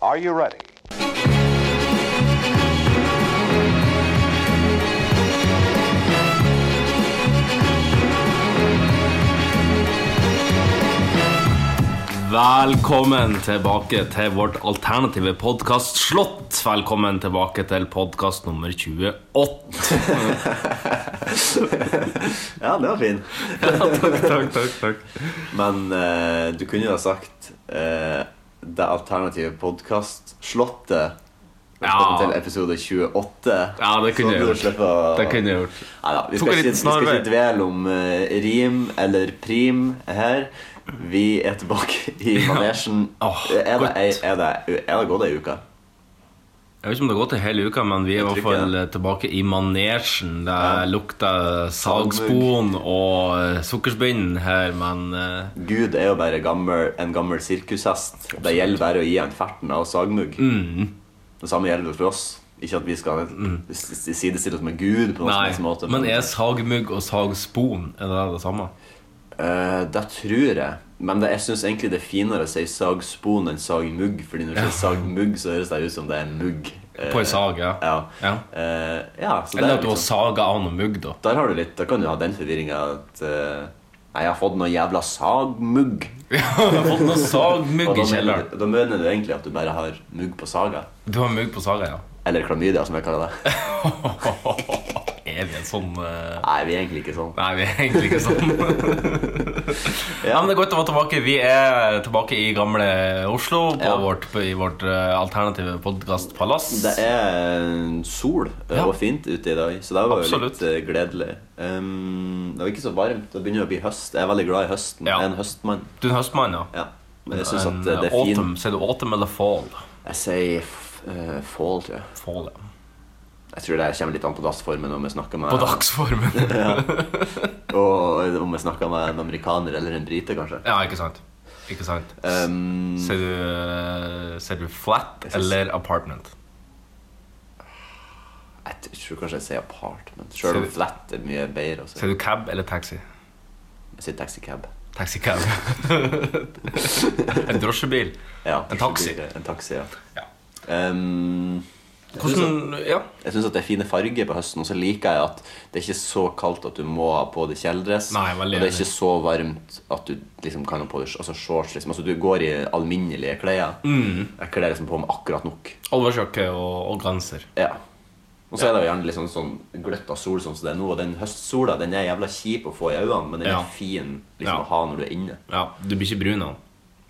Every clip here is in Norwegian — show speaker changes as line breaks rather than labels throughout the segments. Are you ready?
Velkommen tilbake til vårt alternative podkast Slott. Velkommen tilbake til podkast nummer 28.
Ja, det var fin.
takk, takk, takk, takk.
Men eh, du kunne jo ha sagt eh, det alternative podkast-slottet
Ja.
til episode 28.
Ja, det kunne jeg
Så du
gjort.
slipper å
Det kunne jeg gjort.
Neida, vi,
Tok
skal
en
ikke, vi
liten
skal
snarvei.
ikke dvele om eh, rim eller prim her. Vi er tilbake i manesjen.
Åh,
er, det,
godt.
ei- er, det, er det gått ei uke?
Jeg vet ikke om det har gått en hel uke, men vi er i hvert
tror ikke
fall tilbake i manesjen. Det lukter sagspon og eh, sukkerspinn her, men eh,
Gud er jo bare gammel, en gammel sirkushest. Det gjelder bare å gi han ferten av sagmugg.
Mm.
Det samme gjelder jo for oss. Ikke at vi skal s- s- sidestille oss med Gud. på noen som helst
Nei.
måte
Men er sagmugg og sagspon er det det samme?
Eh, Det tror jeg. Men det, jeg syns egentlig det er finere å si sagspon enn sagmugg. Fordi når du sier sagmugg, så høres det ut som det er mugg. Eh,
På ei sag, ja.
Ja.
Ja.
Eh, ja så det
Eller
er
at du har
liksom,
saga av noe mugg, da.
der har du litt Da kan du ha den forvirringa at eh, Nei, jeg har fått noe jævla sagmugg.
Du har fått noe sagmugg i
Og da mener
kjelleren.
du- da mener du egentlig at du bare har mugg på saga.
Du har mugg på saga, ja.
Eller klamydia, som jeg kaller det.
Er vi en sånn eh,
Nei, vi er egentlig ikke sånn.
Nei, vi er egentlig ikke sånn. ja, men Det er godt å være tilbake. Vi er tilbake i gamle Oslo, på
Ja.
vårt, i vårt eh, alternative podkastpalass.
Det er sol eh,
Ja.
og fint ute i dag, så det var jo
Absolutt.
litt eh, gledelig. Um, det var ikke så varmt. Det begynner å bli høst. Jeg er veldig glad i høsten.
Ja.
Jeg er en høstmann.
Du er en høstmann, ja.
Ja. Men jeg syns
En,
at eh,
eh,
det er fint.
autumn. Sier du autumn eller fall?
Jeg sier f- eh, fall, tror jeg.
Fall, ja.
Jeg tror det kommer litt an på dagsformen om jeg snakker
På
med,
dagsformen.
og, om jeg snakker med en amerikaner eller en brite, kanskje.
ja, ikke sant. Ikke sant.
Um,
Sier du, eh, sier du flat
Jeg synes-
eller apartment?
jeg t- tror kanskje jeg sier apartment. Sjøl om
Sier-
flat er mye bedre. Også.
Sier du cab eller taxi?
Jeg sier taxicab.
Taxicab. en drosjebil.
Ja,
En taxi.
En taxi, ja.
Ja.
Um,
Hvordan Ja.
Jeg synes at det er fine farger på høsten, og så liker jeg at det er ikke så kaldt at du må ha på deg kjeledress.
Nei, veldig
og det er
enig.
ikke så varmt at du liksom kan ha på deg sh- altså shorts. Liksom. Altså, du går i alminnelige klær.
Mm.
Jeg kler liksom på meg akkurat nok.
Alvorsjakke og, og genser.
Ja. Og så er det jo gjerne litt sånn, sånn gløtt av sol sånn som det er nå. Og den høstsola den er jævla kjip å få i øynene, men den
Ja.
er fin liksom,
Ja.
å ha når du er inne.
Ja, Du blir ikke brun av den.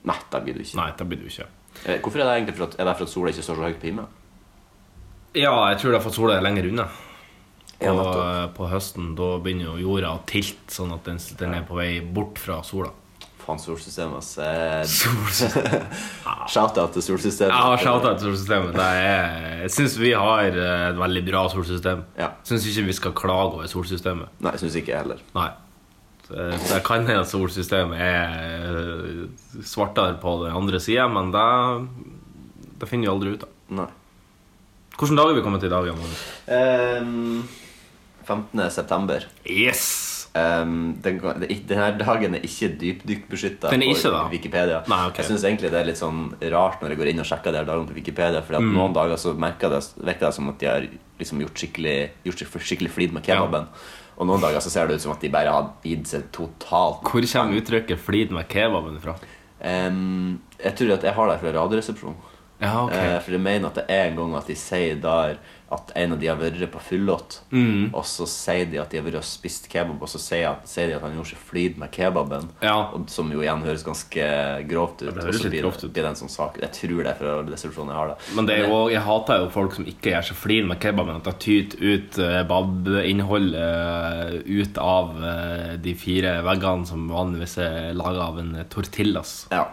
Nei, da blir du ikke.
Nei, det blir du ikke.
Eh, Hvorfor er det egentlig for at, er det for at sola ikke står så høyt på himmelen?
Ja, jeg tror det har fått sola lenger unna.
Ja,
Og eh,
nettopp.
på høsten da begynner jo jorda å tilte, sånn at den, den er på vei bort fra sola.
Faen, solsystemet ass. Eh,
Solsystemet.
Shout-out til solsystemet.
Ja, shout-out til solsystemet. Det er, jeg syns vi har eh, et veldig bra solsystem.
Ja.
Syns ikke vi skal klage over solsystemet.
Nei, jeg syns ikke jeg heller.
Nei. Det det kan hende at solsystemet er eh, svartere på den andre sida, men det, det finner vi aldri ut av.
Nei.
Hvilken dag er vi kommet til i dag? Jan Magnus?
Ehm, 15. september.
Yes!
Ehm, den, denne dagen er ikke dypdykkbeskytta
Den er ikke det?
Wikipedia.
Nei, ok.
Jeg syns egentlig det er litt sånn rart når jeg går inn og sjekker de her dagene på Wikipedia, for
Mm.
at noen dager så merker det, virker det som at de har liksom gjort skikkelig, gjort seg skikkelig flid med kebaben. Og noen dager så ser det ut som at de bare har gitt seg totalt.
Hvor kommer uttrykket 'flid med kebaben' fra?
Ehm, jeg tror at jeg har det fra Radioresepsjonen.
Ja, ok.
Eh, for jeg mener at det er en gang at de sier der at en av de har vært på fyllåt,
Mm.
og så sier de at de har vært og spist kebab, og så sier, at, sier de at han gjorde seg flid med kebaben,
Ja.
og, som jo igjen høres ganske grovt ut.
det
og
høres
så
litt
blir
grovt ut.
Blir det en sånn sak. Jeg tror det er fra resepsjonen jeg har det.
Men det er jo, jeg hater jo folk som ikke gjør seg flid med kebaben. At det tyter ut eh, bab-innholdet ut av eh, de fire veggene som vanligvis er laga av en eh, tortillas.
Ja.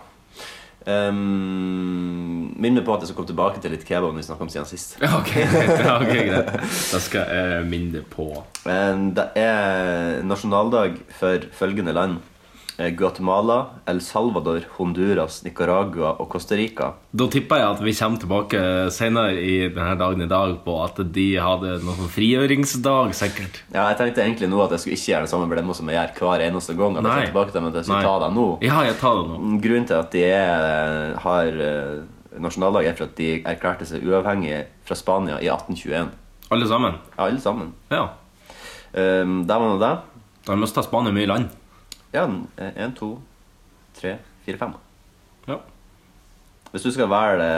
Um, Minn meg på at jeg skal komme tilbake til litt kebab når vi snakker om siden sist.
Ja, ok, ja, ok, greit. Da skal jeg minne på
Men Det er nasjonaldag for følgende land. Eh, Guatemala, El Salvador, Honduras, Nicaragua og Costa Rica.
Da tipper jeg at vi kommer tilbake eh, senere i denne dagen i dag på at de hadde noe sånn frigjøringsdag, sikkert.
Ja, jeg tenkte egentlig nå at jeg skulle ikke gjøre det samme dilemma som jeg gjør hver eneste gang. At jeg
Nei.
skal tilbake til, men at jeg skulle
Nei.
ta det nå.
Ja, jeg tar det nå.
Grunnen til at de er, har eh, nasjonaldag, er for at de erklærte seg uavhengige fra Spania i 1821.
Alle sammen?
Ja, alle sammen.
Ja.
Um, der var nå det.
De har mista Spania mye land.
Ja, én, to, tre, fire, fem.
Ja.
Hvis du skal velge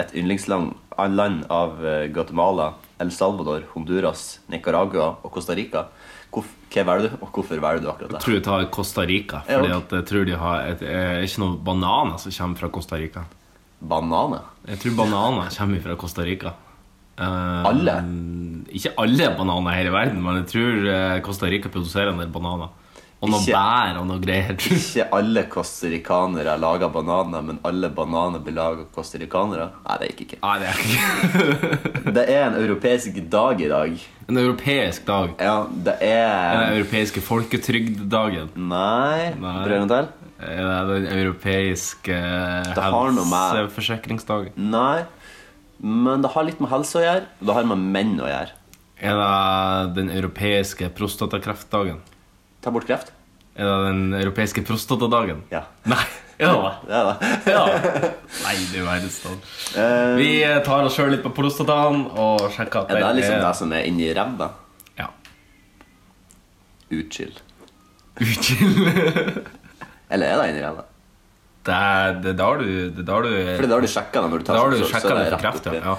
et yndlingsland land av eh, Guatemala, El Salvador, Honduras, Nicaragua og Costa Rica, hvorf- hva velger du, og hvorfor velger du akkurat det?
Jeg tror jeg tar Costa Rica.
Ja,
Fordi
ok.
at jeg tror de har et, eh, ikke noen bananer som kommer fra Costa Rica.
Bananer?
Jeg tror bananer kommer fra Costa Rica. Eh,
Alle?
Ikke alle bananer her i verden, men jeg tror eh, Costa Rica produserer en del bananer. Og noen
Ikke-
bær og noe greier.
Ikke alle costaricanere lager bananer, men alle bananer blir laget av costaricanere? Nei, det gikk ikke.
Nei, det er ikke
Det er en europeisk dag i dag.
En europeisk dag.
Ja, det er
Den europeiske folketrygddagen.
Nei,
Nei.
prøv en gang til.
Er det den europeiske
har noe med-
helseforsikringsdagen?
Nei. Men det har litt med helse å gjøre, og det har med menn å gjøre.
Er det den europeiske prostatakreftdagen?
Ta bort kreft.
Er det den europeiske prostatadagen?
Ja.
Nei. Ja, da.
Det er det.
ja. Nei, det er verdensdagen.
Eh,
Vi tar oss sjøl litt på prostataen og sjekker at
er det liksom det som er inni ræva?
Ja.
Utskill.
Unnskyld.
Eller er det inni ræva?
Det er det er da du Det er da du,
Fordi da har du sjekka det. når du tar
da har du
så- så- så
sjekka
er
det
det
for
rett
kreft,
oppi.
ja. ja.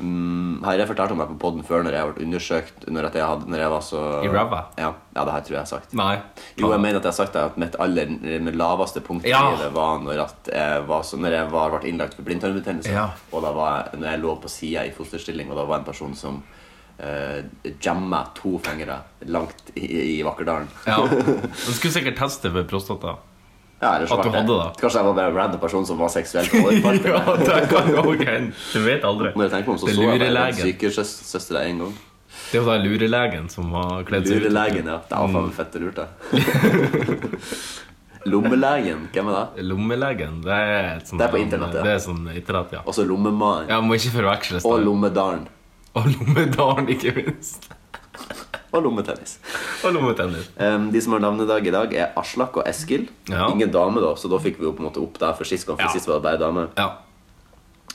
Mm, Har jeg fortalt om det på podden før når jeg ble undersøkt når, at jeg, hadde, når jeg var så
I ræva?
Ja, ja, det her tror jeg jeg har sagt.
Nei.
Jo, jeg mener at jeg har sagt det at mitt aller mitt laveste punkt i
Ja.
livet var når, at jeg var så, når jeg var, ble innlagt for blindtarmbetennelse.
Ja.
Og da var jeg, når jeg lå på sida i fosterstilling, og da var en person som eh, jamma to fingre langt i, i Vakkerdalen.
Ja. Du skulle sikkert teste for prostata.
Ja, eller så
At du
ble jeg-
hadde det.
Kanskje jeg var bare en random person som var seksuelt overfalt.
Ja,
eller-
det kan jo hende. Du vet aldri.
Når jeg tenker meg om, så
Det er
så jeg bare en
lurelegen.
sykesøster der en gang.
Det er jo da lurelegen som har kledd seg ut.
Lurelegen, ja. Det var faen
mm.
meg fett og lurt, det. Lommelegen, hvem er det?
Lommelegen, det er et sånt
Det er på internett, ja.
Det er sånn internett, ja.
Også Altså lommemannen.
Ja, Må ikke forveksles.
Og
da.
lommedalen.
Og lommedalen, ikke minst.
Og lommetennis.
Og lommetennis.
Em, de som har navnedag i dag, er Aslak og Eskil.
Ja.
Ingen dame, da, så da fikk vi jo på en måte opp det for sist gang. For
Ja.
sist var det bare dame.
Ja.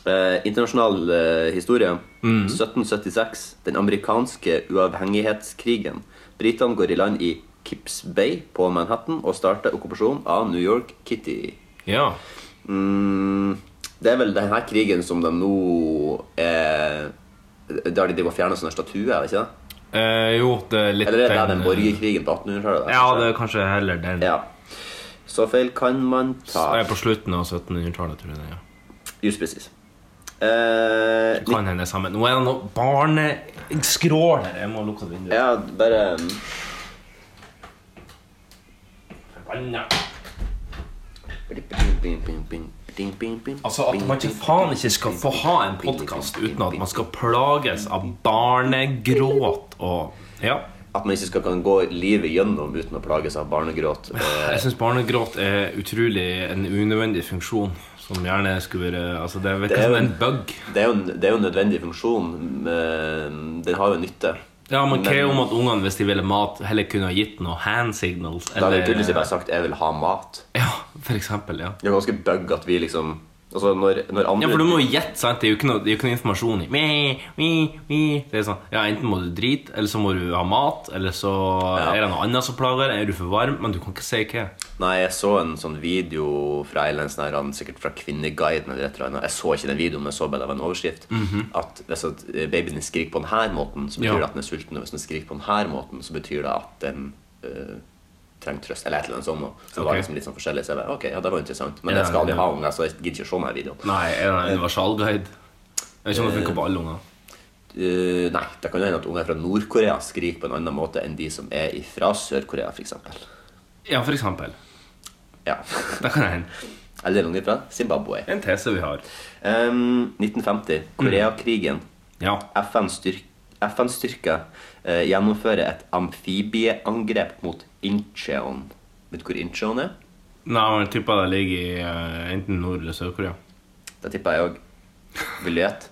Eh, internasjonal eh, historie.
Mm.
1776. Den amerikanske uavhengighetskrigen. Britene går i land i Kips Bay på Manhattan og starter okkupasjonen av New York Kitty.
ja.
Mm, det er vel denne krigen som de nå er Der de driver og fjerner sånne statuer, er det ikke det?
Eh, jo, det er litt
Eller er det den
eh,
borgerkrigen på 1800-tallet? da?
Ja, det er kanskje heller den.
ja. Så feil kan man
Det
ta.
er på slutten av 1700-tallet, tror jeg. det er, Ja.
Just presis. Eh,
Kan hende sammen. Nå er det noe barneskrål her. Jeg må lukke vinduet.
ja, bare mm,
Forbanna.
bing, bing, bing, bing, bing, bing,
Altså At
bing,
man ikke
bing,
faen
bing,
ikke skal
bing,
få
bing,
ha en
bing, bing,
podkast
bing,
uten at
bing,
man skal plages av barnegråt og Ja.
At man ikke skal kan gå livet gjennom uten å plages av barnegråt. Eh,
Jeg syns barnegråt er utrolig en unødvendig funksjon. Som gjerne skulle være Altså Det virker
Det er jo-
som en bug.
Det er jo en, det er jo en nødvendig funksjon. men eh, Den har jo nytte.
Ja, Man
Men-
krever om at ungene, hvis de ville mat, heller kunne ha gitt noe hand signals.
Da hadde vi tydeligvis
Eller,
bare sagt 'jeg vil ha mat'.
ja, for eksempel. Ja.
Det er ganske bug at vi liksom Altså når, når andre
Ja, for du må jo gjette, sant? Det er jo ikke noe, det er jo ikke noe informasjon i mi, mi, mi. Det er sånn, ja, Enten må du drite, eller så må du ha mat, eller så
Ja.
er det noe annet som plager deg, er du for varm, men du kan ikke si hva.
Nei, jeg så en sånn video fra Eiland Snæran, sånn sikkert fra Kvinneguiden eller et eller annet. Jeg så ikke den videoen, men jeg så bare det var en overskrift. At hvis at eh, babyen din skriker på denne måten, så betyr
Mhm. Ja.
det at den er sulten. Og hvis den skriker på denne måten, så betyr det at den øh, trenger trøst. Eller et eller annet sånt noe. Så det var
Ok.
liksom litt sånn forskjellig. Så jeg bare, ok, ja, det var interessant. Men
Ja,
jeg skal aldri
ja.
ha unger, så jeg gidder ikke å se denne videoen.
Nei, er det en universalguide? Jeg vet ikke om det funker på alle unger.
Eh, nei, det kan jo hende at unger fra Nord-Korea skriker på en annen måte enn de som er fra Sør-Korea, f.eks.
Ja, for eksempel.
Ja.
Det kan hende.
Eller unger fra Zimbabwe.
En tese vi har.
Ehm, 1950.
Mm.
Koreakrigen.
Ja.
FN-styrker FN eh, gjennomfører et amfibieangrep mot Incheon. Vet du hvor Incheon er?
Nei, men jeg tipper det ligger i eh, enten Nord- eller Sør-Korea.
Det tipper jeg òg. Vil du gjette?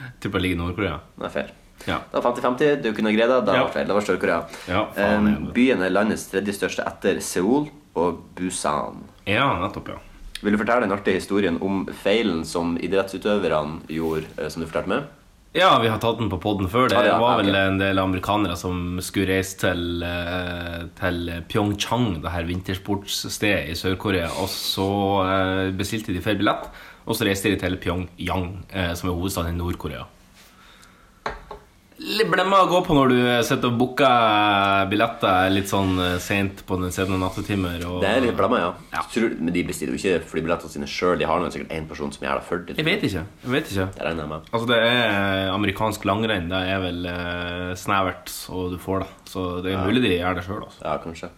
Jeg Tipper det ligger i Nord-Korea.
Det er feil.
Ja.
Det var 50-50. Du kunne greid det. Det
Ja.
var feil. Det var Sør-Korea.
Ja, faen,
Ehm,
jeg vet.
byen er landets tredje største etter Seoul og Busan.
Ja, nettopp, ja.
Vil du fortelle den artige historien om feilen som idrettsutøverne gjorde, eh, som du fortalte med?
Ja, vi har tatt den på poden før. Det
Ah, ja,
var
ja,
vel
ok.
en del amerikanere som skulle reise til, eh, til Pyeongchang, det her vintersportsstedet i Sør-Korea. Og så eh, bestilte de feil billett, og så reiste de til Pyongyang, eh, som er hovedstaden i Nord-Korea. Litt blemma å gå på når du sitter og booker eh, billetter litt sånn eh, sent på den sene nattetimer. Og,
Det er litt blamma, ja.
Ja.
Tror, men de bestiller jo ikke flybillettene sine sjøl. De har nå sikkert én person som gjør det for dem.
Jeg vet ikke. Jeg vet ikke.
Det regner jeg med.
Altså det er amerikansk langrenn. Det er vel eh, snevert så du får, da. Så det er mulig de gjør det sjøl. Altså.
Ja, kanskje.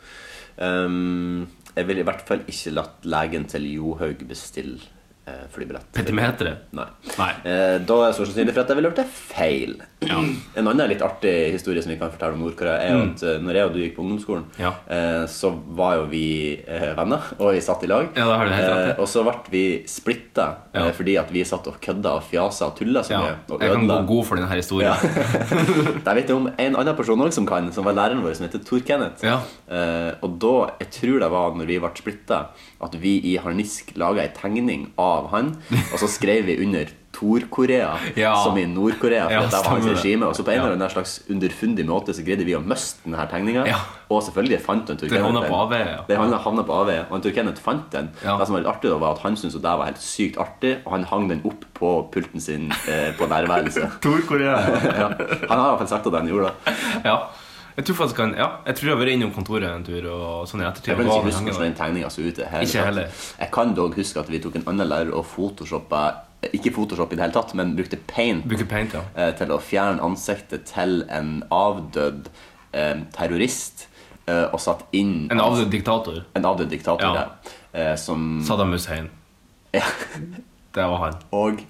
Ehm, jeg ville i hvert fall ikke latt legen til Johaug bestille eh, flybillett.
Petimeteret.
Nei.
Nei.
Eh, da er det så sannsynlig for at jeg ville gjort det feil.
Ja. Mm.
En annen litt artig historie som vi kan fortelle om Nord-Korea, er jo at eh, når jeg og du gikk på ungdomsskolen,
Ja.
eh, så var jo vi eh, venner, og vi satt i lag. Eh,
Ja, det har du helt rett i.
og så ble vi splitta
Ja.
eh, fordi at vi satt og kødda og fjasa og tulla så
Ja.
mye. Og
Jeg kan gå
ødela.
god for denne historien.
Der vet jeg om en annen person også som kan, som var læreren vår, som heter Tor Kenneth.
Ja.
Eh, og da, jeg tror det var når vi ble splitta, at vi i harnisk laga ei tegning av han, og så skrev vi under Tor-Korea,
Ja.
som i Nord-Korea, for
Ja,
at det var hans
stemmer det.
regime. Og så på en
Ja.
eller annen slags underfundig måte så greide vi å miste denne tegninga.
Ja.
Og selvfølgelig fant han Tor
Det
Kenneth.
havna
den.
på avveie, ja.
Det havna- havna på AV, og han Tor Kenneth fant den.
Ja.
Det som var litt artig, da, var at han syntes jo det var helt sykt artig, og han hang den opp på pulten sin eh, på nærværelset.
Nord-Korea.
ja. Han har i hvert fall sagt at han gjorde det.
ja. Jeg tror faktisk han, ja, jeg tror jeg har vært innom kontoret en tur og sånn i ettertid.
Jeg kan
og
ikke
var
huske
hengende.
hvordan den tegninga så ut. i det hele
Ikke
tatt.
heller.
Jeg kan dog huske at vi tok en annen lærer og photoshoppa Ikke photoshop i det hele tatt, men brukte paint
Bruker paint, ja.
eh, til å fjerne ansiktet til en avdød eh, terrorist. eh, Og satt inn
En avdød diktator.
en avdød diktator
Ja.
der. eh, Som
Saddam Hussein.
Ja.
Det var han.
Og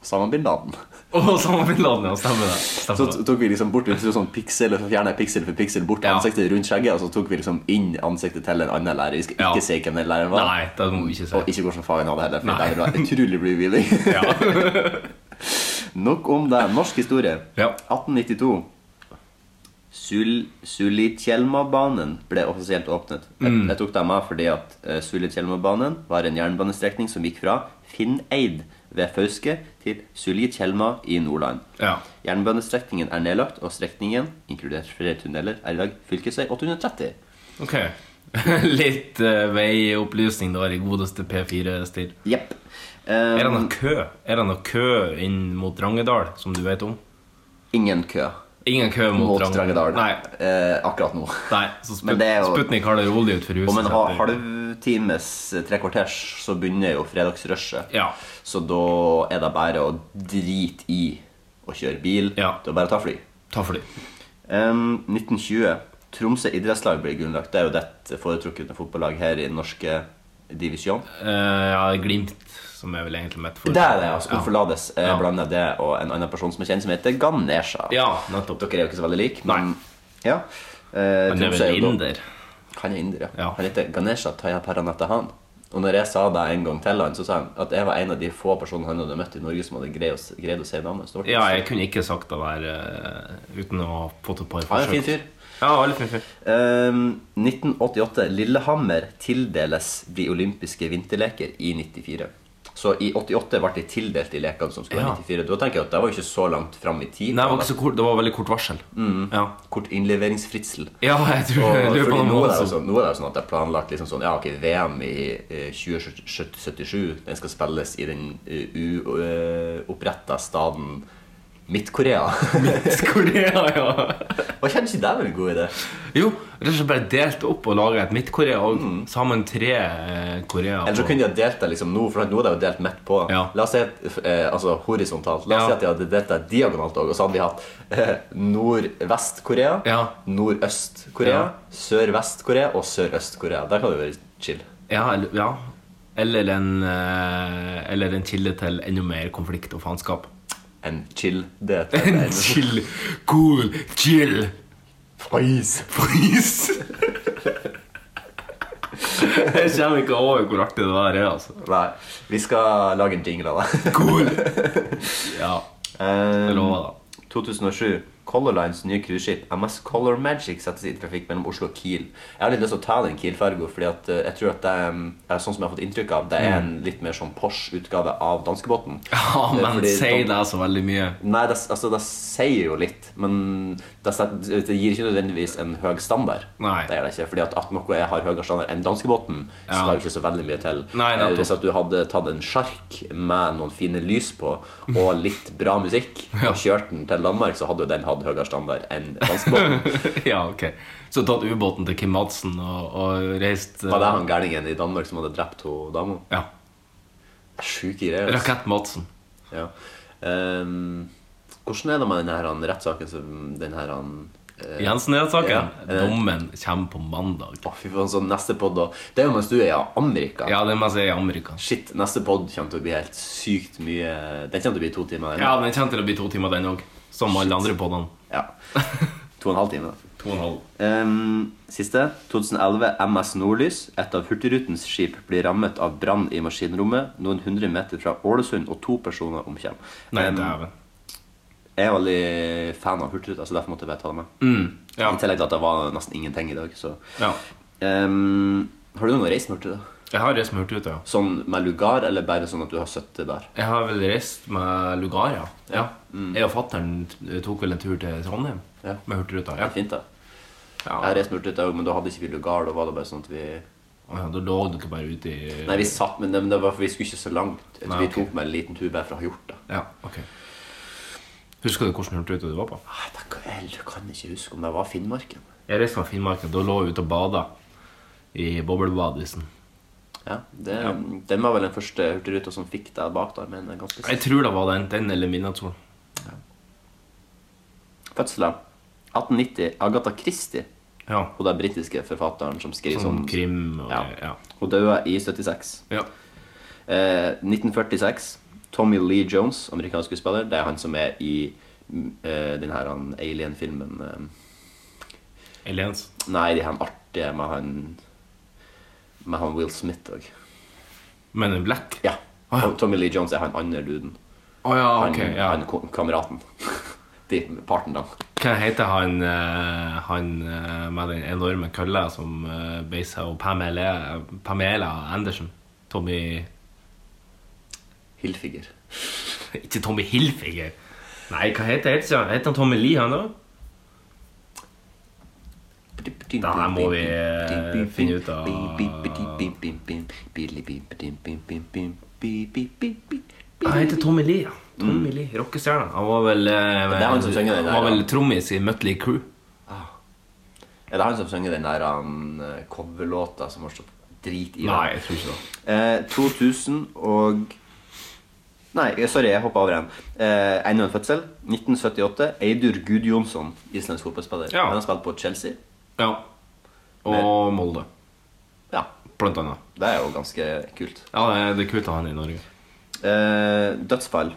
Osama bin Laden.
Og Osama bin Laden, ja. Stemmer det.
Så
Stemmer det.
t- tok vi liksom bort vi tok sånn piksel, og så fjernet piksel for piksel bort
Ja.
ansiktet rundt skjegget, og så tok vi liksom inn ansiktet til en annen lærer. Vi skal
Ja.
ikke si hvem den læreren var.
Nei, det må vi ikke
Og
si.
ikke hvordan faen han hadde heller,
Nei.
for det var utrolig revealing.
Ja.
Nok om det. Norsk historie.
Ja.
1892. Sul Sulitjelma-banen ble offisielt åpnet. Jeg,
Mm.
jeg tok det med fordi at uh, Sulitjelma-banen var en jernbanestrekning som gikk fra Finneid ved Fauske til Sulitjelma i Nordland.
ja.
Jernbanestrekningen er nedlagt, og strekningen, inkludert flere tunneler, er i dag fylkesvei 830.
Ok. Litt eh, veiopplysning da i godeste P4-stil.
Jepp.
Er det
Um,
noe kø? Er det noe kø inn mot Drangedal, som du vet om?
ingen kø
Ingen kø mot,
mot
Drang-
Drangedal
Nei,
eh, akkurat nå.
nei så Sput
Men det er jo-
Sputnik har det rolig ut for huset.
Om en
sitt.
ha- halvtimes, eh, tre kvarters, så begynner jo fredagsrushet.
Ja.
Så da er det bare å drite i å kjøre bil.
Ja.
Det er bare å ta fly.
Ta for det.
Em, 1920. Tromsø idrettslag ble grunnlagt. Det er jo ditt foretrukne fotballag her i den norske divisjon.
Eh, ja, Glimt, som er vel egentlig mitt forhold.
Det er det, altså.
Ja.
Konforlades ja.
Ja.
blander det og en annen person som er kjent, som heter Ganesha.
Ja, nettopp.
Dere er jo ikke så veldig like,
Nei.
men ja. Eh,
Han er
Tromsø
vel
jo da-
inder.
Han er inder, ja.
Ja.
Han heter Ganesha Tayaparanattahan. Og når jeg sa det en gang til han, så sa han at jeg var en av de få personene han hadde møtt i Norge som hadde greid å, s- greid å si navnet. Så det var-
Ja, jeg kunne ikke sagt det der eh, uten å ha fått et par forsøk.
Han er en fin fyr.
Ja, veldig fin fyr.
Ehm, 1988. Lillehammer tildeles de olympiske vinterleker i 94. Så i 88 ble de tildelt de lekene som skulle
Ja.
være i 94. Da tenker jeg at det var jo ikke så langt fram i tid.
Nei, det var, ikke så kort, det var veldig kort varsel.
Mm.
Ja.
Kort innleveringsfritsel.
ja, jeg tror
Og
jeg lurer på
fordi
om
nå, er
det
det
var
jo
sånn.
sånn, nå er det jo sånn at det er planlagt liksom sånn, ja, ok, VM i eh, 2077 Den skal spilles i den eh, uoppretta staden Midt-Korea. altså-
Korea, ja.
Hva kjenner ikke det var en god idé?
Jo, rett og slett bare delt opp og laget et Midt-Korea og sammen tre eh, Korea.
Mm. Eller så
og-
kunne de ha delt det liksom nå, for nå er det jo delt midt på.
Ja.
La oss si at, eh, altså horisontalt. La
Ja.
oss si at de hadde delt det diagonalt òg, og så hadde vi hatt eh, Nordvest-Korea,
Ja.
Nordøst-Korea,
Ja.
Sørvest-Korea og Sørøst-Korea. Der kan det jo være chill.
Ja, eller, ja. eller en eh, Eller en kilde til enda mer konflikt og faenskap.
En chill det er
En chill, cool, chill
Fais.
pris! Jeg kommer ikke over hvor artig det der er, altså.
Nei, vi skal lage en jingle av det.
Cool! Ja, jeg
Eh,
lover det.
2007. Color Lines nye cruiseskip MS Color Magic settes i trafikk mellom Oslo og Kiel. Jeg har litt lyst til å ta den Kiel-ferga, fordi at eh, jeg tror at det er, eh, sånn som jeg har fått inntrykk av, det er en litt mer sånn Porsche-utgave av danskebåten.
Mm. Ja,
Eh,
Ah, men
fordi
sier
dan-
det så veldig mye.
Nei, det, altså, det sier jo litt, men det, set- det gir ikke nødvendigvis en høy standard.
Nei.
Det gjør det ikke, fordi at, at noe jeg har høyere standard enn danskebåten, så
Ja.
tar det ikke så veldig mye til.
Nei, nettopp.
Eh, Hvis at du hadde tatt en sjark med noen fine lys på og litt bra musikk,
Ja.
og kjørt den til Danmark, så hadde jo den hatt høyere standard enn danskebåten.
ja, ok. Så tatt ubåten til Kim Madsen og, og reist eh,
Var det han gærningen i Danmark som hadde drept hun dama?
Ja.
Sjuke greier. altså.
Rakett Madsen.
Ja. Ehm, hvordan er det med den her han, rettssaken som den her han eh,
Jensen-saken.
Ja, eh.
Dommen kommer på mandag.
Å, fy faen, så neste podd da Det er jo mens du er i Amerika.
Ja, det må jeg si i Amerika.
Shit, neste podd kommer til å bli helt sykt mye Den kommer til å bli to timer. den.
Ja, den kommer til å bli to timer, den òg. Som alle andre podene.
Ja. To og en halv time. da.
To og en halv.
Ehm, siste. 2011 MS Nordlys. Et av Hurtigrutens skip blir rammet av brann i maskinrommet noen hundre meter fra Ålesund, og to personer omkommer.
Nei,
Ehm,
dæven.
jeg er veldig fan av Hurtigruten, så derfor måtte jeg bare ta det med.
Mm. Ja.
I tillegg til at det var nesten ingenting i dag, så
ja.
Ehm, Har du noen gang reist med Hurtigruten?
Jeg har reist med Hurtigruta, ja.
Sånn med lugar, eller bare sånn at du har sittet der?
Jeg har vel reist med Lugar, ja. ja. Jeg og fattern tok vel en tur til Trondheim
Mm. Ja.
med Hurtigruta.
Det
Ja.
er fint, da.
Ja.
Jeg reiste meg ut litt, jeg også, men da hadde ikke vi lugar. Da var det bare sånn at vi
Ja, da lå dere bare ute i
Nei, vi satt, men det, men det var for vi skulle ikke så langt.
Nei,
vi
ok.
tok med en liten tur bare for å ha gjort det.
Ja, ok Husker du hvordan hurtigruta du var på?
Nei, Ah, det kan- Jeg kan ikke huske om det var Finnmarken.
Jeg reiste fra Finnmarken, da lå jeg ute og bada i boblebadisen.
Ja, det, Den var vel den første hurtigruta som fikk deg bak der, men den er ganske
Jeg tror det var den, den eller midnattssol.
Fødselen 1890. Agatha Christie,
Ja.
hun den britiske forfatteren som skriver
Sånn
sånn
krim og
Ja.
ja.
Hun døde i 76.
ja.
Eh, 1946. Tommy Lee Jones, amerikansk skuespiller. Det er han som er i mm, eh, den her han alien-filmen eh,
Aliens.
Nei, de her artige med han Med han Will Smith òg.
Men en black?
Ja.
Ah, ja.
Og Tommy Lee Jones er han andre duden.
Å ja,
Han,
ok. Ja.
han ko- kameraten. De partene.
Hva heter han, eh, han eh, med den enorme kølla som eh, beisa og Pamela, Pamela Andersen? Tommy
Hilfiger.
Ikke Tommy Hilfiger. Nei, hva heter heter han? Heter han Tommy Lee, han òg? Det her må vi, eh, finne ut av. Han
Han
heter Tommy Lee, ja. Tommy Lee, Rockestjerna. Han var vel, eh,
er han som synger den der,
han var
ja.
vel trommis i Mutley Crew.
Er det han som synger den der han, eh, coverlåta som har så drit i? det?
Nei, jeg tror ikke det.
Eh, 2000 og Nei, eh, sorry, jeg hoppa over en. Eh, Enda en fødsel. 1978. Eidur Gudjonsson, islandsk fotballspiller.
Ja.
Han har spilt på Chelsea.
Ja. Og Molde,
Ja,
blant annet.
det er jo ganske kult.
Ja, det er- det er kult å ha han i Norge.
Eh, dødsfall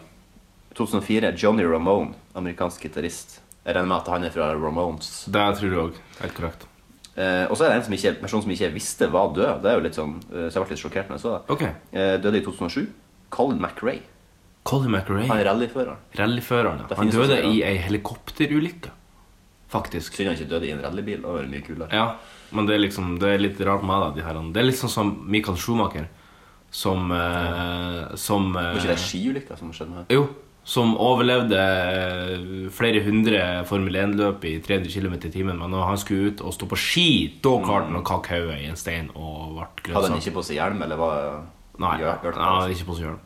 2004. Johnny Ramone, amerikansk gitarist. Jeg regner med at han er fra Ramones.
Det tror jeg òg. Helt korrekt.
Eh, og så er det en som ikke, person som ikke jeg visste var død. Det er jo litt sånn, eh, Så jeg ble litt sjokkert når jeg så det.
Ok.
Eh, døde i 2007. Colin McRae.
Colin
Han
McRae,
er rallyfører.
rallyføreren. ja.
Det
Han
finnes
døde
også, ja.
i ei helikopterulykke, faktisk.
Synd han ikke døde i en rallybil. Det var mye kulere.
Ja, men det er liksom Det er litt rart med det, de her. Det er litt sånn som Michael Schumacher, som eh, Som eh,
Var ikke det skiulykka som skjedde med
Jo, som overlevde eh, flere hundre Formel 1-løp i 300 km i timen. Men når han skulle ut og stå på ski, da klarte han å kakke hodet i en stein og ble
Mm. Hadde han
grønnsak.
ikke på seg hjelm, eller var
Nei,
Gjør- gjør det
han hadde ikke på seg hjelm.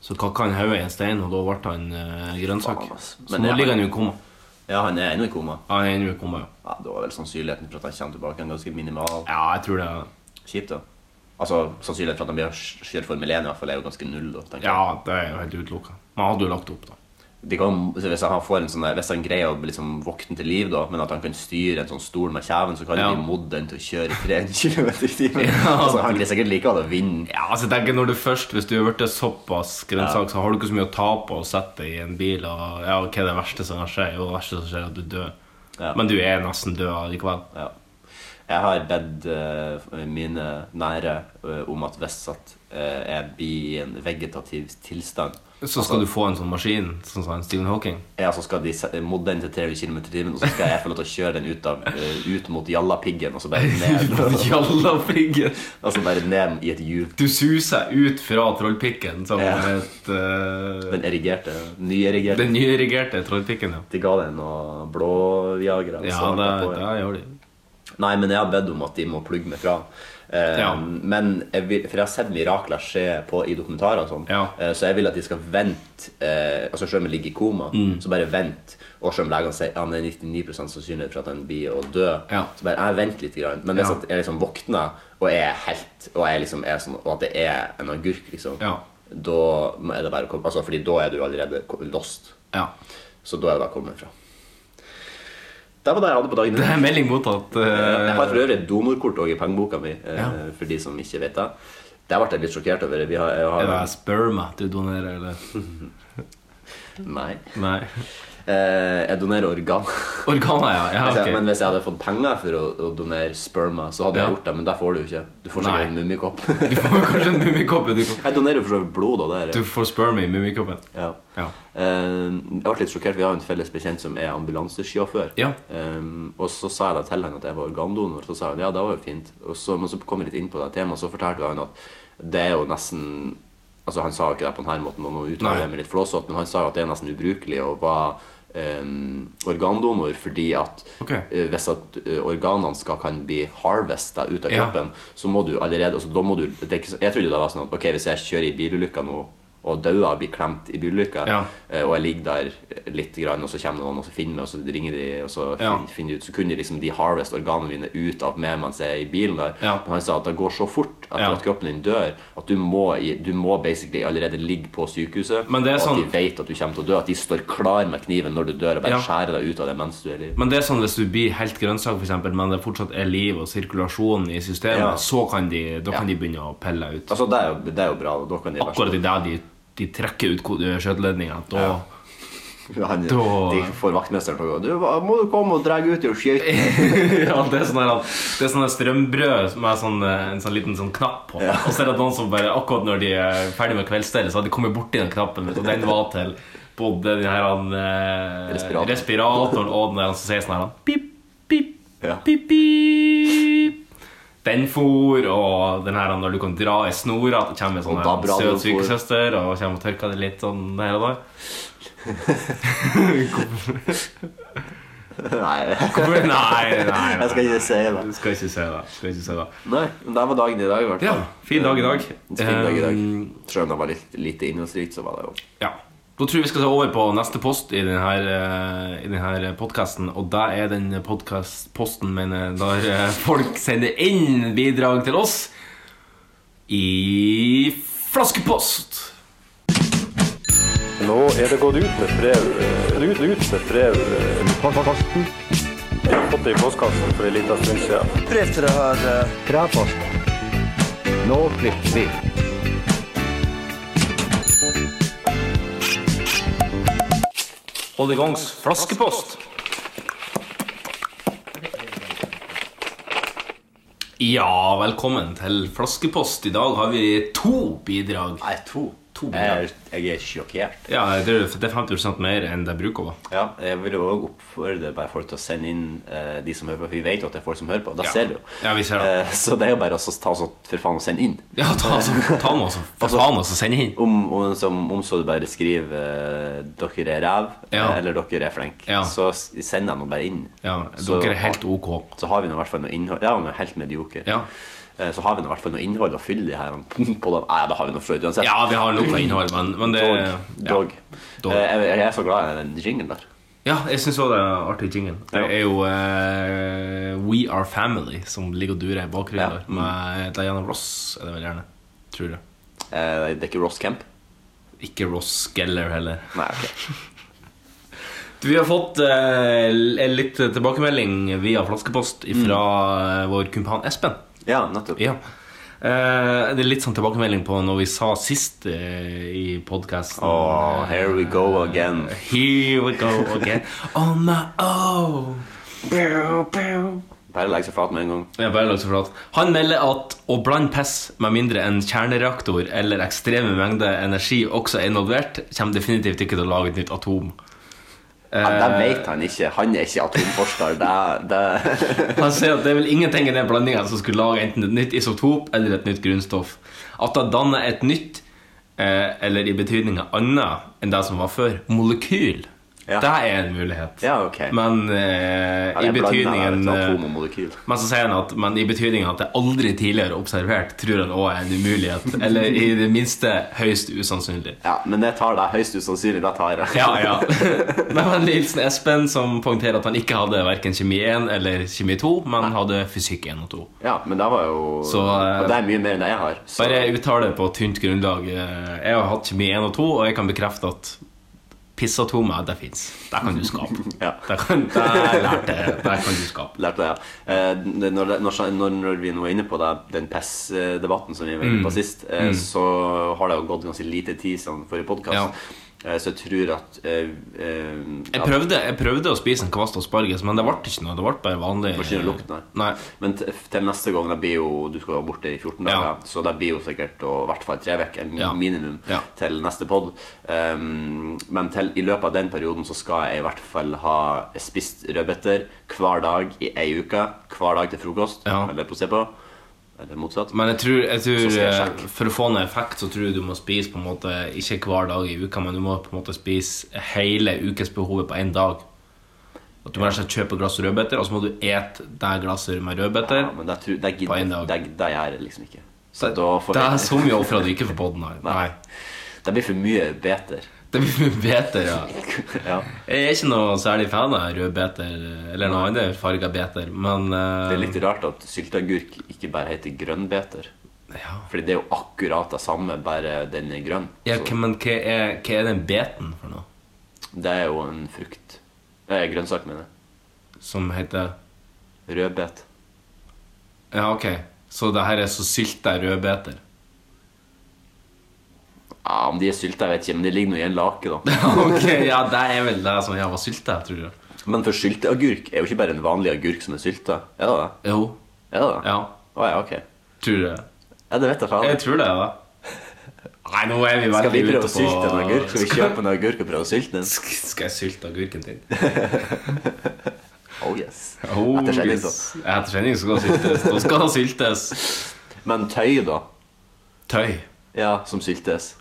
Så kakka han hodet i en stein, og da ble han eh, grønnsak.
Faen, ass.
Så
Men
nå
det-
ligger han jo i koma.
Ja, han er ennå i koma.
Han er ennå i koma, ja.
Ja, Da er vel sannsynligheten for at han kommer tilbake, en ganske minimal.
Ja, jeg tror det. er-
Kjipt, da. Altså, Sannsynligheten for at han blir kjørt Formel 1, i hvert fall, er jo ganske null. da, tenker jeg.
Ja, det er jo helt utelukka. Men han hadde jo lagt opp, da.
De kan, så hvis, han får en sånn der, hvis han greier å liksom våkne til liv, da, men at han kan styre en sånn stol med kjeven, så kan
Ja.
de modde den til å kjøre i 300 km i timen.
Ja.
Altså, han greier sikkert likevel å vinne.
Ja, altså jeg tenker når du først Hvis du har vært såpass grønnsak, så har du ikke så mye å tape på å sette deg i en bil. Og ja, Hva er det verste som kan skje? Jo, det verste som skjer, er at du dør.
Ja.
Men du er nesten død likevel.
Ja. Jeg har bedt eh, mine nære eh, om at hvis at eh, jeg blir i en vegetativ tilstand
Så
Altså-
skal du få en sånn maskin, sånn som han Stephen Hawking.
ja, så skal de se- modde den til 300 km i timen, og så skal jeg få lov til å kjøre den ut, av, eh, ut mot Jallapiggen, og så bare ned,
Jalla piggen!
og så bare ned i et djup.
Du suser ut fra trollpikken som
Ja.
et eh,
Den erigerte, nyerigerte.
Den nyerigerte trollpikken, ja.
De ga deg noe blåjagere. og
Ja,
så
det,
var på,
det gjør de.
Nei, men jeg har bedt om at de må plugge meg fra. Eh,
Ja.
Men jeg vil, For jeg har sett mirakler skje på, i dokumentarer, og sånn
Ja.
eh, så jeg vil at de skal vente. Eh, altså Selv om jeg ligger i koma,
Mm.
så bare vent. Og selv om legene sier at det er 99 sannsynlighet for at han blir å dø,
Ja.
så bare jeg venter litt. Grann. Men hvis
Ja.
at jeg liksom våkner og jeg er helt, og, jeg liksom er sånn, og at det er en agurk, liksom,
Ja.
da er det bare å komme altså, Fordi da er du allerede ko- lost.
Ja.
Så da er det bare å komme fra. Det var det jeg hadde på dagen.
Det er melding mottatt.
Jeg har for
Uh,
øvrig et donorkort også i pengeboka mi, eh,
Ja.
for de som ikke vet det. Der ble jeg litt sjokkert over. Vi har, jeg
er det
har,
sperma du donerer, eller?
nei.
Nei.
Eh, Jeg donerer organ.
Organer, ja. ja
Hvis jeg- Altså, Men
ok.
hvis jeg hadde fått penger for å, å donere sperma, så hadde jeg
Ja.
gjort det. Men det får du ikke. Du får
Nei.
sikkert en mummikopp.
Du får kanskje en mummikopp. Du,
Jeg donerer jo for så vidt blod, da. Det
du
er,
får sperma i mummikoppen.
ja.
Ja.
Eh, Jeg ble litt sjokkert. Vi har en felles bekjent som er ambulansesjåfør.
Ja.
Um, og så sa jeg da til han at jeg var organdonor, så sa han ja, det var jo fint. Og så, men så kom vi litt inn på det temaet, så fortalte han at det er jo nesten Altså Han sa jo ikke det på denne måten, og nå uttaler jeg meg litt flåsete, men han sa jo at det er nesten ubrukelig å være um, organdonor fordi at
Ok.
eh, hvis at eh, organene skal kan bli harvesta ut av
Ja.
kroppen, så må du allerede altså, da må du, det er ikke, så- Jeg trodde det var sånn at ok, hvis jeg kjører i bilulykka nå og dauer og blir klemt i bilulykka,
Ja.
Eh, Og jeg ligger der eh, litt, grann, og så kommer noen og så finner meg, og så ringer de. og Så
Ja.
fin- finner de ut, så kunne de liksom de harvest organene mine ut av meg mens jeg er i bilen. der
Ja.
Men han sa at det går så fort etter
Ja.
at kroppen din dør, at du må, i- du må basically allerede ligge på sykehuset.
Men det er
og
sånn-
at de vet at du kommer til å dø. At de står klar med kniven når du dør, og bare
Ja.
skjærer deg ut av det mens du er i live.
Men det er sånn hvis du blir helt grønnsak, for eksempel, men det fortsatt er liv og sirkulasjon i systemet,
Ja.
så kan de, da kan
Ja.
de begynne å pelle ut.
Altså, det er, jo, det er jo bra. og Da kan de
Akkurat i det de, de trekker ut ko- skjøteledninga. Da
Ja. Han,
Da-
De får vaktmesteren til å gå. Du, hva- må du komme og dra ut i og skyte?
Ja, det er sånn her, Det er sånne strømbrød med sånn, eh, en sånn liten sånn knapp på. Og så er det noen som bare akkurat når de er ferdig med kveldsstellet, så har de kommet borti den knappen. Og den var til både den her han, eh,
Respiratoren.
respiratoren og den der som sier sånn her han, Pip, pip,
Ja.
pip, pip. Den for, og den her han, når du kan dra i snora, at det kommer en sånn
Og
her,
dabber av
søt
den for.
sykesøster og kommer og tørker det litt sånn her og der.
Nei,
Nei, nei, nei.
jeg skal ikke si det.
Du skal ikke se det. Skal ikke se det.
Nei, men det var dagen i dag, i hvert fall.
Ja, fin dag i dag.
En Fin dag i dag.
Ehm,
Selv om det var litt lite innholdsrikt, så var det jo
Ja. Da tror jeg vi skal ta over på neste post i eh, denne podkasten. Og det er den podcast- posten mener, jeg, der eh, folk sender inn bidrag til oss i flaskepost.
Nå er det gått ut med brev. eh, Ut, ut med brev. eh, Jeg har fått det i postkassen for en liten stund siden.
brev til det her eh,
Hold i gangs flaskepost. Ja, velkommen til flaskepost. I dag har vi to bidrag.
Nei, to.
To
jeg, jeg er sjokkert.
Ja, jeg tror det er 50 mer enn det bruker å være.
Ja, jeg vil jo også oppfordre bare folk til å sende inn eh, de som hører på. for Vi vet jo at det er folk som hører på. Da
Ja.
ser vi jo.
Ja, vi ser det.
Eh, så det er jo bare å så ta sånn for faen og sende inn.
Ja, ta, altså, ta den også. For
Altså-
faen, altså. Send inn.
Om, om, som, om så du bare skriver eh, 'dere er ræv'
Ja.
eh, eller 'dere er flinke',
Ja.
så s- send dem nå bare inn.
Ja,
Så-
dere er helt ok.
Så har vi nå i hvert fall noe innhold Ja, men helt medioker.
Ja.
Eh, Så har vi nå i hvert fall noe innhold å fylle de her eh, på dem. Nei, da har vi noe for uansett.
Ja, vi har nok av innhold, men, men det
Dog.
ja.
Dog.
Dog.
Eh, Jeg, jeg er så glad i den jinglen der.
Ja, jeg syns også det er en artig jingle. Det
Ja.
er jo eh, We Are Family som ligger og durer i bakgrunnen
Ja,
der. Med Diana Ross er det vel gjerne. Tror jeg.
Eh, Det er ikke Ross Camp?
Ikke Ross Geller heller.
Nei, ok.
Vi har fått eh, en litt tilbakemelding via flaskepost fra
Mm.
vår kumpan Espen.
Ja, nettopp.
Ja. Eh, det er litt sånn tilbakemelding på når vi sa sist eh, i podkasten
Åh, here we go again.
Here we go again. On my own. Bow, bow.
Bare legge seg flat med en gang.
Jeg bare lag så flat. Han melder at å blande piss med mindre enn kjernereaktor eller ekstreme mengder energi også er involvert, kommer definitivt ikke til å lage et nytt atom.
Ja,
Eh.
det vet han ikke. Han er ikke atomforsker. Det, det
Han sier at det er vel ingenting i den blandinga som skulle lage enten et nytt isotop eller et nytt grunnstoff. At det danner et nytt, eh, eller i betydninga annet enn det som var før, molekyl.
Ja.
Det er en mulighet.
Ja, ok.
Men eh, i betydningen eh,
Atom og molekyl.
men så sier han at men i betydningen at det aldri tidligere er observert, tror han òg er en umulighet. Eller i det minste høyst usannsynlig.
Ja, men det tar deg høyst usannsynlig. Det tar jeg.
Ja, ja. Det var Nilsen Espen som poengterer at han ikke hadde verken kjemi 1 eller kjemi 2, men hadde fysikk 1 og 2.
Ja, men det var jo
Så, eh,
Og det er mye mer enn det jeg har. Så
Bare jeg uttaler på tynt grunnlag. eh, Jeg har hatt kjemi 1 og 2, og jeg kan bekrefte at pissatomer, det fins. Det kan du skape.
Ja.
Det, kan, det lærte jeg. Det kan du skape.
lærte jeg, ja. Eh, det- Når, det- når, når, når vi nå er inne på det, den PES-debatten som vi var inne på
Mm.
sist, eh, så har det jo gått ganske lite tid siden forrige podkast.
Ja.
Eh, så jeg tror at eh, eh,
Jeg
at-
prøvde, jeg prøvde å spise en kvast asparges, men det ble ikke noe. Det ble bare vanlig.
Det ble ikke noe lukt, nei.
nei.
Men t- til neste gang det blir jo, Du skal jo være borte i 14 dager,
Ja.
så det blir jo sikkert å, i hvert fall tre uker, en
Ja.
minimum,
Ja.
til neste pod. Um, men til, i løpet av den perioden så skal jeg i hvert fall ha spist rødbeter hver dag i ei uke. Hver dag til frokost,
Ja.
eller på på. Eller motsatt.
Men jeg tror, jeg
Så
tror
skal jeg
eh,
sjekke.
For å få en effekt så tror jeg du må spise på en måte ikke hver dag i uka, men du må på en måte spise hele ukesbehovet på én dag. At Du må rett og slett kjøpe et glass rødbeter, og så må du ete det glasset med rødbeter.
Ja, men det, tror, det,
På en
gidder,
dag.
det, det gjør jeg liksom ikke. Så
det,
da får
det
vi-
er så mye ofre at du ikke får på den. Nei.
Nei.
nei.
det blir for mye beter.
Det blir beter, ja.
ja.
Jeg er ikke noe særlig fan av rødbeter eller noe annet farga beter, men eh,
Det er litt rart at sylteagurk ikke bare heter grønnbeter.
ja.
Fordi det er jo akkurat det samme, bare den er grønn.
Ja,
Så
hva- men hva er, hva er den beten for noe?
det er jo en frukt. Eh, grønnsak, mener jeg.
Som heter
Rødbet.
Ja, ok. Så det her er så sylta rødbeter.
Ja, om de er sylta, jeg vet ikke, men de ligger nå i en lake, da.
ok, Ja, det er vel det som jeg var sylta, tror jeg.
Men for sylteagurk er jo ikke bare en vanlig agurk som er sylta. Er det det?
Jo.
Er det det?
Ja.
Å ja, ok.
Tror jeg.
Ja, det vet jeg faen.
Jeg tror det, da. Nei, nå er vi
Skal
veldig
vi
ute på
prøve å sylte en agurk? Skal vi kjøpe en agurk og prøve å sylte den?
Sk- Skal jeg sylte agurken din?
Oh yes.
Oh,
Etter sending, så.
yes. Etter sending skal det syltes. Da skal det syltes.
Men tøy, da?
Tøy.
Ja, som syltes.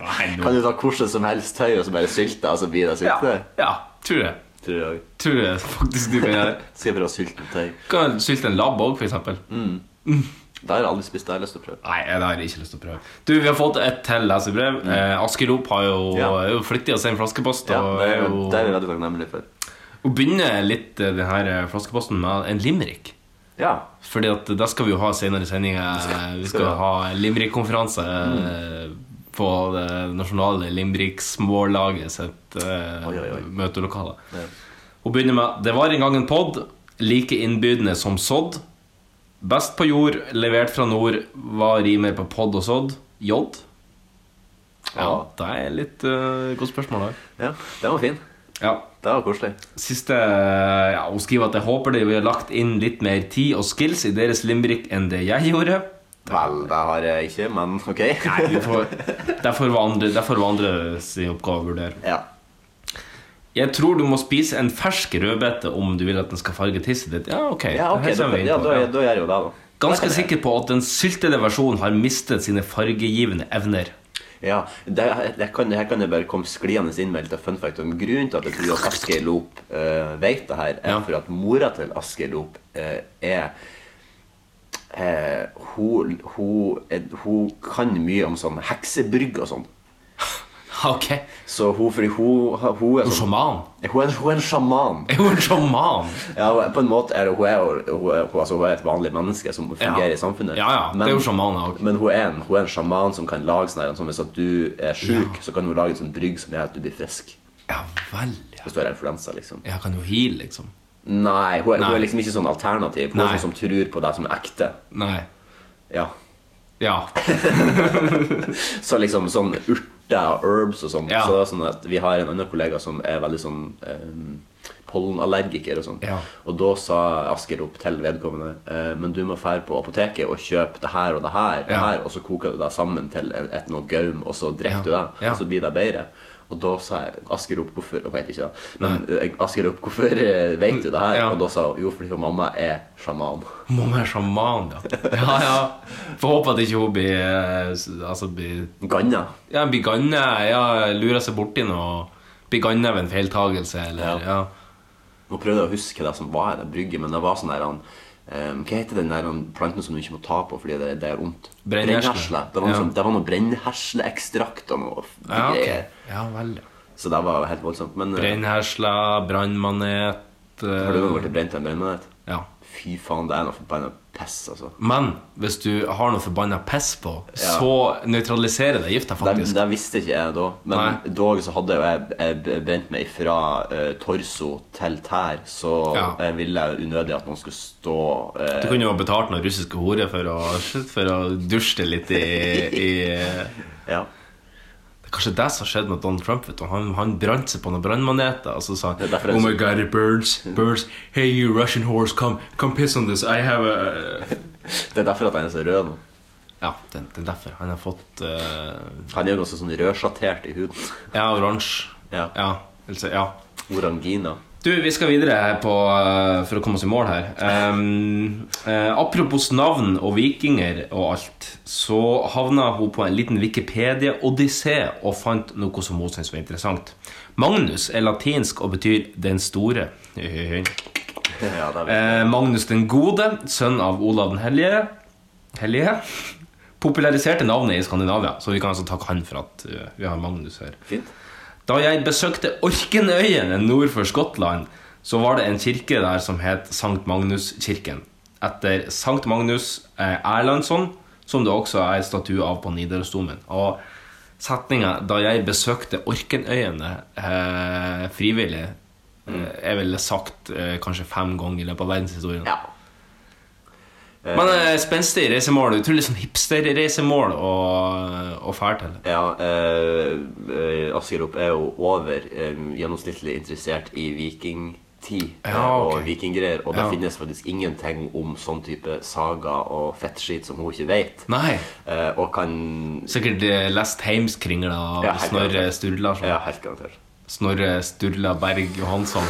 Nei, nå
Kan du ta hvordan som helst tøy og så bare sylte, og så blir det
ja.
sylte?
ja, tror jeg.
Tror jeg også.
Tror jeg faktisk du kan gjøre.
Skal jeg prøve å sylte en tøy?
Kan sylte en labb òg, for eksempel.
Mm. Det har jeg aldri spist, det har jeg lyst til å prøve.
Nei, det har jeg ikke lyst til å prøve. Du, Vi har fått et til leserbrev. Eh, Askerop har jo,
Mm. Ja.
er jo flittig å sende flaskepost.
Ja,
og
det er,
er jo-
det er vi veldig takknemlige for.
Hun begynner litt eh, den her eh, flaskeposten med en limerick.
Ja.
Fordi at det skal vi jo ha senere i sendinga. Vi
vi
skal
ha. Mm.
ha limerick-konferanse eh, på det nasjonale limerick-smålaget sitt eh,
Oi, oi, oi.
møtelokale.
Ja.
Hun begynner med Det var en gang en pod, like innbydende som sodd. Best på jord, levert fra nord, hva rimer på pod og sodd? Jod? Ja,
Ja.
det er litt eh, godt spørsmål der.
ja. Den var fin.
Ja.
Det var koselig.
Siste ja, Hun skriver at jeg håper de har lagt inn litt mer tid og skills i deres limerick enn det jeg gjorde.
Vel, det har jeg ikke, men ok.
Nei, vi får, det får være andre- det får være andre sin oppgave å vurdere.
Ja.
Jeg tror du må spise en fersk rødbete om du vil at den skal farge tisset ditt. Ja, ok.
Ja, ok,
det her
da,
kommer vi inn
ja,
på,
da,
ja.
da gjør jeg jo det, da.
Ganske sikker på at den syltede versjonen har mistet sine fargegivende evner.
Ja, det, det kan, det her kan jeg bare komme skliende inn med litt av fun fact. om grunnen til at jeg tror at Asgeir Lop eh, vet det her, er
Ja.
for at mora til Asgeir Lop eh, er eh, hun, hun, eh, hun kan mye om sånn heksebrygg og sånn.
Ok,
Så hun, fordi hun, hun er sånn
sjaman.
Hun er, hun er en sjaman.
Er hun en sjaman?
Ja, hun er- på en måte er det- hun er, jo- hun er, hun, altså, hun er et vanlig menneske som fungerer i samfunnet.
Ja, ja, det er jo sjamaner også.
Men hun er, en, hun er en sjaman som kan lage sånn her sånn, Hvis at du er syk, så kan hun lage en sånn brygg som gjør at du blir frisk.
Ja vel, ja.
Hvis du har influensa, liksom.
Jeg kan jo heal, liksom.
Nei, hun er, Hun
Nei.
er liksom ikke sånn alternativ. Hun er
Nei.
sånn som tror på det som er ekte.
Nei.
Ja.
Ja.
Så liksom sånn urter og herbs og sånn.
Ja.
Så det er sånn at vi har en annen kollega som er veldig sånn eh, pollenallergiker og sånn.
Ja.
Og da sa Asker opp til vedkommende eh, Men du må fære på apoteket og kjøpe det her og det her, det
Ja.
her og så koker du det sammen til et, et noe gaum, og så drikker
Ja.
du det,
Ja.
og så blir det bedre. Og da sa jeg Asker opp hvorfor Hun heter ikke det. Men eh, Asker opp hvorfor eh, vet du det her?
Ja.
Og da sa hun jo fordi hun mamma er sjaman.
Må være sjaman, ja. Ja, ja. Får håpe at ikke hun blir eh, s- Altså blir
Ganna.
Ja, blir ganne. Ja, lurer seg borti noe. Blir ganne ved en feiltagelse, eller ja.
Ja. Nå prøvde jeg å huske det som var i det brygget, men det var sånn der han ehm, Hva heter den der han, planten som du ikke må ta på fordi det, det er vondt?
Brennhersle.
Det var, noe
Ja.
sånn- det var noe brennhersleekstrakt og noe f-
Ja, ok.
greier.
Ja vel, ja.
Så det var jo helt voldsomt. Men eh,
Brennhersla, brannmanet eh,
har du noen gang blitt brent av en brennmanet?
Ja.
Fy faen, det er noe forbanna piss, altså.
Men hvis du har noe forbanna piss på,
Ja.
så nøytraliserer det gifta
Det,
faktisk.
det visste ikke jeg da, men
Nei.
dog så hadde jo jeg, jeg brent meg fra eh, torso til tær, så
Ja.
jeg ville unødig at noen skulle stå eh,
Du kunne jo ha betalt noen russiske horer for å, for å dusje det litt i, i eh, Det
Ja.
er kanskje det som skjedde med Donald Trump. Vet du. Han, han brant seg på noen brannmaneter, og så sa han
Det er derfor jeg-
Oh my god, birds, birds, hey you Russian horse, come, come piss on this, I have a
Det er derfor at jeg er så rød nå.
Ja, det, det er derfor. Han har fått eh,
Han er jo ganske sånn rødsjattert i huden.
Ja, oransje.
Ja.
Ja, altså, ja.
Orangina.
Du, vi skal videre her på, eh, for å komme oss i mål her. Ehm, eh, apropos navn og vikinger og alt, så havna hun på en liten Wikipedia-odyssé og fant noe som hun syntes var interessant. Magnus er latinsk og betyr 'den store'. Høy, høy, høy.
Ja, det er
Eh, Magnus den gode, sønn av Olav den hellige, hellige populariserte navnet i Skandinavia. Så vi kan altså takke han for at eh, vi har Magnus her.
fint.
Da jeg besøkte Orkenøyene nord for Skottland, så var det en kirke der som het Sankt Magnus-kirken. Etter Sankt Magnus eh, Erlandsson, som det også er statue av på Nidarosdomen. Og setninga 'Da jeg besøkte Orkenøyene eh, frivillig' eh, er vel sagt eh, kanskje fem ganger i løpet av verdenshistorien.
Ja.
Men eh, spenstig reisemål. Utrolig sånn hipster-reisemål å å fære til.
Ja, eh, eh, Askerup er jo over eh, gjennomsnittlig interessert i vikingtid eh,
Ja, ok.
og vikinggreier. Og det
Ja.
finnes faktisk ingenting om sånn type saga og fettskit som hun ikke vet.
Nei.
Eh, og kan
Sikkert eh, lest Heimskringla av
Ja, helt
Snorre
klart.
Sturlason.
Ja, helt garantert.
Snorre Sturla Berg Johansson.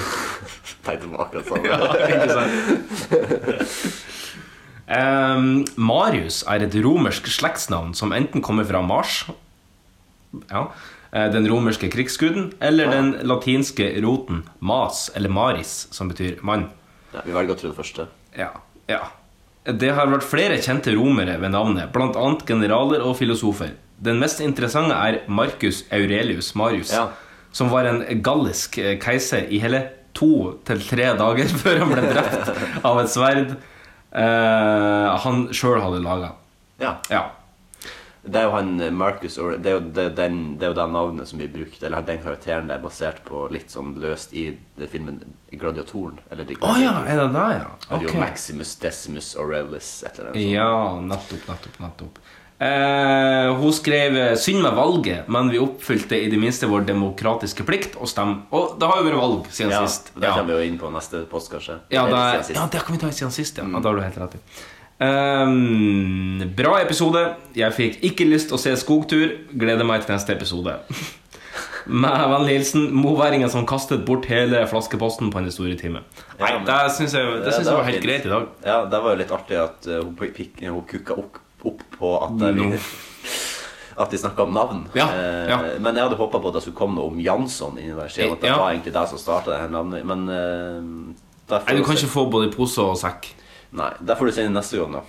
Tenkte på akkurat sånn.
Ehm, Marius er et romersk slektsnavn som enten kommer fra Mars, ja, eh, den romerske krigsguden, eller den latinske roten mas, eller maris, som betyr mann.
Ja, vi velger å tro det første.
Ja, ja. Det har vært flere kjente romere ved navnet, blant annet generaler og filosofer. Den mest interessante er Marcus Aurelius Marius,
Ja.
som var en gallisk eh, keiser i hele to til tre dager før han ble drept av et sverd eh, han sjøl hadde laga.
Ja.
Ja.
Det er jo han eh, Marcus Aure- det er jo det, den, det er jo det navnet som blir brukt, eller den karakteren det er basert på litt sånn løst i det filmen Gladiatoren. Eller The
Å ja, er det det, ja?
Det er jo
Ok.
Maximus Decimus Aurelius, et eller annet.
Ja, nettopp, nettopp, nettopp. Eh, hun skrev eh, 'Synd med valget, men vi oppfylte i det minste vår demokratiske plikt å stemme'. Og det har jo vært valg siden
Ja,
sist.
det
Ja,
kommer vi jo inn på neste post, kanskje.
ja, det,
Eller
er- ja,
siden sist. Mm.
det kan vi ta siden sist, ja. ja. Det har du helt rett i. Ehm, bra episode. Jeg fikk ikke lyst til å se skogtur. Gleder meg til neste episode. Med vennlig hilsen moværingen som kastet bort hele flaskeposten på en store time. Nei,
Ja, men-
det syns jeg, det synes
Ja, det
jeg
var
var helt
fint.
greit i dag.
Ja, det var jo litt artig at eh, hun, pikk, hun kukka opp, opp på at det er
No.
vi, At de snakka om navn.
Ja,
Eh,
ja.
Men jeg hadde håpa på at det skulle komme noe om Jansson inni der. Siden at det
Ja.
var egentlig det som starta det her navnet. Men eh, det får
Nei, du
vi
kan
se.
ikke få både pose og sekk.
Nei, det får du si neste gang, da.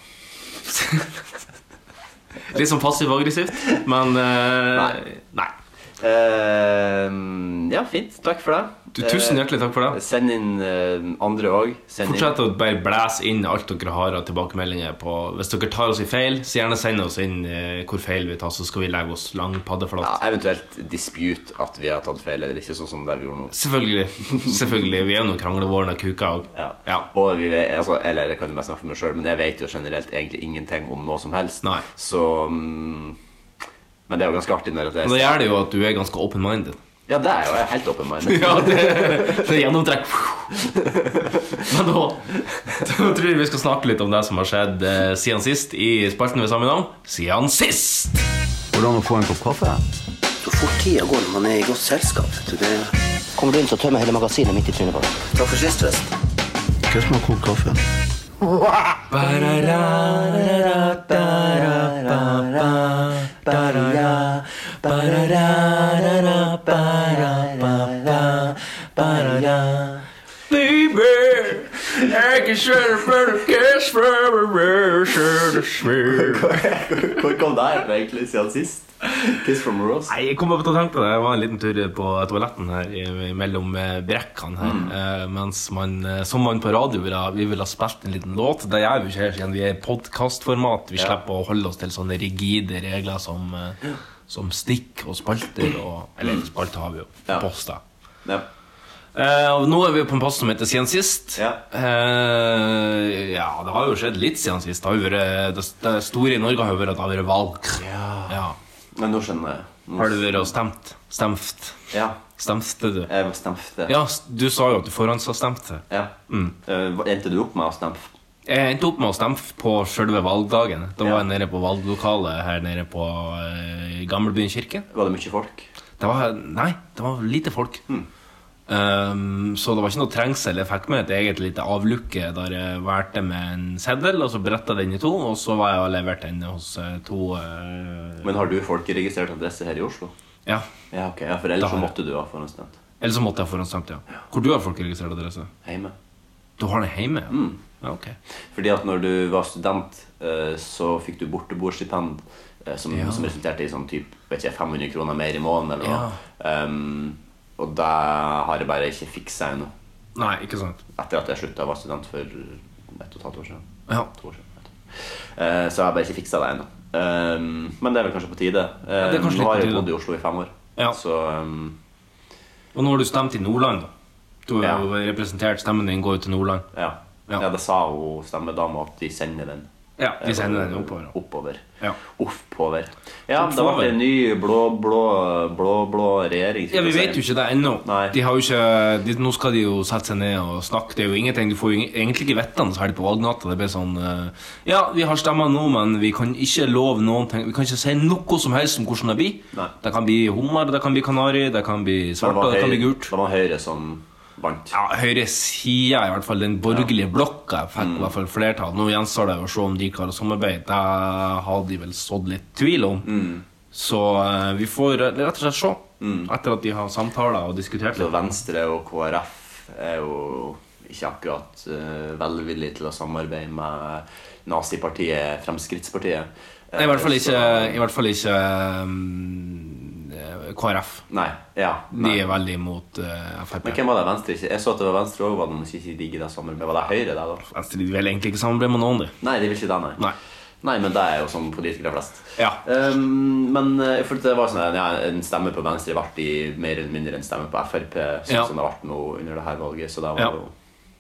Litt sånn passiv-aggressivt, men eh,
Nei.
nei.
Eh, ja, fint. Takk for det.
Du, tusen hjertelig takk for
Eh,
det.
Send inn eh, andre òg.
Fortsett å bare blæse inn alt dere har av tilbakemeldinger. på Hvis dere tar oss i feil, så gjerne send oss inn eh, hvor feil vi tar, så skal vi legge oss lang
Ja,
paddeflat.
eventuelt dispute at vi har tatt feil eller ikke, sånn som det vi gjorde nå.
Selvfølgelig. selvfølgelig, Vi er jo noen kranglevårende kuker òg.
Ja.
Ja.
Og vi vet, altså, eller jeg kan jo bare snakke for meg selv men jeg vet jo generelt egentlig ingenting om noe som helst.
Nei.
Så mm, Men det er jo ganske artig når at
Men da
jeg
gjør det jo at du er ganske open-minded.
Ja, det er jo jeg er helt open mind.
Ja, det, det er gjennomtrekk. Men da, da tror jeg vi skal snakke litt om det som har skjedd eh, siden sist i spalten ved samme navn. Siden sist!
Hvordan å få en kopp kaffe?
Så fort tida går når man er i godt selskap. vet du, det... Kommer du inn, så tømmer jeg hele magasinet midt i trynet på deg. Takk for sist, forresten.
Hva som har kokt kaffe?
Baby, jeg kan kjøre for det cash for det
Hvor kom det her fra, egentlig siden sist? Kiss from a Rose?
Nei, jeg kom opp til å tenke på det. Jeg var en liten tur på toaletten her i- mellom eh, brekkene her.
Mm.
Eh, mens man, eh, som man på radio ville, ha- vi ville ha spilt en liten låt. Det gjør vi ikke her siden vi er i podkastformat. Vi
Ja.
slipper å holde oss til sånne rigide regler som, eh, som stikk og spalter og Eller spalter har vi jo.
Ja.
Poster.
Ja.
Eh, og nå er vi på en post som heter Siden sist.
Ja.
Eh, ja, det har jo skjedd litt siden sist. Det, har jo vært, eh, det, det store i Norge har jo vært at det har vært valg. ja.
Men nå skjønner jeg. Nå-
Har du vært og stemt? Stemft?
Ja.
Stemte du?
Jeg stemte.
Ja, Mm. s- du sa jo at du forhåndsstemte.
Ja. Eh, hva- endte du opp med å stemme?
Jeg endte opp med å stemme på selve valgdagen. Da var
Ja.
jeg nede på valglokalet her nede på eh, Gamlebyen kirke.
Var det mye folk?
Det var, nei, det var lite folk. Um, så det var ikke noe trengsel. Jeg fikk med et eget lite avlukke der jeg valgte med en seddel, og så bretta den i to, og så var jeg og leverte den hos eh, to eh,
Men har du folkeregistrert adresse her i Oslo?
Ja.
Ja, ok. Ja, for
Da har
ellers så
jeg.
måtte du ha forhåndsstemt.
Eller så måtte jeg forhåndsstemt, ja. Hvor du har folkeregistrert adresse?
Hjemme.
Du har den hjemme? Ja. Ja, ok.
Fordi at når du var student, eh, så fikk du borteboerstipend eh, som,
Ja.
som resulterte i sånn typ, vet ikke, 500 kroner mer i måneden eller noe. Um, og det har jeg bare ikke fiksa ennå.
Nei, ikke sant.
Etter at jeg slutta å være student for ett og et halvt år siden.
Ja.
To år siden. vet du. Eh, så jeg har bare ikke fiksa det ennå. Um, men det er vel kanskje på tide. Eh,
det er kanskje
Nå
litt på
har jeg
tide.
bodd i Oslo i fem år.
Ja.
Så um,
Og nå har du stemt i Nordland, da. Du har
Ja.
jo representert stemmen din, går jo til Nordland.
ja.
Ja.
ja. det sa hun stemmedama at de sender den. eh,
Ja, de sender den oppover. da.
Oppover.
Ja.
Oppover. Ja, det
Oppover.
ble en ny blå, blå, blå, blå regjering.
Ja, Vi vet jo ikke det ennå.
Nei.
De har jo ikke, de, nå skal de jo sette seg ned og snakke. Det er jo ingenting, Du får jo ing- egentlig ikke vite det så her på valgnatta. Det blir sånn eh, Ja, vi har stemmer nå, men vi kan ikke love noen ting. Vi kan ikke si noe som helst om hvordan det blir.
Nei.
Det kan bli hummer, det kan bli kanari, det kan bli
Det
svarte,
var
det kan
Høyre,
bli gult.
det var Høyre som vant.
ja, høyresida, i hvert fall den borgerlige blokka,
Mm.
fikk i hvert fall flertall. Nå gjenstår det å se om de klarer å samarbeide. Det har de vel sådd litt tvil om.
Mm.
Så eh, vi får rett og slett se, etter at de har samtaler og diskutert
Så
litt.
Venstre og KrF er jo ikke akkurat eh, velvillige til å samarbeide med nazipartiet Fremskrittspartiet. Eh,
Nei, I hvert fall ikke,
så-
i hvert fall ikke mm, eh, KrF.
Nei. Ja.
De
Nei.
er veldig imot eh, Frp.
Men hvem var det Venstre ikke? Jeg så at det var Venstre òg, var det noen som ikke digger det samarbeidet? Var det Høyre, det, da?
Venstre Altså, de vil egentlig ikke samarbeide med noen, de.
Nei, de vil ikke det, nei.
Nei.
Nei, men det er jo som politikere flest.
Ja.
Ehm, men eh, for det var sånn at, ja, en stemme på Venstre ble i mer eller mindre en stemme på Frp, sånn
Ja.
som det ble nå under det her valget, så da var
Ja.
jo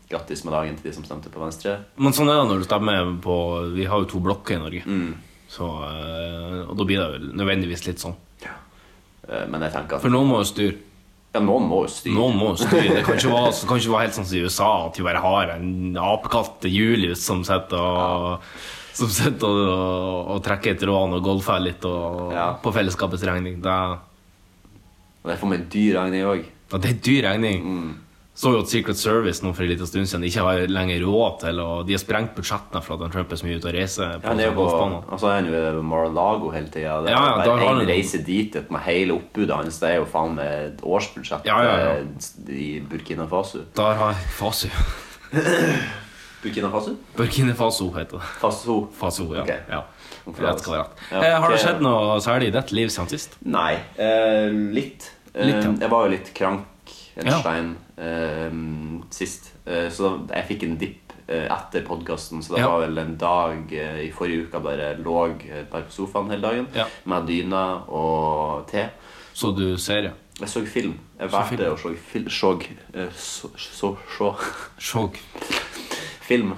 grattis med dagen til de som stemte på Venstre.
Men sånn er det når du stemmer på Vi har jo to blokker i Norge.
Mm.
Så, eh, og da blir det vel nødvendigvis litt sånn.
Eh, Men jeg tenker at
For noen må jo styre.
ja, noen må jo styre.
Noen må jo styre. Det kan ikke være, det kan ikke være helt sånn som i USA, at vi bare har en apekatt Julius som sitter og som sitter og, og trekker et rån og golfer litt og,
Ja.
på fellesskapets regning. Det, er-
Og Det er for meg dyr regning òg.
ja, det er en dyr regning.
Mm.
Så jo at Secret Service nå for en liten stund siden ikke har lenger råd til å De har sprengt budsjettene for at han Trump er så mye ute og reiser.
Ja, han er jo på
golfbaner.
altså, han er jo ved Mar-a-Lago hele tida. Det er
Ja, ja, da
bare
har han-
én reise dit et- med hele oppbudet hans. Det er jo faen meg et årsbudsjett
Ja, ja, ja.
eh, i Burkina Faso.
Der har Fasu
Burkina Faso?
Burkina Faso heter det.
Faso.
Faso, ja.
Ok.
ja.
Hvorfor
Rett skal være rett.
Ja,
Eh, Har det
ok.
skjedd noe særlig i ditt liv siden sist?
Nei. eh, litt. Eh,
Litt, ja.
Jeg var jo litt krank en
Ja.
stein eh, sist, eh, så da- jeg fikk en dipp eh, etter podkasten. Så det
Ja.
var vel en dag eh, i forrige uke jeg bare lå eh, bare på sofaen hele dagen
Ja.
med dyna og te.
Så du ser, ja.
Jeg så film. Jeg
Så film.
valgte å se fil, sjåg, eh, så, så, så,
Sjåg.
film.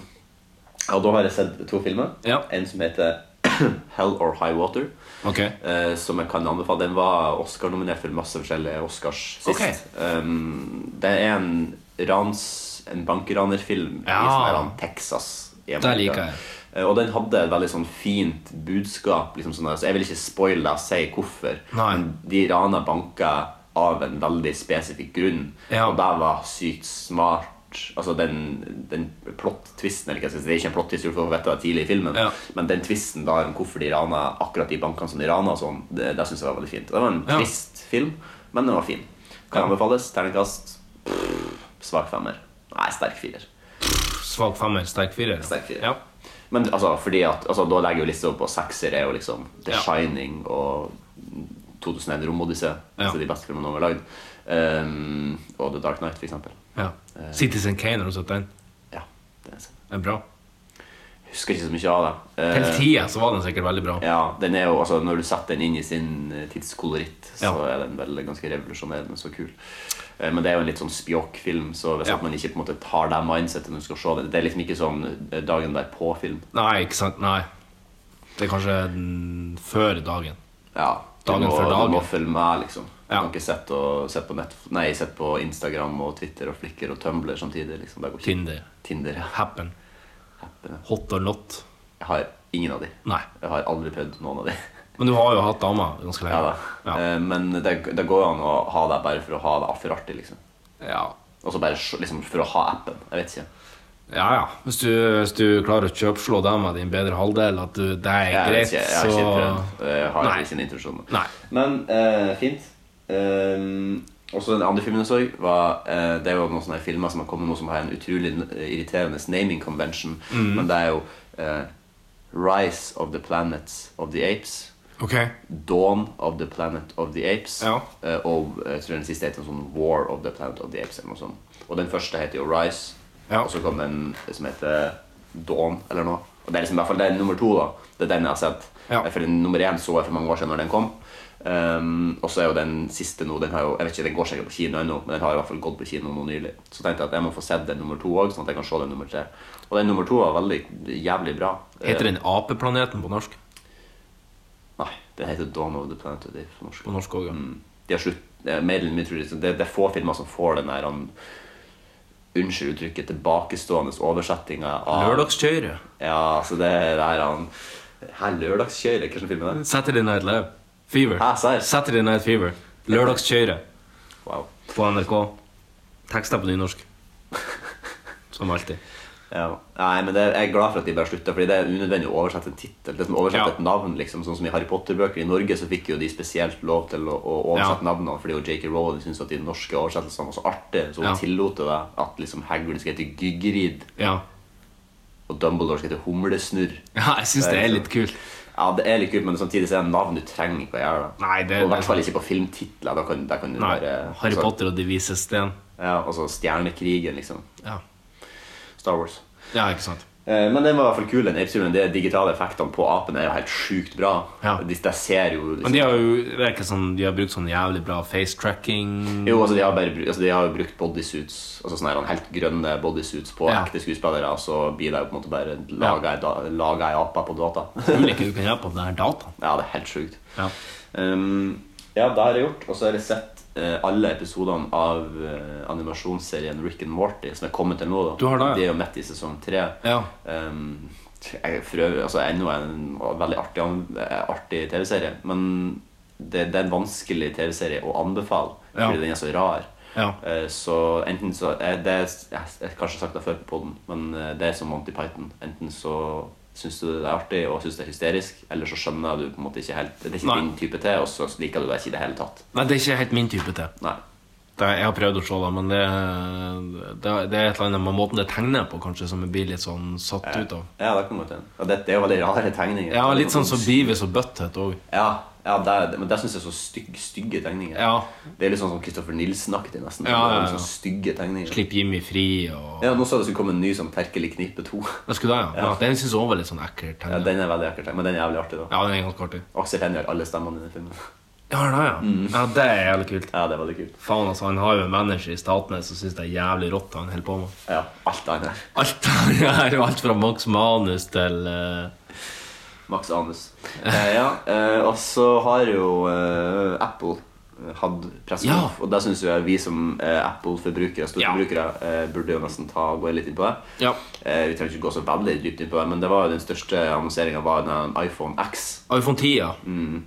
Og da har jeg sett to filmer.
Ja.
En som heter Hell or High Water,
Ok.
eh, som jeg kan anbefale. Den var Oscar-nominert for masse forskjellige Oscars sist.
Ok.
Um, det er en rans, en bankeranerfilm i sånn
Ja.
her han Texas. i
Der
Amerika.
liker jeg.
Eh, Og den hadde et veldig sånn fint budskap. Liksom sånn, her, så jeg vil ikke spoile deg og si hvorfor.
Nei.
Men de rana banka av en veldig spesifikk grunn.
Ja.
Og det var sykt smart. Altså den, den plot-twisten eller hva skal jeg si, Det er ikke en plot-twist, du får vite det tidlig i filmen.
Ja.
Men den twisten da om hvorfor de rana akkurat de bankene som de rana, og sånn, det, det syns jeg var veldig fint. Det var en
Ja.
trist film, men den var fin. Kan anbefales. Terningkast pff, svak femmer. Nei, sterk firer.
Svak femmer, sterk firer.
Sterk firer.
Ja.
Men altså, fordi at, altså, da legger jo lista opp på sekser er jo liksom The
Ja.
Shining og 2001 Romodyssé.
Ja.
Altså de beste filmene noen har lagd. Um, og The Dark Knight, for eksempel.
ja.
Eh.
Citizen Kane, har du sett den?
Ja, det er sant.
Den er bra.
Jeg husker ikke så mye av det. Eh,
Til tida så var den sikkert veldig bra.
ja, den er jo, altså, når du setter den inn i sin eh, tidskoloritt, så
Ja.
er den vel ganske revolusjonerende og kul. Eh, Men det er jo en litt sånn spjåkfilm, så hvis
Ja.
at man ikke på en måte tar det mindsetet når du skal se det Det er liksom ikke sånn eh, dagen derpå-film.
Nei, ikke sant? Nei. Det er kanskje den før dagen.
Ja,
Dagen
du må,
for dagen.
Du må følge med, liksom. Du
Ja.
kan ikke sitte og- sitte på, nett- nei, sitte på Instagram og Twitter og Flikker og Tumblr samtidig. Liksom. Det går ikke.
Tinder.
Tinder, ja.
Happen. Hot or not.
Jeg har ingen av de.
Nei.
Jeg har aldri prøvd noen av de.
Men du har jo hatt dama ganske
Ja, da.
lenge. Ja.
Eh, Men det, det går jo an å ha det bare for å ha det for artig, liksom.
Ja.
Og så bare sj- liksom, for å ha appen. Jeg vet ikke.
ja, ja. Hvis du, hvis du klarer å kjøpslå deg med din bedre halvdel, at du, det er
Jeg, vet
greit,
ikke, jeg har ikke prøvd. eh,
så
Jeg har
Nei.
ikke en intensjon.
Nei.
Men eh, fint. Um, også den andre filmen jeg så, var eh, Det er jo noen sånne filmer som har kommet nå som har en utrolig eh, irriterende naming convention.
Mm.
Men det er jo eh, Rise of the Planets of the Apes.
Ok.
Dawn of the Planet of the Apes.
Ja.
eh, og eh, jeg tror den siste heter noe sånn War of the Planet of the Apes. Eller noe sånt. Og den første heter jo Rise.
Ja.
Og så kom den eh, som heter Dawn eller noe. Og det er liksom i hvert fall det er nummer to. da Det er den jeg har sett.
Ja.
Eh, For den nummer én så jeg for mange år siden når den kom. Um, og så er jo den siste nå Den har jo, jeg vet ikke, den går sikkert på kino ennå, men den har i hvert fall gått på kino nå nylig. Så tenkte jeg at jeg må få sett den nummer to òg, sånn at jeg kan se den nummer tre. Og den nummer to var veldig jævlig bra.
Heter den Apeplaneten på norsk?
Nei, den heter Dawn of the Planet of the Apes på norsk.
På norsk også, ja.
de har slutt, det, er mer eller mindre utrolig, så det, det er få filmer som får den der han, Unnskyld uttrykket tilbakestående oversettinga av
Lørdagskjøret.
Ja, altså det er der han Hæ, lørdagskjøret? Hvilken film er det?
Saturday Night Live. Fever.
Hæ, serr?
Saturday Night Fever. Lørdagskjøret
Wow.
på NRK. Tekster på nynorsk. Som alltid.
Ja. Nei, men det, jeg er glad for at de bare slutta, Fordi det er unødvendig å oversette en tittel. Det er som å oversette
Ja.
et navn, liksom Sånn som i Harry Potter-bøker. I Norge så fikk jo de spesielt lov til å, å oversette
Ja.
navnene fordi jo J.K. Rowling syntes at de norske oversettelsene var så artige, så hun
Ja.
tillot det at liksom Hagrid skal hete Gyggerid,
Ja.
og Dumbledore skal hete Humlesnurr.
ja jeg syns det er litt kult.
Ja, det er litt kult, men samtidig så er det navn du trenger ikke å gjøre. da
Nei, det-
Og i hvert fall ikke på filmtitler. Da kan, da kan du
Nei.
bare
Harry
altså,
Potter og De vises sten.
Ja, altså Stjernekrigen, liksom.
Ja.
Star Wars.
ja, ikke sant.
Eh, Men den var i hvert fall kul, den apesylven. De digitale effektene på apen er jo helt sjukt bra.
Ja.
De, de ser jo liksom,
Men de har jo det er ikke sånn, de har brukt sånn jævlig bra face tracking.
Jo, altså de har, bare, bru- altså, de har jo brukt bodysuits, altså sånne her helt grønne bodysuits på
Ja.
ekte skuespillere, og så blir det jo på en måte bare laga ei ape på data.
Mulig ikke du kan hjelpe på den her dataen.
ja, det er helt sjukt.
Ja.
Um, ja, det har jeg gjort. Og så har jeg sett eh, alle episodene av eh, animasjonsserien Rick and Morty som er kommet til nå. Da.
Du har det, ja.
De er jo midt i sesong tre.
Ja.
Um, jeg for øvrig, altså, ennå er det en veldig artig, an- eh, artig TV-serie. Men det, det er en vanskelig TV-serie å anbefale
Ja.
fordi den er så rar.
Ja.
Eh, Så enten så eh, det er, Jeg har kanskje sagt det før på podden, men eh, det er som Monty Python. Enten så syns du det er artig og syns det er hysterisk, eller så skjønner du på en måte ikke helt Det er ikke
Nei.
din type til, og så liker du det ikke i det hele tatt.
Nei, det er ikke helt min type til.
Nei.
Det, jeg har prøvd å se det, men det, det, det er et eller annet med måten det tegner på, kanskje, som jeg blir litt sånn satt ut av.
Ja, det kan godt hende. Ja, det, det er jo veldig rare tegninger.
Ja, litt sånn som Beavis og Butthead òg.
Ja, ja det, er- men det syns jeg er så stygg, stygge tegninger.
Ja.
Det er litt sånn som Christopher Nilsen-aktig, nesten.
Ja, ja, ja.
Det er litt sånn stygge tegninger
Slipp Jimmy fri og
Ja, Nå sa det skulle komme en ny som Terkelig knipe 2.
Jeg skulle da, ja. ja. Den syns jeg også var litt sånn ekkel.
Ja,
tegnet.
den er veldig ekkel, tegn, men den er jævlig artig, da.
Ja, den er ganske artig.
Aksel Hennie har alle stemmene i den filmen.
Ja, da, ja.
Mm.
ja, det er jævlig kult.
Ja, det er veldig kult.
Faen, altså, Han har jo en manager i Statnes som syns det er jævlig rått, han holder på med.
Ja, alt annet.
Alt det her, alt fra Max Manus til eh,
Max anus. Eh, ja, eh, og så har jo eh, Apple hatt pressekonf,
Ja.
og da syns jeg vi som eh, Apple-forbrukere storforbrukere, eh, burde jo nesten ta og gå litt inn på det.
Ja.
Eh, vi trenger ikke gå så veldig dypt inn på det, men det var jo den største annonseringa var den iPhone X.
iPhone 10, ja.
Mm.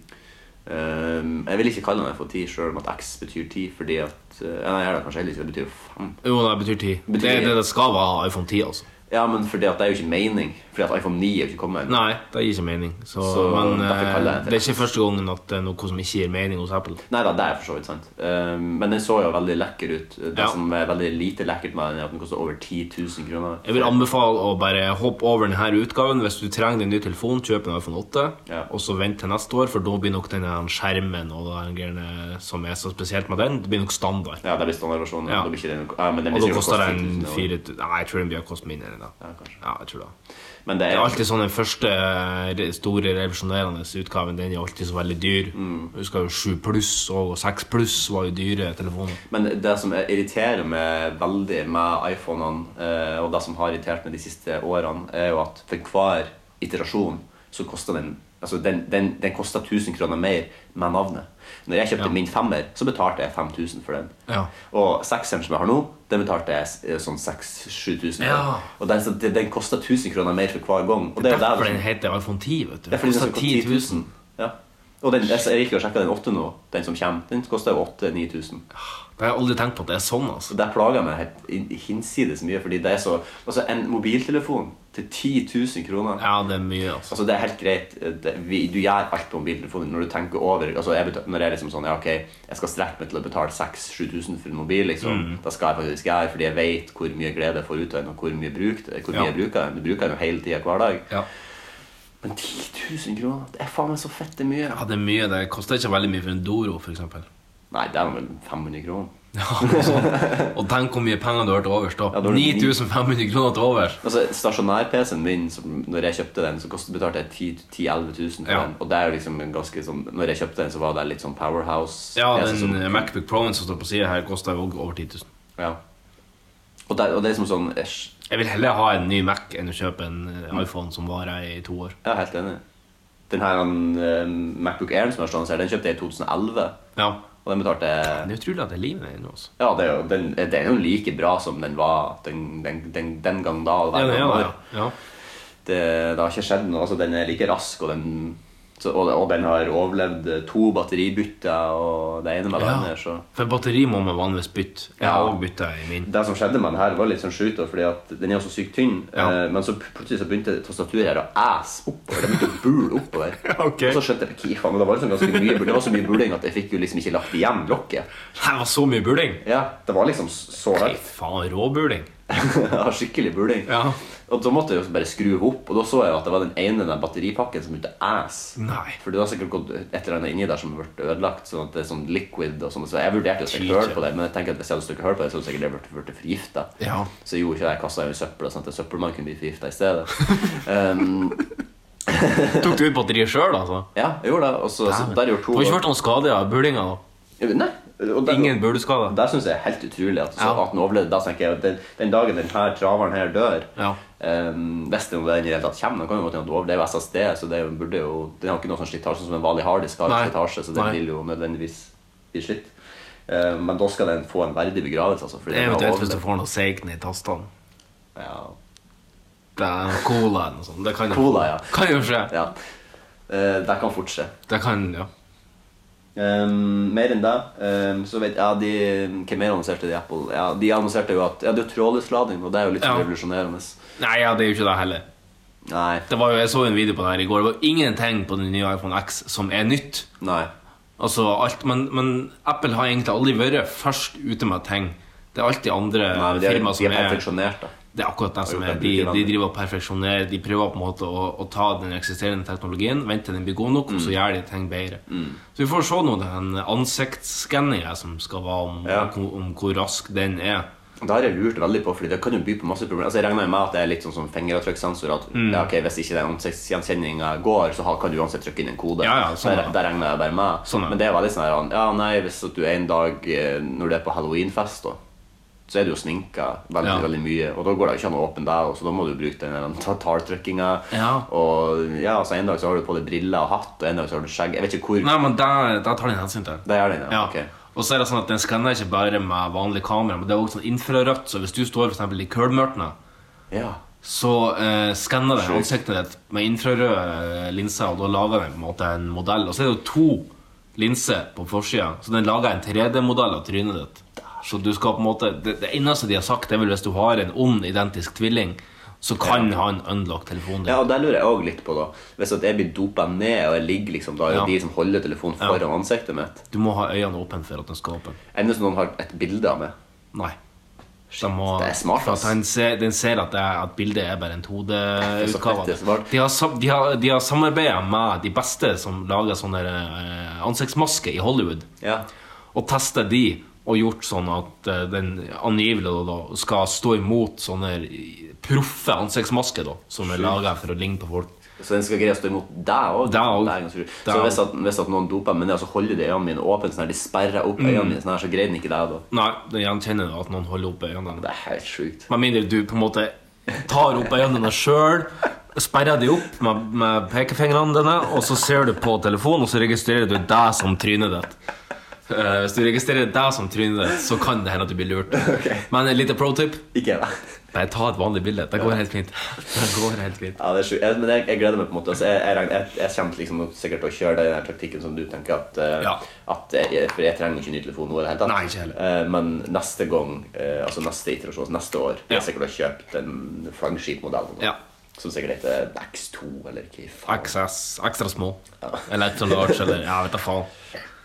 Um, jeg vil ikke kalle den for 10 selv om at X betyr 10 fordi at eh, Nei, jeg gjør det kanskje heller ikke, det betyr jo 5.
Jo, nei, betyr 10.
Betyr
det,
10,
det,
ja.
det skal være iPhone 10, altså.
Ja, men fordi at det er jo ikke mening. Fordi at iPhone 9 er jo ikke kommet ennå.
Nei, det gir ikke mening. Så,
Så
men
derfor
eh,
kaller jeg det
det er ikke første gangen at det er noe som ikke gir mening hos Apple.
Nei da, det er for så vidt sant. Um, men den så jo veldig lekker ut. Det
Ja.
som er veldig lite lekkert med den, er at den koster over 10 000 kroner.
Jeg vil anbefale å bare hoppe over denne utgaven. Hvis du trenger en ny telefon, kjøp en iPhone 8.
Ja.
Og så vent til neste år, for da blir nok denne skjermen og den greiene som er så spesielt med den, det blir nok standard.
Ja, det blir standardversjonen.
Ja.
da blir ikke den- Ja, men den
Og
blir
da
sikkert
koster
kostet
den
10 000
4000
kroner.
Nei, jeg tror den blir koste mindre enn det.
Ja, kanskje.
Ja, jeg tror det.
Men det
Det
er
er alltid sånn den første re- store revisjonerende utgaven, den er alltid så veldig dyr.
Mm.
Jeg husker jo 7 pluss og 6 pluss var jo dyre telefoner.
Men det som irriterer meg veldig med iPhonene, eh, og det som har irritert meg de siste årene, er jo at for hver iterasjon så koster den Altså den, den, den koster 1000 kroner mer med navnet. Når jeg kjøpte min femmer, så betalte jeg 5000 for den.
Ja.
Og sekseren som jeg har nå, den betalte jeg s- eh, sånn 6000-7000 for.
Ja.
Og den, så den- den koster 1000 kroner mer for hver gang. Og det er jo
Derfor
det-
den heter iPhone 10, vet du.
det er fordi den
Koster
skal koste 10 000. Ja. Og den, jeg, jeg gikk jo og sjekka den 8 nå, den som kommer. Den koster jo 8000-9000.
Det har jeg aldri tenkt på at det er sånn, altså.
Så der plager jeg meg helt hin- hinsides mye, fordi det er så Altså, en mobiltelefon til 10 000 kroner
Ja, det er mye, altså.
Altså, det er helt greit. Det, vi, du gjør alt på mobiltelefonen når du tenker over altså, jeg betal, Når jeg liksom sånn Ja, ok, jeg skal strekke meg til å betale 6000-7000 for en mobil, liksom.
Mm.
Da skal jeg faktisk gjøre fordi jeg vet hvor mye glede jeg får ut av den, og hvor mye, bruk, det- hvor mye
Ja.
jeg bruker den. Du bruker den jo hele tida hver dag.
Ja.
Men 10 000 kroner, det er faen meg så fette mye.
Ja, det er mye. Det koster ikke veldig mye for en Doro, for eksempel.
Nei, det er vel 500 kroner.
Ja, altså. Og tenk hvor mye penger du har til overs, da.
Ja, da er det
9500 kroner til overs.
Altså, Stasjonær-PC-en min, som, når jeg kjøpte den, så kostet, betalte jeg 10 10-11 000 for
Ja.
den. Og det er jo liksom en ganske sånn Når jeg kjøpte den, så var det litt sånn powerhouse.
Ja,
PC
den
som-
eh, Macbook Proen som står på siden her, koster jo også over 10 000.
ja. Og, det, og det er liksom sånn æsj.
Jeg vil heller ha en ny Mac enn å kjøpe en eh, iPhone som varer i to år.
Jeg er helt enig. Den her han, eh, Macbook Air som jeg står her, den kjøpte jeg i 2011.
Ja.
Og den betalte jeg
Det er utrolig at det er liv i den ennå, altså.
Ja, det er jo, den, den er jo like bra som den var den, den, den, den gang da. og hver
Ja,
gang
ja,
nå.
ja. ja.
det, det har ikke skjedd noe. Altså, den er like rask, og den, så, og, og den har overlevd eh, to batteribytter og det ene med det
Ja.
andre. Så.
For batteri må man vanligvis bytte. Jeg har
Ja.
også bytta i min.
Det som skjedde med den her, var litt sånn sjukt, da, fordi at den er jo så sykt tynn.
Ja.
eh, Men så pl- plutselig så begynte tastaturet her å æse oppover. Det begynte å bule oppover.
Ok.
Og så skjønte jeg hva faen. og Det var liksom ganske mye bul- Det var så mye buling at jeg fikk jo liksom ikke lagt igjen lokket.
Det var så mye buling!
Ja, Det var liksom s- så
Fy
høyt.
faen, råbuling.
Ja, skikkelig buling.
Ja.
Og så måtte jeg jo bare skru opp, og da så jeg jo at det var den ene den batteripakken som begynte å æse.
Nei.
For det har sikkert gått et eller annet inni der som har blitt ødelagt. Sånn at det er sånn liquid og sånn. Så jeg vurderte å stikke høl på det, men jeg tenker at hvis jeg hadde stukket høl på det, så hadde sikkert det blitt- blitt forgifta.
Ja.
Så jeg gjorde ikke det. Jeg kasta jo i søpla, sånn at søppelmannen kunne bli forgifta i stedet. Um,
Tok du ut batteriet sjøl, altså?
ja, jeg gjorde det. Og så, så der gjorde
Du har ikke
to
vært noen skade av bulinga? da?
Nei. Og der,
Ingen buleskade?
Det syns jeg er helt utrolig at, så,
Ja.
at den overlevde. Da tenker jeg at den, den dagen den her traveren her dør
Ja.
ehm, Hvis den, den i det hele tatt kommer, den kan jo gå til at den overlever SSD, så det er jo- burde jo Den har ikke noe sånn slitasje som en vanlig harddisk har
Nei.
slitasje, så den
Nei.
vil jo nødvendigvis bli slitt. Ehm, men da skal den få en verdig begravelse, altså. Fordi den har
Eventuelt hvis du
overlevd.
får noe seigt ned i tastene.
ja.
Det er noe Cola eller noe sånt. Det kan jo,
Cola, ja.
kan jo skje.
ja. Eh, det kan fort skje.
Det kan, ja.
Ehm, mer enn det ehm, så vet ja, de, Hvem mer annonserte de Apple? Ja, de annonserte jo at Ja, det er jo trådløs lading, og det er jo litt sånn
Ja.
revolusjonerende.
Nei, ja, det er jo ikke det heller.
Nei.
Det var jo, jeg så jo en video på det her i går. Det var ingenting på den nye iPhone X som er nytt.
Nei.
Altså alt, men, men Apple har egentlig aldri vært først ute med ting. Det er alltid andre
Nei, men de er,
firma
de
som
er
er
perfeksjonert, da.
Det er akkurat det som
gjort
er.
det
De, de
brukervennlig.
driver og perfeksjonerer. De prøver på en måte å, å ta den eksisterende teknologien, vente til den blir god nok, og så gjør de ting bedre. Så vi får se nå den ansiktsskanninga som skal være, om,
Ja.
om, om hvor rask den er.
Det har jeg lurt veldig på, fordi det kan jo by på masse problemer. Altså, jeg regner jo med at det er litt sånn som fingeravtrykkssensor. At
Mm.
ja, ok, hvis ikke den ansiktsgjenkjenninga går, så har- kan du uansett trykke inn en kode.
Ja, ja, sånn,
det,
ja.
det regner jeg bare med.
Sånn, ja.
Men det er veldig sånn her Ja, nei, hvis at du en dag eh, når du er på halloweenfest, da så er du jo sminka veldig
Ja.
veldig mye, og da går det jo ikke an å åpne deg, og så da må du bruke den der ta- tartrykkinga.
Ja.
Og ja, altså en dag så har du på deg briller og hatt, og en dag så har du skjegg. Jeg vet ikke hvor
Nei, men der, der tar den hensyn til.
Det gjør den, ja.
Ja.
Ok.
Og så er det sånn at den skanner ikke bare med vanlig kamera, men det er også sånn infrarødt, så hvis du står for eksempel i kølmørtene,
Ja.
så eh, skanner den ansiktet ditt med infrarøde eh, linser, og da lager den på en måte en modell. Og så er det jo to linser på forsida, så den lager en 3D-modell av trynet ditt. Så du skal på en måte det, det eneste de har sagt, er vel hvis du har en ond identisk tvilling, så kan han unlocke telefonen din.
Ja, og der lurer jeg også litt på da Hvis at jeg blir dopa ned og jeg ligger liksom da er det
Ja.
de som holder telefonen
Ja.
foran ansiktet mitt
Du må ha øynene åpne for at den skal åpne.
Enda som noen har et bilde av meg
Nei. De må,
det er smart,
for at
ass.
han ser, den ser at, det er, at bildet er bare en
er så
hodeutgave.
fett, det er smart.
De har, sam- de har, de har samarbeida med de beste som lager sånne eh, ansiktsmasker i Hollywood,
Ja,
og testa de og gjort sånn at eh, den angivelig da, da, skal stå imot sånne proffe ansiktsmasker da, som er laga for å ligne på folk.
så den skal greie å stå imot deg også
Deg også.
Det er ganske sjukt.
Deg
Så
også.
hvis at, hvis at noen doper meg ned og så holder de øynene mine åpne Sånn her, de sperrer
Mm.
opp øynene mine sånn her, Så greier den ikke deg da
Nei, den gjenkjenner du at noen holder opp øynene.
Det er helt sjukt
Med mindre du på en måte tar opp øynene dine sjøl, sperrer de opp med, med pekefingrene dine, og så ser du på telefonen, og så registrerer du deg som trynet ditt. Eh, hvis du registrerer deg som trynet ditt, så kan det hende at du blir lurt. Men et lite pro tip
Ikke jeg da
bare ta et vanlig bilde. Det går helt fint. Det går helt fint.
Ja, det er sjukt jeg, Men jeg, jeg gleder meg på en måte altså, jeg, jeg, regner- jeg, jeg kommer liksom sikkert til å kjøre den her taktikken som du tenker at, eh,
Ja.
at jeg, For jeg trenger ikke ny telefon nå i det hele tatt
Nei, ikke heller.
Eh, Men neste gang, eh, altså neste iterasjon, neste år
Ja.
Jeg er sikkert å kjøpe den flaggskipmodellen
Ja.
Som sikkert heter X2 eller hva faen
XS, ekstra små. Eller extra large, eller ja, vet da faen.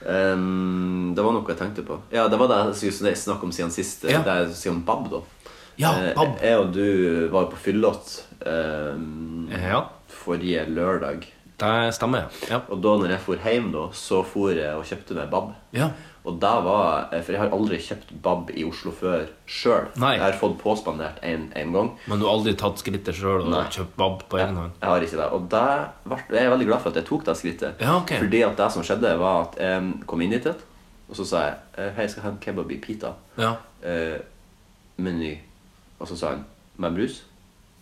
Ehm, Det var noe jeg tenkte på Ja, det var det jeg synes det er snakk om siden sist
Ja.
Det er siden Bab da
Ja,
Eh,
Bab.
Jeg og du var jo på fyllått ehm,
Ja,
Forrige lørdag
det stemmer. Ja.
Og da når jeg for hjem da, så for jeg og kjøpte meg bab.
Ja.
Og da var, For jeg har aldri kjøpt bab i Oslo før sjøl.
Nei.
Jeg har fått påspandert en, en gang.
Men du har aldri tatt skrittet sjøl og
Nei.
kjøpt bab på egen hånd?
Jeg har ikke det. Og da vart- jeg er veldig glad for at jeg tok det skrittet.
Ja, ok.
Fordi at det som skjedde, var at jeg kom inn hit, og så sa jeg eh, Hei, jeg skal ha en kebab i pita.
Ja.
Eh, meny. Og så sa han Med brus?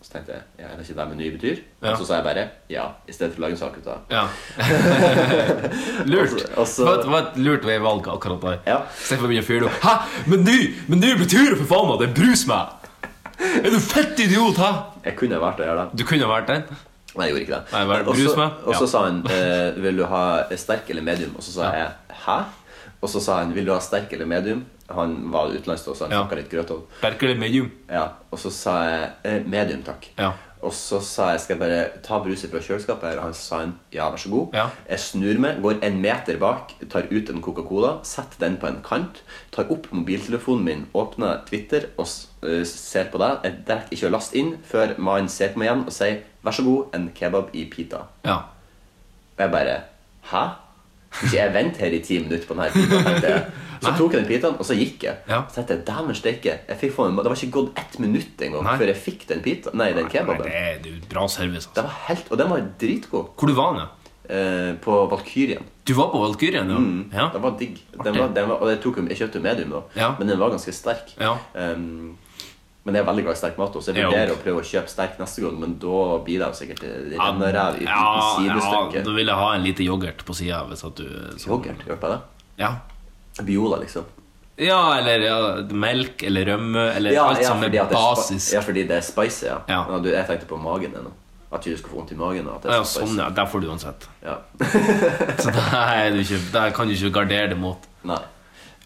Og så tenkte jeg ja, Er det ikke det meny betyr?
Ja.
Og så sa jeg bare ja, i stedet for å lage en sak ut av det.
Ja. lurt.
Altså- altså-
det, var et, det var et lurt veivalg akkurat der.
Ja.
Se for mye fyr du Hæ? Men du, men du betyr det for faen meg at jeg brus meg! Er du fett idiot, hæ?
Jeg kunne ha valgt å gjøre det.
Du kunne ha vært den.
Nei, jeg gjorde ikke det.
Nei, hva er det?
Og så-
Brus med?
Og så
Ja.
sa han eh, 'Vil du ha sterk eller medium?' Og så sa jeg 'Hæ?' Og så sa han 'Vil du ha sterk eller medium?' Han var utenlands, da, så han
Ja.
snakka litt grøtete.
Berkeley medium.
Ja. Og så sa jeg eh, 'Medium, takk'.
Ja.
Og så sa jeg 'Skal jeg bare ta bruset fra kjøleskapet?' her?» Og han sa han 'Ja, vær så god'.
Ja.
Jeg snur meg, går en meter bak, tar ut en Coca-Cola, setter den på en kant, tar opp mobiltelefonen min, åpner Twitter og s- eh, ser på det. Jeg rekker ikke å laste inn før mannen ser på meg igjen og sier 'Vær så god, en kebab i pita'.
Ja.
Og jeg bare Hæ? Hvis jeg venter her i ti minutter på denne pitaen, tenkte jeg. Så tok jeg den pitaen, og så gikk jeg.
Ja.
Så tenkte jeg, dæven steike, jeg fikk faen- Det var ikke gått ett minutt engang
Nei.
før jeg fikk den pita, nei, den kebaben.
Det er det er jo bra service. Altså.
Det var helt, Og den var dritgod.
Hvor du var du?
Eh, på Valkyrien.
Du var på Valkyrien, ja? ja.
Den var digg. Den
Artig.
var, den var, og jeg, tok, jo- jeg kjøpte jo medium, da,
Ja.
men den var ganske sterk.
Ja.
Um, men jeg er veldig glad i sterk mat, også. jeg
Jeg
vurderer
òg.
å prøve å kjøpe sterk neste gang, men da blir det jo sikkert renneræv i,
Ja,
i
ja,
sidestykket.
da vil jeg ha en lite yoghurt på sida hvis at du så-
Yoghurt, hørte jeg det?
Ja.
Biola, liksom.
ja, eller ja, melk eller rømme eller alt som
fordi
er
at det spi-
basis.
Ja, fordi det er spicy, ja.
Ja.
du, jeg tenkte på magen ennå. At du skulle få vondt i magen. og At det
Ja,
er så
sånn,
spicy.
ja. Der får du uansett.
ja.
Så det, er du ikke, det kan du ikke gardere det mot.
Nei.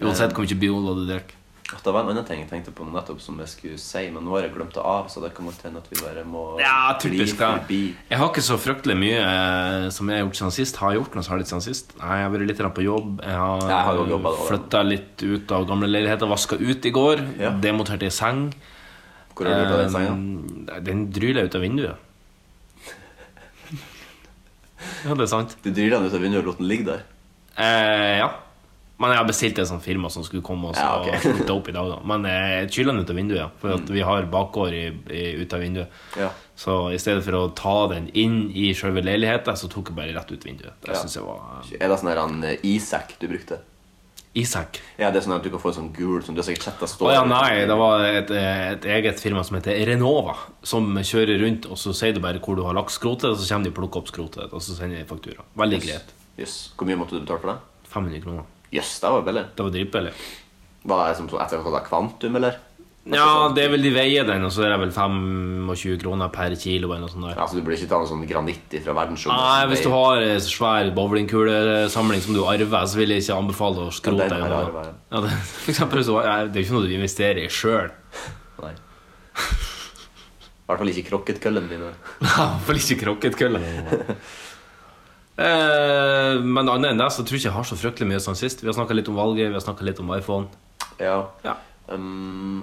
Uansett hvor mye Biola du drikker.
At Det var en annen ting jeg tenkte på nettopp som jeg skulle si, men nå har jeg glemt det av, så det kan godt hende at vi bare må
Ja,
bli
typisk da.
forbi.
Jeg har ikke så fryktelig mye eh, som jeg har gjort siden sist. Har jeg gjort noe særlig siden sist? Nei, Jeg har vært litt grann på jobb. Jeg har,
Jeg har jo jobbet da.
flytta litt ut av gamle leiligheter. Vaska ut i går.
Ja.
Demoterte ei seng.
Hvor har du hørt av den sangen?
Eh, Den dryler ut av vinduet. Ja, det er sant.
Du dryler den ut av vinduet og lot den ligge der.
Eh, ja. Men jeg har bestilt et sånt firma som skulle komme og ja,
Ja, ok. Mm.
slutte opp i dag. da Men eh, jeg kyler den ut av vinduet, ja. For at vi har bakgård i, i, ut av vinduet.
Ja.
Så i stedet for å ta den inn i selve leiligheten, så tok jeg bare rett ut vinduet. Det
Ja.
synes jeg var
Er det sånn her han eh, Isak du brukte?
Isak.
Ja, det er sånn at du kan få en sånn gul som du har sikkert sett deg stå
Å ja, nei, det var et, et eget firma som heter Renova, som kjører rundt, og så sier du bare hvor du har lagt skrotet, og så kommer de og plukker opp skrotet, og så sender de faktura. Veldig greit.
Jøss. Hvor mye måtte du betale for det?
500 kroner.
Jøss, det var billig.
Det var dritbillig.
Var det som sånn etter at kvantum, eller? sånn.
Ja, det er vel de veier den, og så er det vel 25 kroner per kilo eller noe sånt der.
Altså, du burde ikke ta noe sånn granitt fra verdensrommet. altså,
Nei, hvis du har en svær bowlingkulesamling som du arver, så vil jeg ikke anbefale å skrote
Ja, den
den.
har jeg
Ja,
arvet,
det, for eksempel, så, nei, det er jo ikke noe du investerer i sjøl.
Nei. I hvert fall ikke krokketkøllene dine.
I hvert fall ikke krokketkølle. Eh, Men annet enn det så tror jeg ikke jeg har så fryktelig mye som sist. Vi har snakka litt om valget, vi har snakket litt om iPhone.
Ja.
Ja.
Um,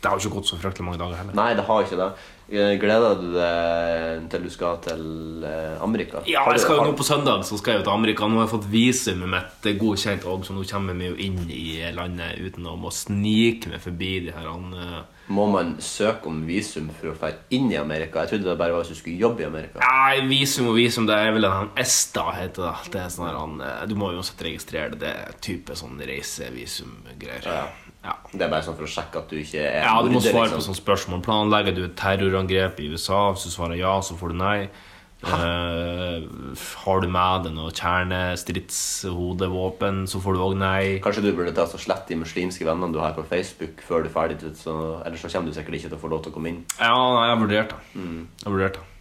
Det har jo ikke gått så fryktelig mange dager heller.
nei, det har ikke det. Eh, Gleder du deg til du skal til eh, Amerika?
Ja,
Har du-
jeg skal jo
har-
nå På søndag så skal jeg jo til Amerika. Nå har jeg fått visumet mitt det er godkjent, og så nå kommer vi jo inn i landet uten å må snike meg forbi de her eh,
Må man søke om visum for å dra inn i Amerika? Jeg trodde det bare var hvis du skulle jobbe i Amerika.
Nei, visum og visum, det er vel han ESTA heter det. det er sånn her, han, eh, du må jo uansett registrere det. Det er type sånn reisevisumgreier.
Ja.
Ja.
Det er bare sånn for å sjekke at du ikke er
ja, du må
morder,
svare
liksom.
på sånne spørsmål. Planlegger du et terrorangrep i USA? Hvis du svarer ja, så får du nei. Eh, har du med deg noe kjernestridshodevåpen, så får du òg nei.
Kanskje du burde ta så slett de muslimske vennene du har på Facebook før du er ferdig, til- så, ellers så kommer du sikkert ikke til å få lov til å komme inn.
Ja, nei, jeg vurderte det. Jeg vurderte det.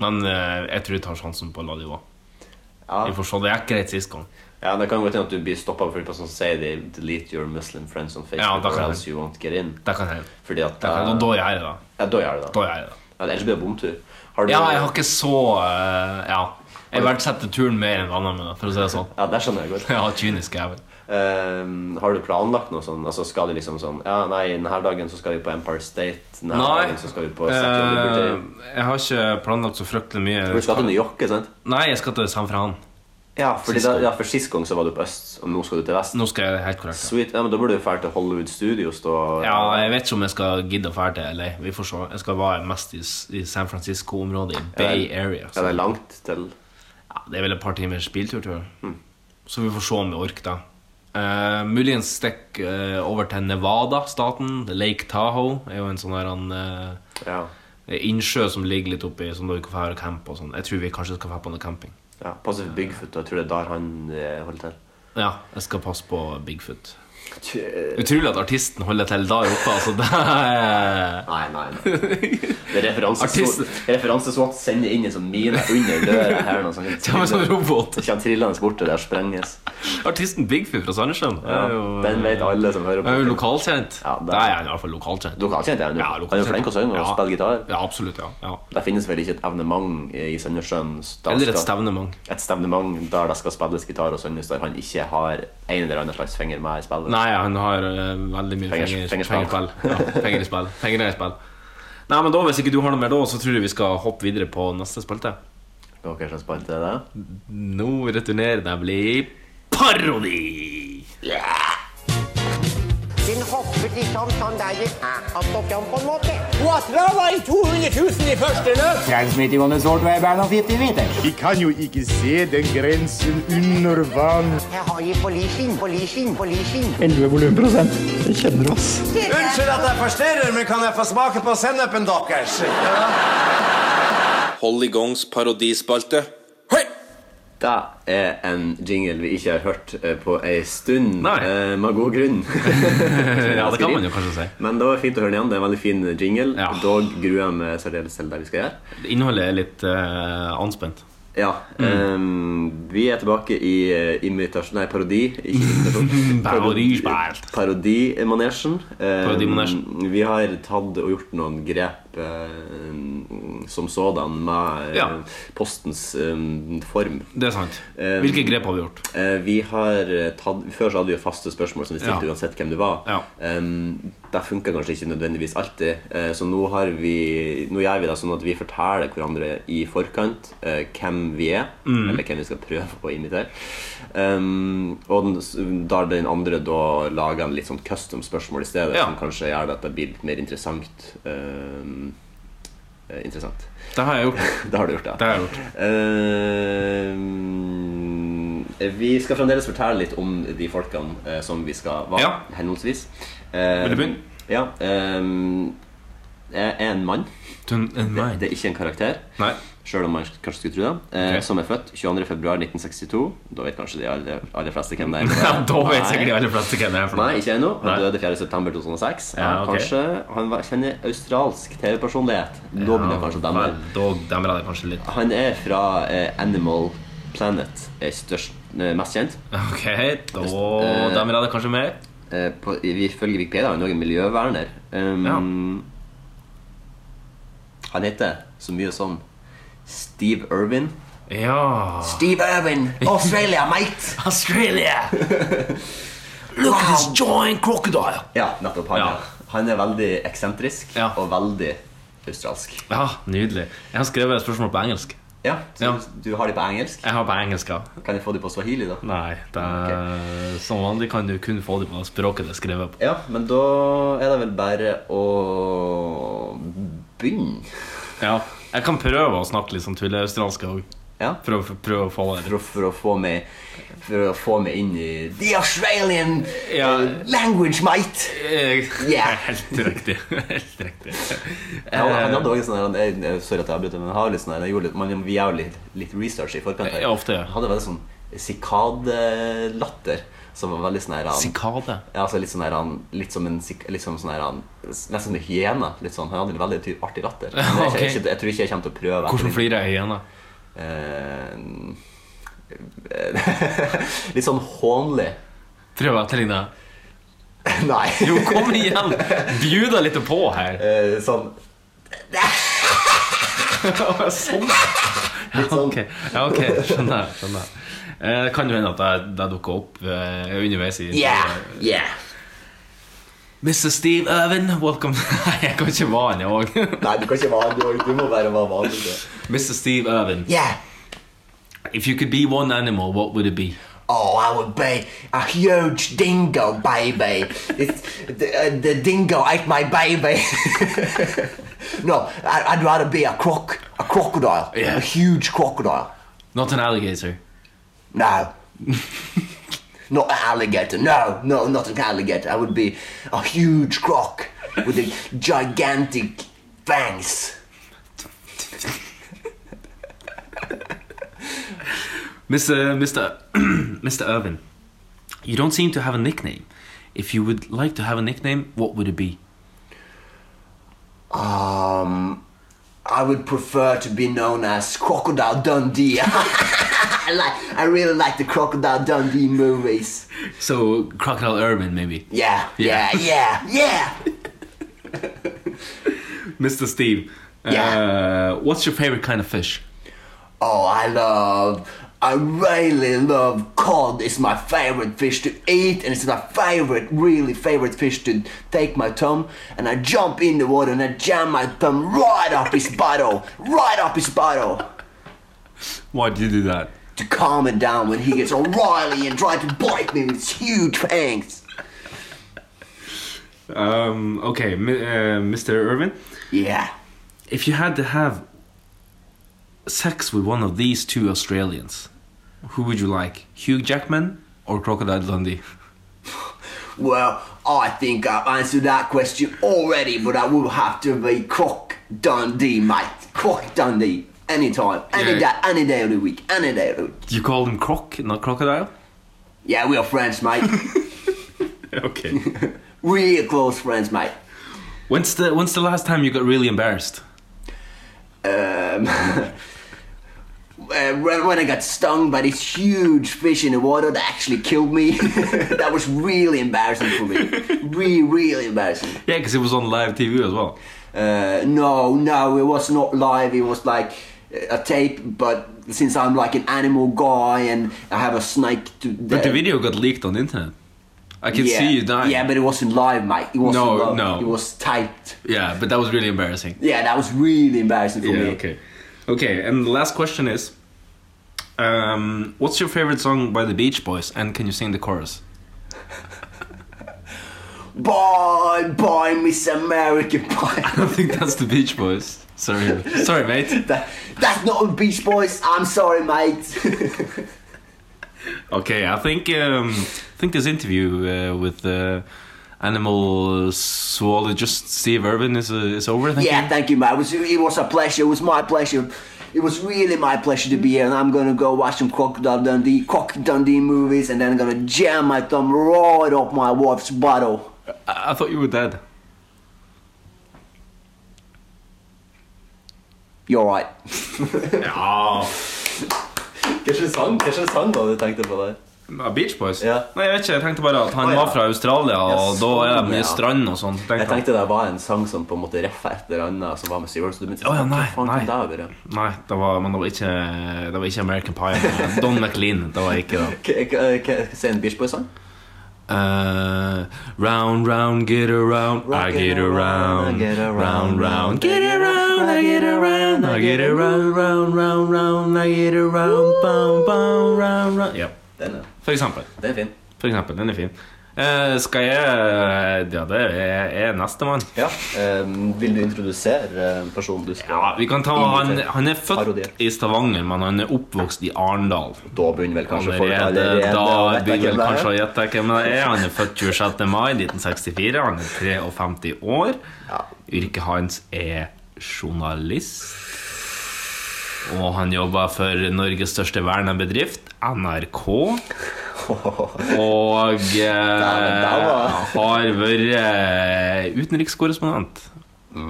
Men eh, jeg tror jeg tar sjansen på å la det gå.
Ja.
Vi får se. Det gikk greit sist gang.
Ja, Det kan godt hende at du blir stoppa av folk som sier de 'delete your Muslim friends on
Ja,
Facebook'
da kan
or
jeg.
else you won't get in.
Det kan hende.
Fordi at
Det kan hende. Og da gjør jeg det.
Ja, da gjør du det.
Da gjør jeg det.
Ja, ellers blir det bomtur. Har du,
Ja, jeg har ikke så eh, Ja. Jeg verdsetter turen mer enn vennene mine, for å si det sånn.
Ja, det skjønner jeg godt.
Ja, kynisk jævel.
Ehm, har du planlagt noe sånn? Altså, skal du liksom sånn Ja, nei, denne dagen så skal vi på Empire State. Denne
Nei.
dagen så skal vi på Statue of
Eh,
Liberty.
jeg har ikke planlagt så fryktelig
Du
mye.
skal til New York, ikke sant?
Nei, jeg skal til San Fran.
Ja, fordi
Sist
da,
gang.
ja, for sist gang så var du på øst, og nå skal du til vest.
Nå skal jeg helt korrekt. ja.
Sweet. Ja, men da burde du dra til Hollywood Studios, da.
Ja, Jeg vet ikke om jeg skal gidde å dra til LA. Vi får se. Jeg skal være mest i, s- i San Francisco-området, i Bay Area.
Ja,
Så.
det er langt til
Ja, det er vel et par timers biltur, tror jeg.
Mm.
Så vi får se om vi orker det. Eh, muligens stikk eh, over til Nevada-staten. Lake Tahoe er jo en sånn der han eh,
Ja.
innsjø som ligger litt oppi, som dere kan dra camp og sånn. Jeg tror vi kanskje skal dra på noe camping.
ja. Passe for Bigfoot, og jeg tror det er der han eh, holder til.
Ja, jeg skal passe på Bigfoot.
Tjø-
Utrolig at artisten holder til der oppe. Altså, det er
Nei, nei, nei. Det er referanse-
Artisten.
Referanseswat sender inn en sånn mine under døra her. Noe sånt.
Kommer som en robot.
Det kommer trillende bort, og der sprenges.
Artisten Bigfoot fra Sandnessjøen.
Ja, den vet alle som hører
Er jo
på.
lokalkjent.
Ja, det-
det er han i hvert fall lokalkjent.
Du kan kjenne til
Ja,
ham. Han er jo
lokalkjent.
flink til å synge og
Ja.
spille gitar.
Ja, absolutt. ja, ja.
Det finnes vel ikke et evnement i Sandnessjøen da
Eller et
skal-
stevnemang.
et stevnement der det skal spilles gitar og synges, der han ikke har en eller annen slags finger med i spillet.
Nei, han har eh, veldig mye
Fingers-
penger,
fingerspill.
pengespill. Ja, penger i spill. Penger i spill. Nei, men da, Hvis ikke du har noe mer da, så tror jeg vi skal hoppe videre på neste spalte.
Noe som spant til det?
Nå returnerer nemlig parodi!
Den hoppet liksom sånn der
Ah.
at og fram på en måte. Og Astra var i 200 000 i første løp.
Transmitting on the short wavelength of 50 meters.
Vi kan jo ikke se den grensen under vann.
Jeg har gitt på leasing, på leasing, på leasing.
Unnskyld at jeg forstyrrer, men kan jeg få smake på sennepen deres?
Hold i gangs parodispalte. Hei!
Det er en jingle vi ikke har hørt eh, på ei stund,
Nei.
eh, med god grunn.
Ja, det kan man jo kanskje si.
Men det var fint å høre den igjen. Det er en veldig fin jingle.
Ja.
Dog gruer jeg meg særdeles til det vi skal gjøre.
Innholdet er litt eh, anspent.
Ja,
Mm.
eh, Vi er tilbake i eh, imitasjon Nei, parodi. Ikke imitasjon.
Parodispilt.
Parodimanesjen. Eh,
Parodimanesjen.
Vi har tatt og gjort noen grep eh, som sådan med eh,
Ja.
postens eh, form.
Det er sant.
Eh,
Hvilke grep har vi gjort?
Eh, Vi har eh, tatt, Før så hadde vi jo faste spørsmål som vi stilte
Ja.
uansett hvem du var.
Ja.
Um, det funka kanskje ikke nødvendigvis alltid, eh, så nå, har vi, nå gjør vi det sånn at vi forteller hverandre i forkant eh, hvem vi er,
Mm.
eller hvem vi skal prøve å imitere. Um, og den, da den andre da lager en litt sånn custom spørsmål i stedet,
Ja.
som kanskje gjør det at det blir litt mer interessant. Um, eh, interessant.
Det har jeg gjort.
Det har du gjort, ja.
Det har jeg gjort.
Eh, Vi skal fremdeles fortelle litt om de folkene eh, som vi skal være, henholdsvis. Eh,
Vil du begynne?
Ja. eh, jeg er en mann. Det, det er ikke en karakter,
Nei.
sjøl om man kanskje skulle tro det. Eh,
Ok.
Som er født 22.2.1962. Da vet kanskje de aller, aller fleste hvem det er.
da vet
Nei.
sikkert de aller fleste hvem det er. for noe.
Nei, ikke ennå. Han
Nei.
døde 4.9.2006.
Ja, ok.
Kanskje han var, kjenner australsk TV-personlighet. Da begynner jeg kanskje å demme.
Vel, Da demrer jeg det kanskje litt.
Han er fra eh, Animal Planet, er størst, eh, mest kjent.
Ok, da demrer jeg det kanskje mer.
Eh, på, ifølge Wikipedia er han også en miljøverner. Um, Han heter så mye som Steve Irwin.
Ja
Steve Irwin, Australia, mate!
Australia! Look at this giant crocodile!
Ja, nettopp han. ja. Han er veldig eksentrisk og veldig australsk.
Ja, Nydelig. Jeg har skrevet et spørsmål på engelsk.
Ja, så Du har de på engelsk?
Jeg har på engelsk, ja.
Kan jeg få de på swahili, da?
Nei, det er, som vanlig kan du kun få det på språket det er skrevet på.
Ja, men da er det vel bare å begynne.
Ja, Jeg kan prøve å snakke litt sånn tulleaustralsk òg.
Ja.
For, å- for, prøve å få det
For å, for, å få meg, for å få meg inn i The Australian
Ja.
eh, language, mate!
Eh,
Yeah.
Helt riktig. Helt riktig.
Ja, han han hadde også en sånn der, eh, Sorry at jeg avbryter, men han har litt sånn der, jeg gjorde litt, man, vi gjør jo litt, litt research i forkant. her.
Ja, ofte, ja.
Han hadde veldig sånn sikadelatter. Som var veldig sånn her han,
Eh, Sikade.
ja, altså litt, sånn her, han, litt som en sik- litt som sånn her, han, Nesten som en hyene. Litt sånn. Han hadde en veldig ty- artig latter. Men Jeg,
Ok.
jeg, jeg, jeg tror ikke jeg kommer til å prøve. etter
Hvordan
din-
flirer ei hyene?
Eh, litt sånn hånlig.
Prøv å etterligne.
Nei.
Jo, kom igjen! Bjuda litt på her.
Eh, sånn
sånn.
Litt sånn
Ok, ja, ok, skjønner jeg. skjønner jeg. Eh, Det kan jo hende at det- det dukker opp eh, underveis i
Yeah, yeah.
Mr. Steve Irvin, welcome Nei, jeg kan ikke være han jeg òg.
Nei, du kan ikke være du, du må bare være vanlig. du.
Mr. Steve Irvin,
Yeah.
if you could be one animal, what would it be?
Oh, I would be a huge dingo baby. It's, the, uh, the dingo ate my baby. no, I, I'd rather be a croc, a crocodile,
Yeah.
a huge crocodile.
Not an alligator.
No. not an alligator. No, no, not an alligator. I would be a huge croc with a gigantic fangs.
Mr. Mr. Mr. Irvin, you don't seem to have a nickname. If you would like to have a nickname, what would it be?
Um, I would prefer to be known as Crocodile Dundee. I like, I really like the Crocodile Dundee movies.
So, Crocodile Irvin, maybe.
Yeah, yeah, yeah, yeah.
Mr. Steve,
Yeah.
uh, what's your favorite kind of fish?
Oh, I love. I really love cod. It's my favorite fish to eat, and it's my favorite, really favorite fish to take my thumb. And I jump in the water and I jam my thumb right up his bottle, right up his bottle,
Why do you do that?
to calm it down when he gets all wily and try to bite me with his huge fangs.
Um, okay, mi- uh, Mr. Irvin,
Yeah.
if you had to have sex with one of these two Australians, who would you like? Hugh Jackman or Crocodile Dundee?
Well, I think I answered that question already, but I will have to be Croc Dundee, mate. Croc Dundee. Anytime, any
Yeah.
day, any day of the week, any day of the week.
You call him Croc, not Crocodile?
Yeah, we are friends, mate.
Okay.
Real close friends, mate.
when's the When's the last time you got really embarrassed?
Um, uh, when when I got stung by this huge fish in the water that actually killed me, that was really embarrassing for me. Really, really embarrassing.
Yeah, because it was on live TV as well.
Uh, no, no, it was not live. It was like uh, a tape, but since I'm like an animal guy and I have a snake to.
But the video got leaked on the internet. I can
yeah,
see you dying.
Yeah, but it wasn't live, mate. It wasn't
No,
live.
no.
It was typed.
yeah, but that was really embarrassing.
Yeah, that was really embarrassing for me.
Yeah, okay. Okay, and the last question is um, What's your favorite song by the Beach Boys, and can you sing the chorus?
Bye, bye, Miss America, bye.
I think that's the Beach Boys. Sorry, sorry, mate.
That- that's not a Beach Boys. I'm sorry, mate.
Okay, I think um, I think this interview uh, with uh, animal zoologist Steve Irvin is uh, is over. I think.
yeah, thank you, man. It was, it was a pleasure. It was my pleasure. It was really my pleasure to be here, and I'm gonna go watch some Crocodile Dundee, Croc Dundee movies, and then I'm gonna jam my thumb right up my wife's bottle.
I, I thought you were dead.
You're right.
Ja.
Hvilken sang, hvilken sang var det du tenkte på der?
Uh, Beach Boys?
Ja.
Nei, jeg vet ikke. Jeg tenkte bare at han
Å, ja.
var fra Australia, og
Ja,
da er det
sånn,
mye
ja.
strand og sånn.
Jeg tenkte det var en sang som på en måte reffa et eller annet som var med Steve Irwin. Så du begynte
Å, ja, nei,
«Hva faen
nei.
kan det ha vært?»
Nei, det var, men det var ikke, det var ikke American Pie. det var Don McLean. Det var ikke det.
K- k- k- Si en Beach Boys-sang.
Eh, round, round, get around, I get around. Round, round, get around, I get around. I get around, round, round, round, I get around. Bound, bound, round, round. Ja,
Den er,
for eksempel.
den er fin.
For eksempel, den er fin. Eh, skal jeg eh, Ja, det er, er nestemann.
Ja. ehm, vil du introdusere eh, personen du skal
Ja, vi kan ta han,
invitere?
han er født
Parodier.
i Stavanger, men han er oppvokst i Arendal.
Da begynner vel kanskje folk
Allerede da
vet
begynner
jeg hvem det er.
kanskje å gjette hvem det er. Han er født 26. mai 1964. Han er 53 år. Yrket hans er journalist. Og han jobber for Norges største vernebedrift, NRK. Og eh, har vært utenrikskorrespondent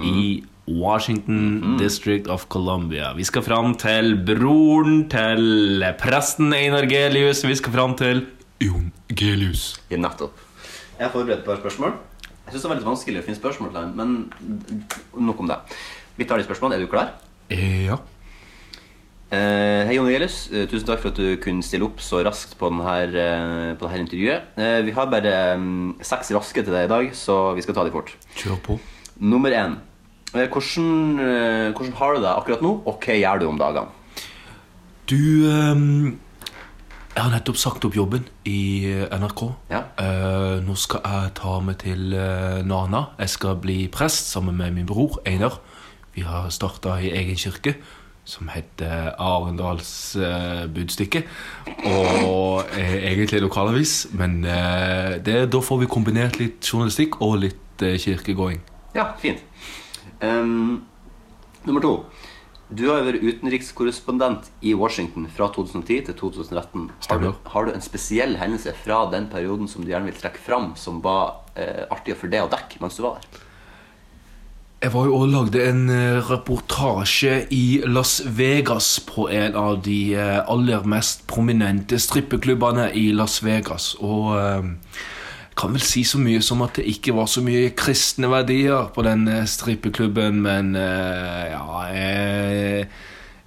i Washington District of Columbia. Vi skal fram til broren til presten Einar Gelius. Vi skal fram til Jon Gelius.
Ja, nettopp. Jeg har forberedt et par spørsmål. Jeg synes det var litt vanskelig å finne spørsmål til han, men nok om det. Vi tar de spørsmålene. Er du klar?
Ja.
Eh, hei, Jon Gelius. Eh, tusen takk for at du kunne stille opp så raskt på denne, eh, på denne intervjuet. Eh, vi har bare mm, seks raske til deg i dag, så vi skal ta de fort.
Kjør på.
Nummer én. Eh, hvordan, eh, hvordan har du det akkurat nå, og hva gjør du om dagene?
Du ehm, Jeg har nettopp sagt opp jobben i eh, NRK.
Ja.
Eh, nå skal jeg ta meg til eh, Nana. Jeg skal bli prest sammen med min bror Einar. Vi har starta ei egen kirke som heter eh, Arendals eh, Budstikke. Og er egentlig lokalavis, men eh, det, da får vi kombinert litt journalistikk og litt eh, kirkegåing.
Ja, fint. Ehm, nummer to. Du har vært utenrikskorrespondent i Washington fra 2010 til 2013. Har du,
Stemmer.
har du en spesiell hendelse fra den perioden som du gjerne vil trekke fram, som var eh, artig for deg å dekke mens du var der?
Jeg var jo og lagde en eh, reportasje i Las Vegas på en av de eh, aller mest prominente strippeklubbene i Las Vegas. Og eh, jeg kan vel si så mye som at det ikke var så mye kristne verdier på den eh, strippeklubben, men eh, ja jeg,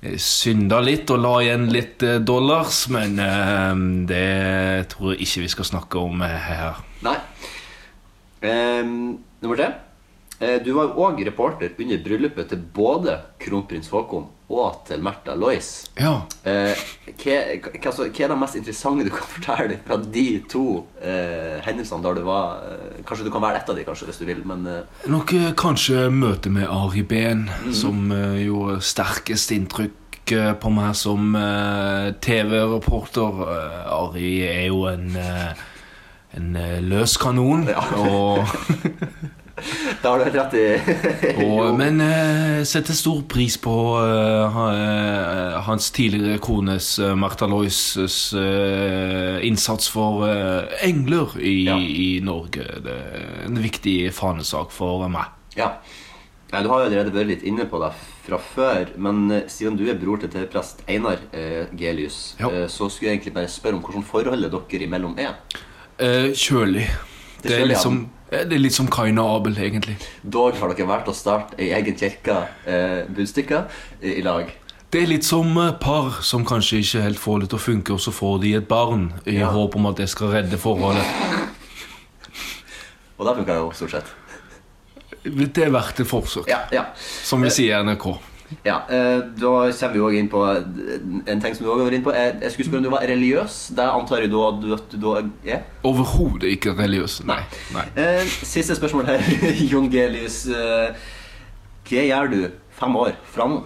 jeg synda litt og la igjen litt eh, dollars, men eh, det tror jeg ikke vi skal snakke om eh, her.
Nei. Ehm, nummer tre. Eh, Du var òg reporter under bryllupet til både kronprins Haakon og til Märtha Lois.
Ja,
Eh, hva, hva, altså, hva er det mest interessante du kan fortelle fra de to eh, hendelsene der du var eh, Kanskje du kan være ett av de, kanskje, hvis du vil, men eh,
Nok eh, kanskje møte med Ari Behn, som eh, gjorde sterkest inntrykk eh, på meg som eh, TV-reporter. Eh, Ari er jo en, eh, en eh, løs kanon.
Ja.
Og,
da har du helt rett i
og, men eh, setter stor pris på eh, ha- eh, hans tidligere kones, eh, Martha Loises, eh, innsats for eh, engler i,
Ja.
i Norge. Det er en viktig fanesak for meg.
Ja. Nei, Du har jo allerede vært litt inne på det fra før, men eh, siden du er bror til TV-prest Einar eh, Gelius,
Ja.
eh, så skulle jeg egentlig bare spørre om hvordan forholdet dere imellom er.
Eh, kjølig.
Det
Det,
er
er
kjølig,
litt
ja.
som, eh, det er litt som Kain og Abel, egentlig.
Dog har dere valgt å starte ei egen kirke, eh, Budstykka, i, i lag.
Det er litt som eh, par som kanskje ikke helt får det til å funke, og så får de et barn i
Ja.
håp om at det skal redde forholdet.
Og det funka jo stort sett.
Det er verdt et forsøk,
Ja, ja.
som vi sier i NRK.
Ja, eh, Da kommer vi også inn på eh, en ting som du også har vært inne på. Eh, Jeg jeg skulle spørre om du var religiøs. Det antar jeg da at du, at du da er.
Overhodet ikke religiøs. Nei. nei.
Eh, Siste spørsmål her, Jon Gelius. eh, Hva gjør du fem år fram?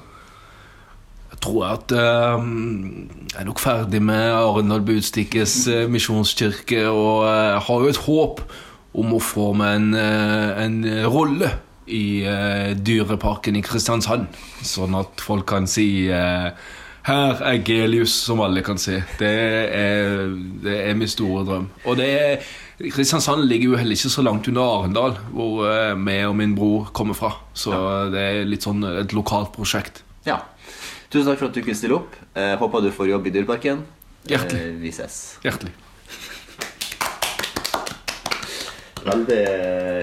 tror jeg at eh, jeg er nok ferdig med Arendal Budstikkes eh, misjonskirke, og eh, jeg har jo et håp om å få meg en, eh, en rolle i eh, Dyreparken i Kristiansand, sånn at folk kan si eh, her er Gelius, som alle kan se. Det er, det er min store drøm. Og det er, Kristiansand ligger jo heller ikke så langt under Arendal, hvor eh, meg og min bror kommer fra. Så det er litt sånn et lokalt prosjekt.
Ja. Tusen takk for at du kunne stille opp. Eh, håper du får jobb i Dyreparken. Hjertelig. Eh, vi ses.
Hjertelig.
Veldig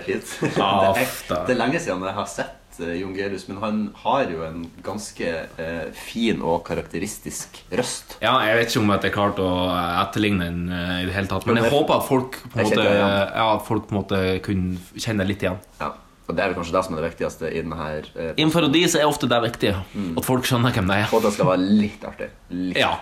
fint.
Ja,
det, er,
da.
det er lenge siden jeg har sett eh, Jon Gelius, men han har jo en ganske eh, fin og karakteristisk røst.
Ja, jeg vet ikke om at jeg klarte å etterligne den eh, i det hele tatt. Men jeg håper at folk på en
Jeg
måte,
kjenner igjen.
ja, at folk på en måte kunne kjenne litt igjen.
Ja, og Det er vel kanskje det som er det viktigste i denne her eh,
Innenfor de så er ofte det viktig.
Mm.
At folk skjønner hvem det er.
Og det skal være litt artig. Litt.
Ja.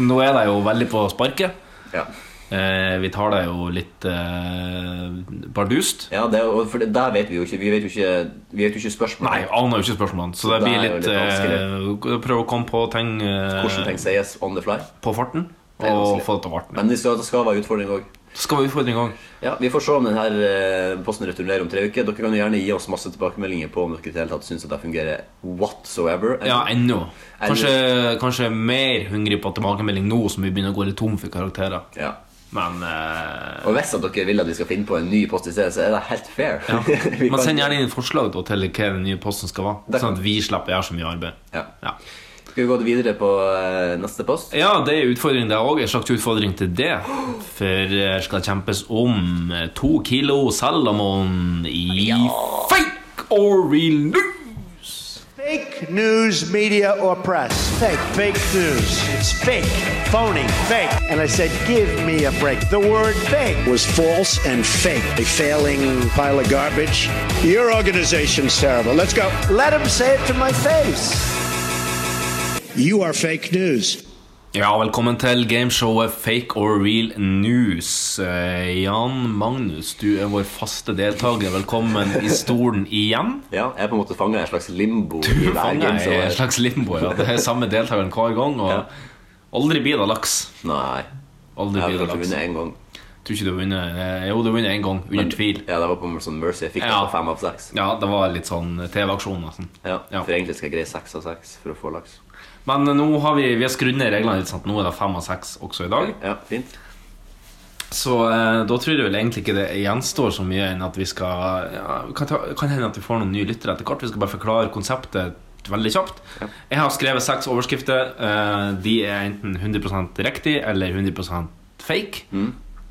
Nå er det jo veldig på sparket.
Ja.
Eh, vi tar det jo litt eh, bardust.
Ja, det, er jo- for det, der vet vi jo ikke Vi vet jo ikke, vi vet jo ikke spørsmålet.
Nei, ah, aner jo ikke spørsmålene. Så det
Det
blir
er jo
litt,
litt
eh, Prøv å komme på ting eh,
Hvordan ting sies on the fly.
på farten.
Det er
Og
vanskelig.
få det til å varte.
Men det skal, det skal være utfordring òg.
Skal vi få en gang?
Ja, Vi får se om denne posten returnerer om tre uker. Dere kan jo gjerne gi oss masse tilbakemeldinger på om dere i det hele tatt syns at det fungerer whatsoever.
Ja, ennå.
Ennå.
Kanskje, kanskje mer hungrig på tilbakemelding nå som vi begynner å gå litt tom for karakterer.
Ja.
Men eh,
Og hvis at dere vil at vi skal finne på en ny post i stedet, så er det helt fair. Vi
Man
kan-
sender gjerne inn forslag da, til hva den nye posten skal være,
Det kan-
sånn at vi slipper å gjøre så mye arbeid.
Ja. Skal vi gå videre på eh, neste post?
Ja, det er utfordring der òg. En slags utfordring til det. For det skal kjempes om eh, to kilo Salomon i fake or real news.
Fake news, media, or press. Fake. Fake news. It's fake. Phony. Fake. And I said, give me a break. The word fake was false and fake. A failing pile of garbage. Your organization's terrible. Let's go. Let him say it to my face. You are fake news.
Ja, velkommen til gameshowet Fake or Real News. Eh, Jan Magnus, du er vår faste deltaker. Velkommen i stolen igjen.
Ja, jeg er på en måte fanga i en slags limbo. i
Du
hver
fanger
gameshow
i
her.
en slags limbo. Ja. Det er samme deltakeren hver gang. Og aldri blir det laks.
Nei.
Aldri
Jeg har
blir det
kanskje
laks.
vunnet én gang.
Tror ikke du har vunnet eh, Jo, du har vunnet én gang, under
Men-
tvil.
Ja, det var på sånn Mercy. Jeg fikk det
Ja.
på fem av seks.
Ja, det var litt sånn TV-aksjon. Nesten.
Ja, For egentlig skal jeg greie seks av seks for å få laks.
Men eh, nå har vi, vi har skrudd ned reglene litt. Sant? Nå er det fem av seks også i dag.
Ja, fint
Så eh, da tror jeg vel egentlig ikke det gjenstår så mye enn at vi skal ja, kan, ta, kan hende at vi får noen nye lyttere etter hvert. Vi skal bare forklare konseptet veldig kjapt. Jeg har skrevet seks overskrifter. Eh, de er enten 100 riktig eller 100 fake.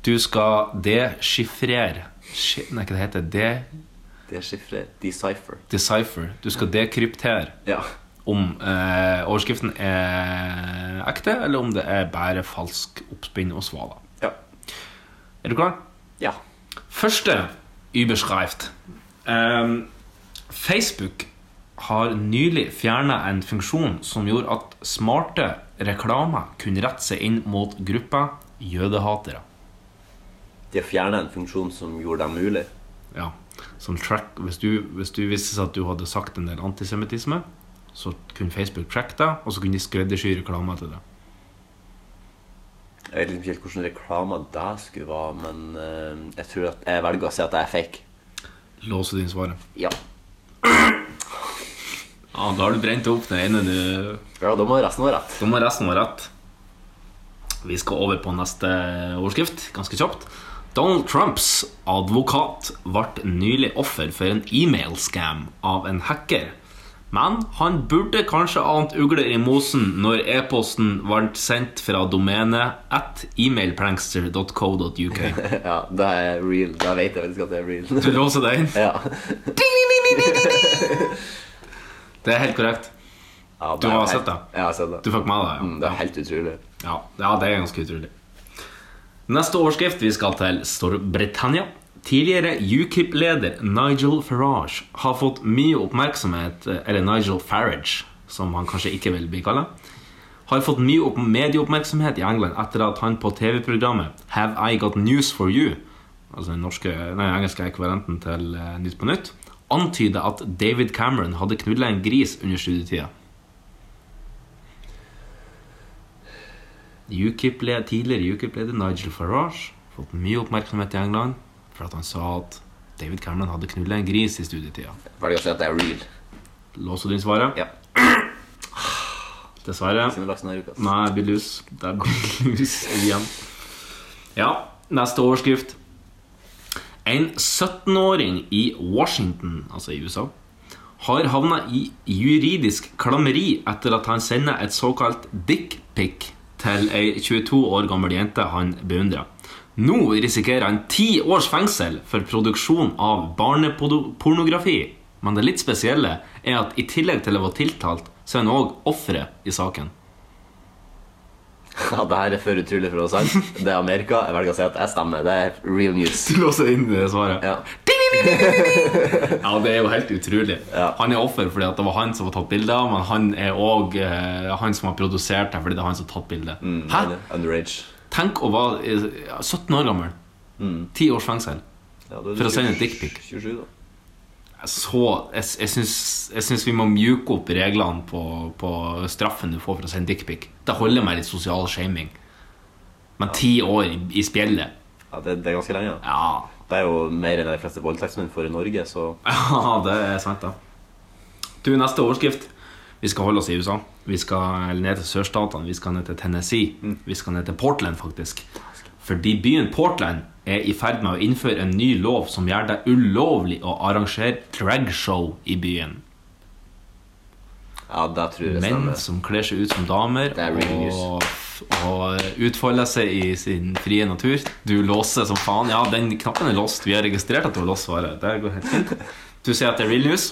Du skal deschiffrere Ski- Nei, hva det heter det?
Deschiffrere? Decipher.
Decipher. Du skal dekryptere om eh, overskriften er ekte, eller om det er bare falsk oppspinn og svaler. Er du klar?
Ja.
Første überskreift. Um, Facebook har nylig fjerna en funksjon som gjorde at smarte reklamer kunne rette seg inn mot gruppa jødehatere.
De har fjerna en funksjon som gjorde det mulig.
Ja, som track Hvis du, hvis du visste seg at du hadde sagt en del antisemittisme, så kunne Facebook tracke deg, og så kunne de skreddersy reklamer til deg.
Jeg vet liksom ikke helt hvordan reklama det skulle være, men eh, jeg tror at jeg velger å si at jeg er fake.
Låse din svaret.
Ja.
Ja, da har du brent opp den ene du
Ja, da må resten være rett.
Da må resten være rett. Vi skal over på neste overskrift, ganske kjapt. Donald Trumps advokat ble nylig offer for en e-mail-scam av en hacker. Men han burde kanskje ant ugler i mosen når e-posten ble sendt fra domenet at emailprankster.co.uk.
ja, det er real. Det vet jeg faktisk at det er real.
Du låser deg inn?
Ja.
Det er helt korrekt.
Ja, det
Du
er
har
helt-
sett det?
Jeg har sett det.
Du fikk med deg
Mm, det er helt utrolig.
Ja, ja, det er ganske utrolig. Neste overskrift vi skal til Storbritannia. Tidligere UKIP-leder Nigel Farage har fått mye oppmerksomhet Eller Nigel Farage, som han kanskje ikke vil bli kallet. Har fått mye opp medieoppmerksomhet i England etter at han på TV-programmet Have I Got News For You Altså den norske, nei, engelske ekvivalenten til eh, Nytt på Nytt antydet at David Cameron hadde knullet en gris under studietida. UKIP -led- tidligere UKIP-leder Nigel Farage fått mye oppmerksomhet i England for at han sa at David Cameron hadde knullet en gris i studietida.
Velger å si at det er real.
Låser du inn svaret?
Ja.
Dessverre. Nei, blir lus. Det er blir lus igjen. Ja, neste overskrift. En 17-åring i Washington, altså i USA, har havna i juridisk klammeri etter at han sender et såkalt dickpic til ei 22 år gammel jente han beundrer. Nå risikerer han ti års fengsel for produksjon av barnepornografi. Men det litt spesielle er at i tillegg til å være tiltalt, så er han òg offeret i saken.
Ja, det her er for utrolig for å være sant. Det er Amerika. Jeg velger å si at jeg stemmer. Det er real news.
Du låser inn det svaret.
Ja.
Ja, det er jo helt utrolig. Han er offer fordi at det var han som var tatt bilde av, men han er òg eh, han som har produsert det, fordi Mm, det er han som har tatt bildet. Hæ?
Underage.
Tenk å være eh, 17 år gammel. Ti års fengsel for å sende et dickpic.
27, da.
Så jeg, jeg, syns, jeg syns vi må mjuke opp reglene på, på straffen du får for å sende dickpic. Det holder med litt sosial shaming. Men ti år i, i spjeldet
Ja, det, det er ganske lenge. da. Det er jo mer enn de fleste voldtektsmenn får i Norge, så
Ja, det er sant, da. Du, neste overskrift. Vi skal holde oss i USA. Vi skal ned til sørstatene. Vi skal ned til Tennessee.
Mm.
Vi skal ned til Portland, faktisk. Fordi byen Portland er i ferd med å innføre en ny lov som gjør det ulovlig å arrangere dragshow i byen.
Ja, det tror jeg
Menn
stemmer.
som kler seg ut som damer
real
og, og utfolder seg i sin frie natur. Du låser som faen. Ja, den knappen er låst. Vi har registrert at du har låst svaret. Det går helt fint. Du sier at det er real news?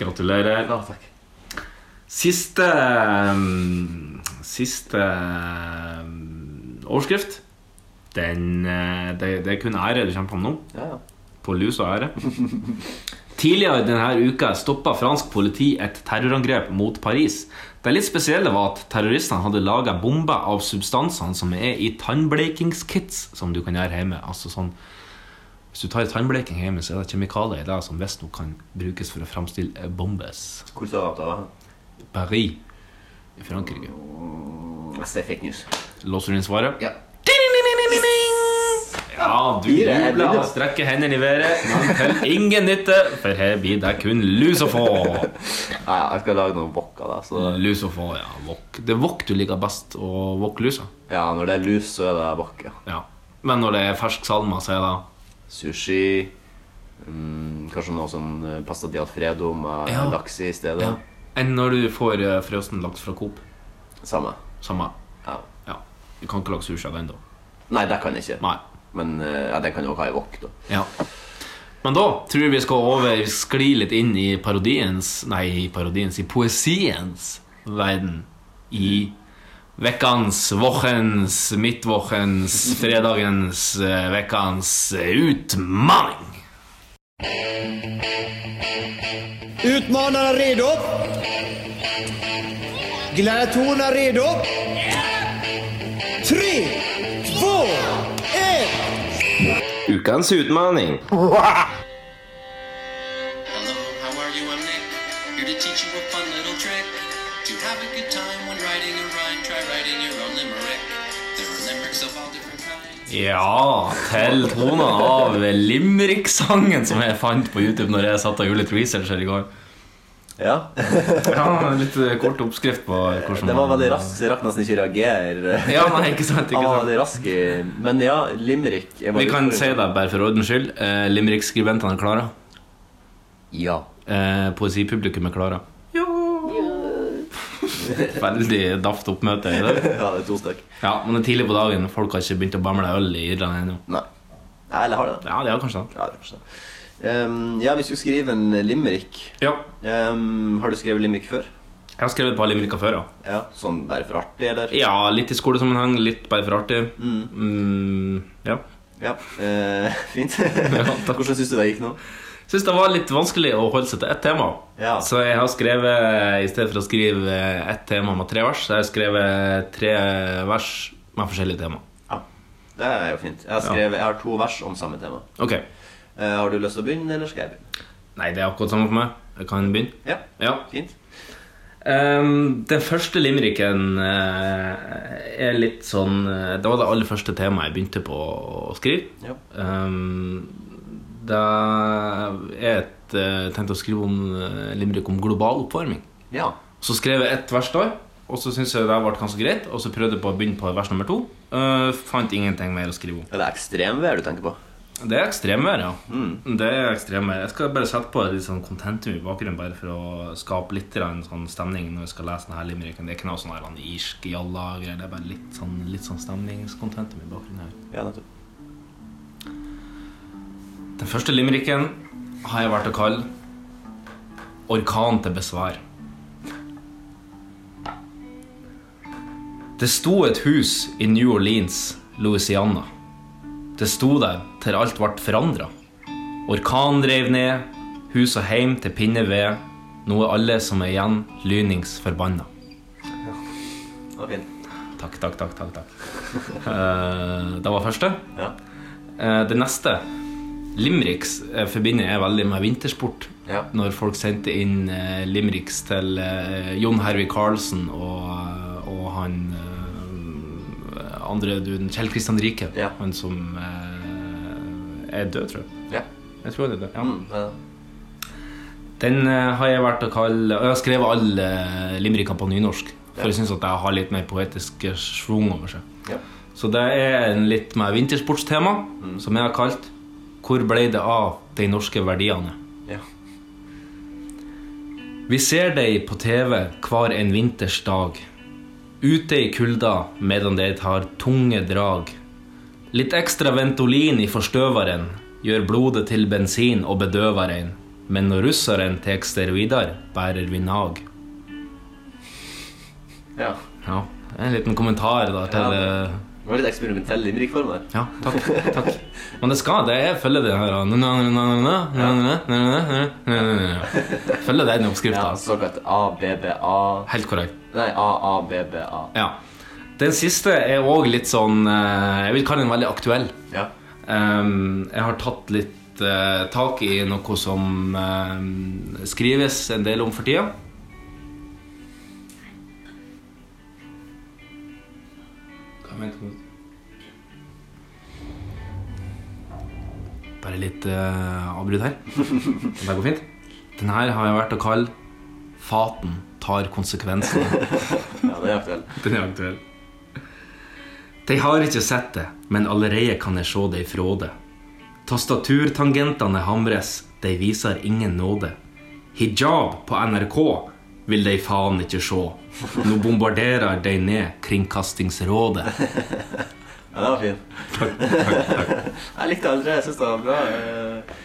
Gratulerer. Siste um, Siste um, overskrift. Den, eh, det, det er kun ære du kommer på nå. På lus og ære. Tidligere denne uka stoppa fransk politi et terrorangrep mot Paris. Det litt spesielle var at terroristene hadde laga bomber av substansene som er i tannblekingskits, som du kan gjøre hjemme. Altså sånn hvis du tar tannbleking hjemme, så er det kjemikalier i det som visstnok kan brukes for å framstille bombes.
Hvor sa du at det var?
Paris i Frankrike.
Jeg ser fake news.
Låser du inn svaret?
Ja.
Ja, du
Fire, jeg
jubler
begynner.
og strekker hendene i været, men til ingen nytte, for her blir det kun lus å få.
Ja, ja, jeg skal lage noen wok av det. Så...
Lus å få, ja. Wok. Det er wok du liker best, og wok-lusa.
Ja, når det er lus, så er det wok, ja.
Ja. Men når det er fersk salma, så er det
Sushi mm, Kanskje noe sånn eh, pasta di alfredo med
Ja.
laks i stedet.
Ja. Enn når du får eh, frøsen laks fra Coop.
Samme.
Samme.
Ja.
Du kan ikke lage sushi av den, da.
Nei, det kan jeg ikke. Men eh, ja, den kan jo også ha i wok, da.
Ja. Men da tror jeg vi skal over skli litt inn i parodiens Nei, i parodiens, i poesiens verden. I vekkans, vårens, midtvårens, fredagens, eh, vekkans eh, utmanning.
Utmanarna redo? Gladiatorerna redo? Tre, två, ett!
Ukens utmanning.
How are you? I'm Nick. Here to teach you a fun little trick. To have a good time when writing a rhyme, try writing your own limerick. There are limericks of all different kinds.
Ja, til tonen av Limerick-sangen som jeg fant på YouTube når jeg satt og gjorde litt research her i går.
Ja.
ja litt eh, kort oppskrift på hvordan
Eh, Det var
man-
veldig raskt, så jeg rakk nesten ikke å reagere.
Ja, nei, ikke sant, ikke
Han var
sant.
veldig rask i- Men ja, limerick jeg var
Vi
litt
kan
for-
si det bare for ordens skyld. Eh, Limerick-skribentene er klare.
Ja.
Eh, poesipublikum er klare. Veldig daft oppmøte i dag.
Ja, det er to stykk.
Ja, men det er tidlig på dagen. Folk har ikke begynt å bamle øl i Irland ennå.
Nei. Nei, eller har det?
Ja, det har kanskje det.
Ja, det er kanskje det. Ehm, ja, vi skulle skrive en limerick. Ehm, har du skrevet limerick før?
Jeg har skrevet et par limericker før, ja.
Ja, Sånn bare for artig, eller?
Ja, litt i skolesammenheng, litt bare for artig. Mm, ja.
Ja, eh, Fint. Hvordan syns du det gikk nå?
Syns det var litt vanskelig å holde seg til ett tema.
Ja.
Så jeg har skrevet, i stedet for å skrive ett tema med tre vers, så har jeg skrevet tre vers med forskjellige tema.
Det er jo fint. Jeg har,
Ja.
skrevet, jeg har to vers om samme tema.
Ok.
Eh, har du lyst til å begynne, eller skal jeg begynne?
Nei, det er akkurat samme for meg. Jeg kan begynne.
Ja,
Ja.
fint
Ehm, den første limericken eh, er litt sånn eh, Det var det aller første temaet jeg begynte på å skrive.
Ja.
Ehm, da jeg et, eh, tenkte å skrive om eh, limerick om global oppvarming.
Ja.
Så skrev jeg ett vers der, og så syntes jeg det ble ganske greit. Og så prøvde jeg på å begynne på vers nummer to. Eh, fant ingenting mer å skrive om.
Er det ekstremvær du tenker på?
Det er ekstremvær, ja. Det er ekstremvær. Jeg skal bare sette på et litt sånn contentum i bakgrunnen bare for å skape litt grann sånn stemning når jeg skal lese denne limericken. Det er ikke noe sånn her en irsk jalla-greier. Det er bare litt sånn, litt sånn stemningscontentum i bakgrunnen her.
Ja, nettopp.
Den første limericken har jeg vært å kalle 'Orkan til besvær'. Det sto et hus i New Orleans, Louisiana. Det sto der til alt ble forandra. Orkanen dreiv ned, hus og heim til pinne ved. Nå er alle som er igjen, lynings forbanna.
Det var fint.
Takk, takk, takk. takk, takk. Eh, det var første. Eh, det neste Limericks eh, forbinder jeg veldig med vintersport. Når folk sendte inn uh, limericks til eh, Jon Hervey Carlsen og, og han eh, andre duden, Kjell Kristian Rike. Han som eh, er død, tror jeg. Jeg tror han er død. Ja.
Mm,
Den eh, har jeg vært å kalle Og jeg har skrevet alle uh, limerickene på nynorsk. For
Ja.
jeg syns at jeg har litt mer poetisk eh, schwung over seg.
Ja.
Så det er en litt mer vintersportstema, som jeg har kalt 'Hvor ble det av de norske verdiene'?
Ja.
Vi ser deg på TV hver en vinters dag. Ute i kulda medan de tar tunge drag. Litt ekstra Ventolin i forstøveren gjør blodet til bensin og bedøver en. Men når russeren tar steroider, bærer vi nag.
Ja.
Ja, en liten kommentar da til
Ja.
eh,
Det var litt eksperimentell limerickform der.
Ja, takk. takk. Men det skal det. Jeg følger den her na, na, na, na, na, na, na, na, na, na, na, na. Følger den oppskrifta.
Ja, såkalt ABBA
Helt korrekt.
Nei, AABBA.
Ja. Den siste er òg litt sånn eh, Jeg vil kalle den veldig aktuell. Ehm, jeg har tatt litt eh, tak i noe som eh, skrives en del om for tida. Bare litt eh, avbrudd her. Det går fint. Den her har jeg vært å kalle 'Faten tar konsekvensene'.
Ja, den er aktuell.
Den er aktuell. De har ikke sett det, men allerede kan jeg se deg fra det. Tastaturtangentene hamres, de viser ingen nåde. Hijab på NRK vil de faen ikke se. Nå bombarderer de ned Kringkastingsrådet.
Ja, den var fin. Jeg likte alle tre. Jeg syns det var bra. Eh,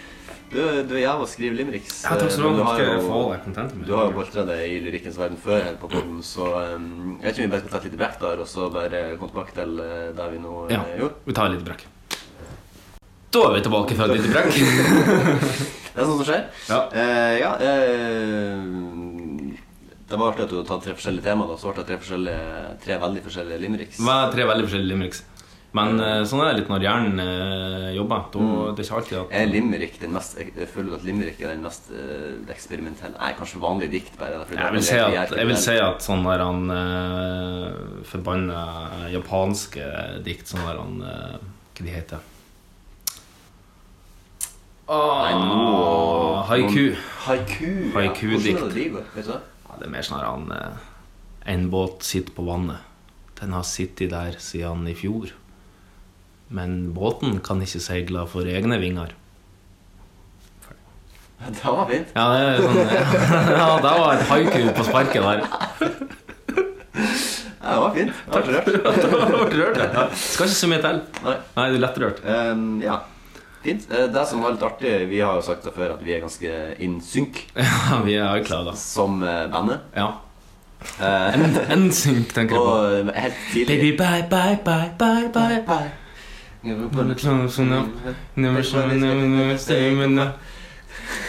Du, du er jævla å skrive limericks.
Ja, takk skal du ha. Nå skal
Eh, men har
jeg
jo-
få deg kontentet mitt.
Du har jo boltra det i lyrikkens verden før her på podden, så eh, jeg vet ikke om vi bare skal ta et lite brekk der, og så bare komme tilbake til eh, det vi nå
Ja,
eh, gjorde.
vi tar litt brekk. Da er vi tilbake fra et lite brekk.
Det er sånt som skjer. Ja. ja eh, det var artig at du hadde tatt tre forskjellige temaer, og så ble det tre, forskjellige, tre veldig forskjellige limericks.
Det var tre veldig forskjellige limericks. Men eh, sånn er det litt når hjernen eh, jobber. Da, Det er ikke alltid at
Mm. Er limerick den mest Jeg føler at limerick er den mest eh, eksperimentelle Nei, kanskje vanlig dikt, bare. fordi
Jeg
det
vil
er
si
veldig
at, jeg
jævlig.
vil si at sånn der han eh, forbanna eh, japanske dikt Sånn der han eh, Hva de heter
Nei, nå-
Haiku.
nå- Haiku, ja.
Haiku-dikt.
Hvordan er det de går? Vet du det?
ja, Det er mer sånn der han eh, En båt sitter på vannet. Den har sittet der siden i fjor. Men båten kan ikke seile for egne vinger.
Det var fint.
Ja, det er sånn, ja, det var et haiku på sparket der.
Ja, det var fint.
Takk.
Det
Du ble rørt. ja. Skal ikke så mye til.
Nei.
Nei, du er lett rørt.
Ehm, ja. Fint. Eh, Det som var litt artig Vi har jo sagt det før at vi er ganske in sync.
Ja, vi er klare, da.
Som eh, bandet.
Ja. En synk, tenker jeg på.
Og eh, helt tidlig
Baby, bye, bye, bye, bye, bye,
bye.
Never closing up, never showing up, never saving up.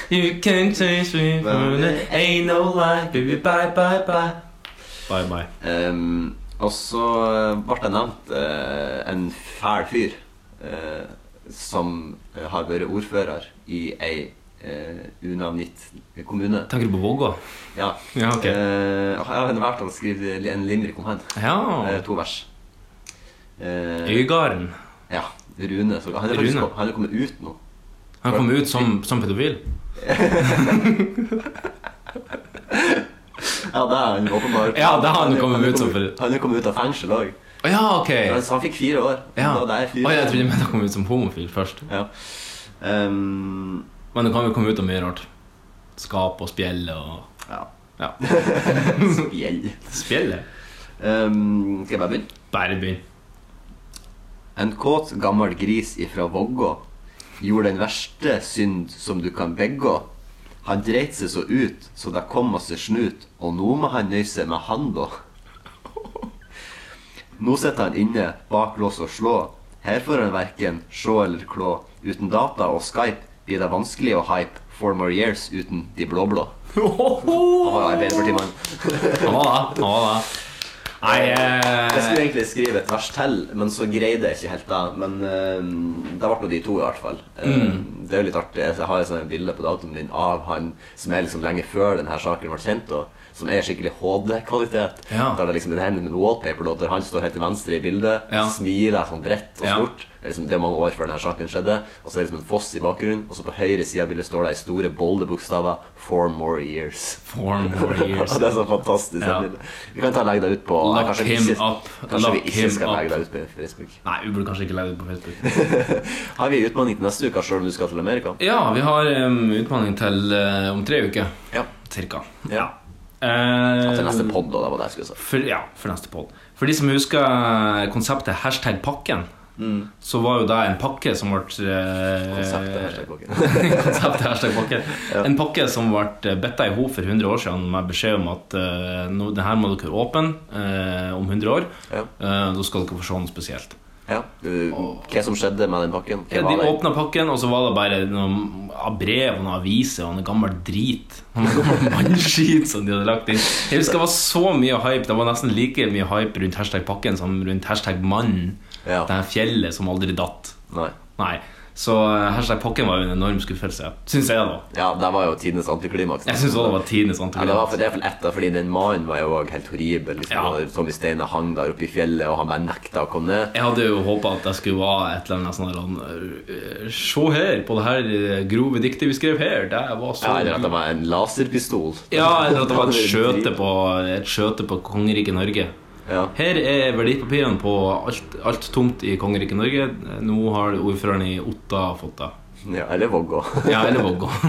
You can change me for it, ain't no lie. Baby, bye, bye, bye. Bye, bye.
Ehm, og så eh, ble det nevnt eh, en fæl fyr eh, som har vært ordfører i ei eh, eh, unavngitt kommune.
Tenker du på Vågå?
Ja.
Ja, ok.
Eh, jeg har en vært han skriver en limerick om han.
Ja.
Eh, to vers. Eh,
Øygarden.
Ja. Rune. Så, han er faktisk
Rune.
kom- han er kommet ut nå.
Han kom ut som, som pedofil.
Ja, det er han åpenbart.
Ja, det er han kommet ut som
for Han er kommet ut av fengsel òg.
Å ja, ok.
Så han fikk fire år.
Ja.
Da det er fire.
Å, jeg trodde du mente han kom ut som homofil først.
Ehm,
Men det kan jo komme ut av mye rart. Skap og spjell og
Ja.
spjell. Spjellet?
Ehm, skal jeg bare begynne?
Bare begynn.
En kåt gammel gris ifra Vågå gjorde den verste synd som du kan begå. Han dreit seg så ut, så det kom masse snut, og nå må han nøye seg med han, da. Nå sitter han inne bak lås og slå. Her får han verken sjå eller klå. Uten data og Skype blir det vanskelig å hype four more years uten de blå-blå. Han var Arbeiderpartimann.
Han var det. Han var det. Nei, eh,
Jeg skulle egentlig skrive et vers til, men så greide jeg ikke helt det. Men eh, det ble jo de to, i hvert fall. Eh,
Mm.
Det er jo litt artig. Jeg har et sånt bilde på datoen min av han som er liksom lenge før denne saken ble kjent, og som er skikkelig HD-kvalitet.
Ja.
Der det er liksom en hand med en wallpaper, da, der han står helt til venstre i bildet,
Ja.
smiler sånn bredt og
Ja.
stort. Det er liksom det er mange år før denne saken skjedde. Og så er det liksom en foss i bakgrunnen, og så på høyre side av bildet står det i store, bolde bokstaver 'Four more years'.
Four more years.
Og det er så fantastisk. det
Ja.
bildet. Vi kan ta og legge det ut på
Lock
Nei, kanskje vi
him
ikke-
up.
Kanskje vi
Lock
ikke
him
skal
up.
legge deg ut på Facebook.
Nei, vi burde kanskje ikke legge det ut på Facebook.
Har vi utmanning til neste uke, selv om du skal til Amerika?
Ja, vi har um, utfordring til eh, om tre uker. Cirka.
Ja.
Eh,
Til neste podd, da. Det var det jeg skulle si.
For, ja, for neste podd. For de som husker konseptet hashtag pakken,
Mm.
så var jo det en pakke som ble eh,
Konseptet hashtag pakken.
konseptet hashtag pakken. En pakke som ble bitta i hop for 100 år siden med beskjed om at eh, nå, det her må dere åpne eh, om 100 år. Eh, da skal dere få se noe spesielt.
Ja. eh, Hva som skjedde med den pakken? Hva
Ja,
var
de
det?
åpna pakken, og så var det bare noen av brev og noen aviser og noe gammel drit. Noe gammel mannskit som de hadde lagt inn. Jeg husker det var så mye hype. Det var nesten like mye hype rundt hashtag pakken som rundt hashtag mannen. Det her fjellet som aldri datt.
Nei.
Så eh, hashtag pakken var jo en enorm skuffelse. Syns jeg, da.
Ja, det var jo tidenes antiklimaks.
Jeg synes også det var tidenes
Ja, det var
antiklimaks.
for det er vel etter, fordi den mannen var jo også helt horribel. Liksom, og Tommy Steine hang der oppe i fjellet, og han bare nekta å komme ned.
Jeg hadde jo håpa at jeg skulle være et eller annet sånn der, eh, Se her på det her eh, grove diktet vi skrev her. Det var så
Ja, eller at det var en laserpistol.
Ja, eller at det var et skjøte på, et skjøte på kongeriket Norge. Her er verdipapirene på alt, alt tomt i kongeriket Norge. Nå har ordføreren i Otta fått det.
Ja, eller Vågå.
Ja, eller Vågå.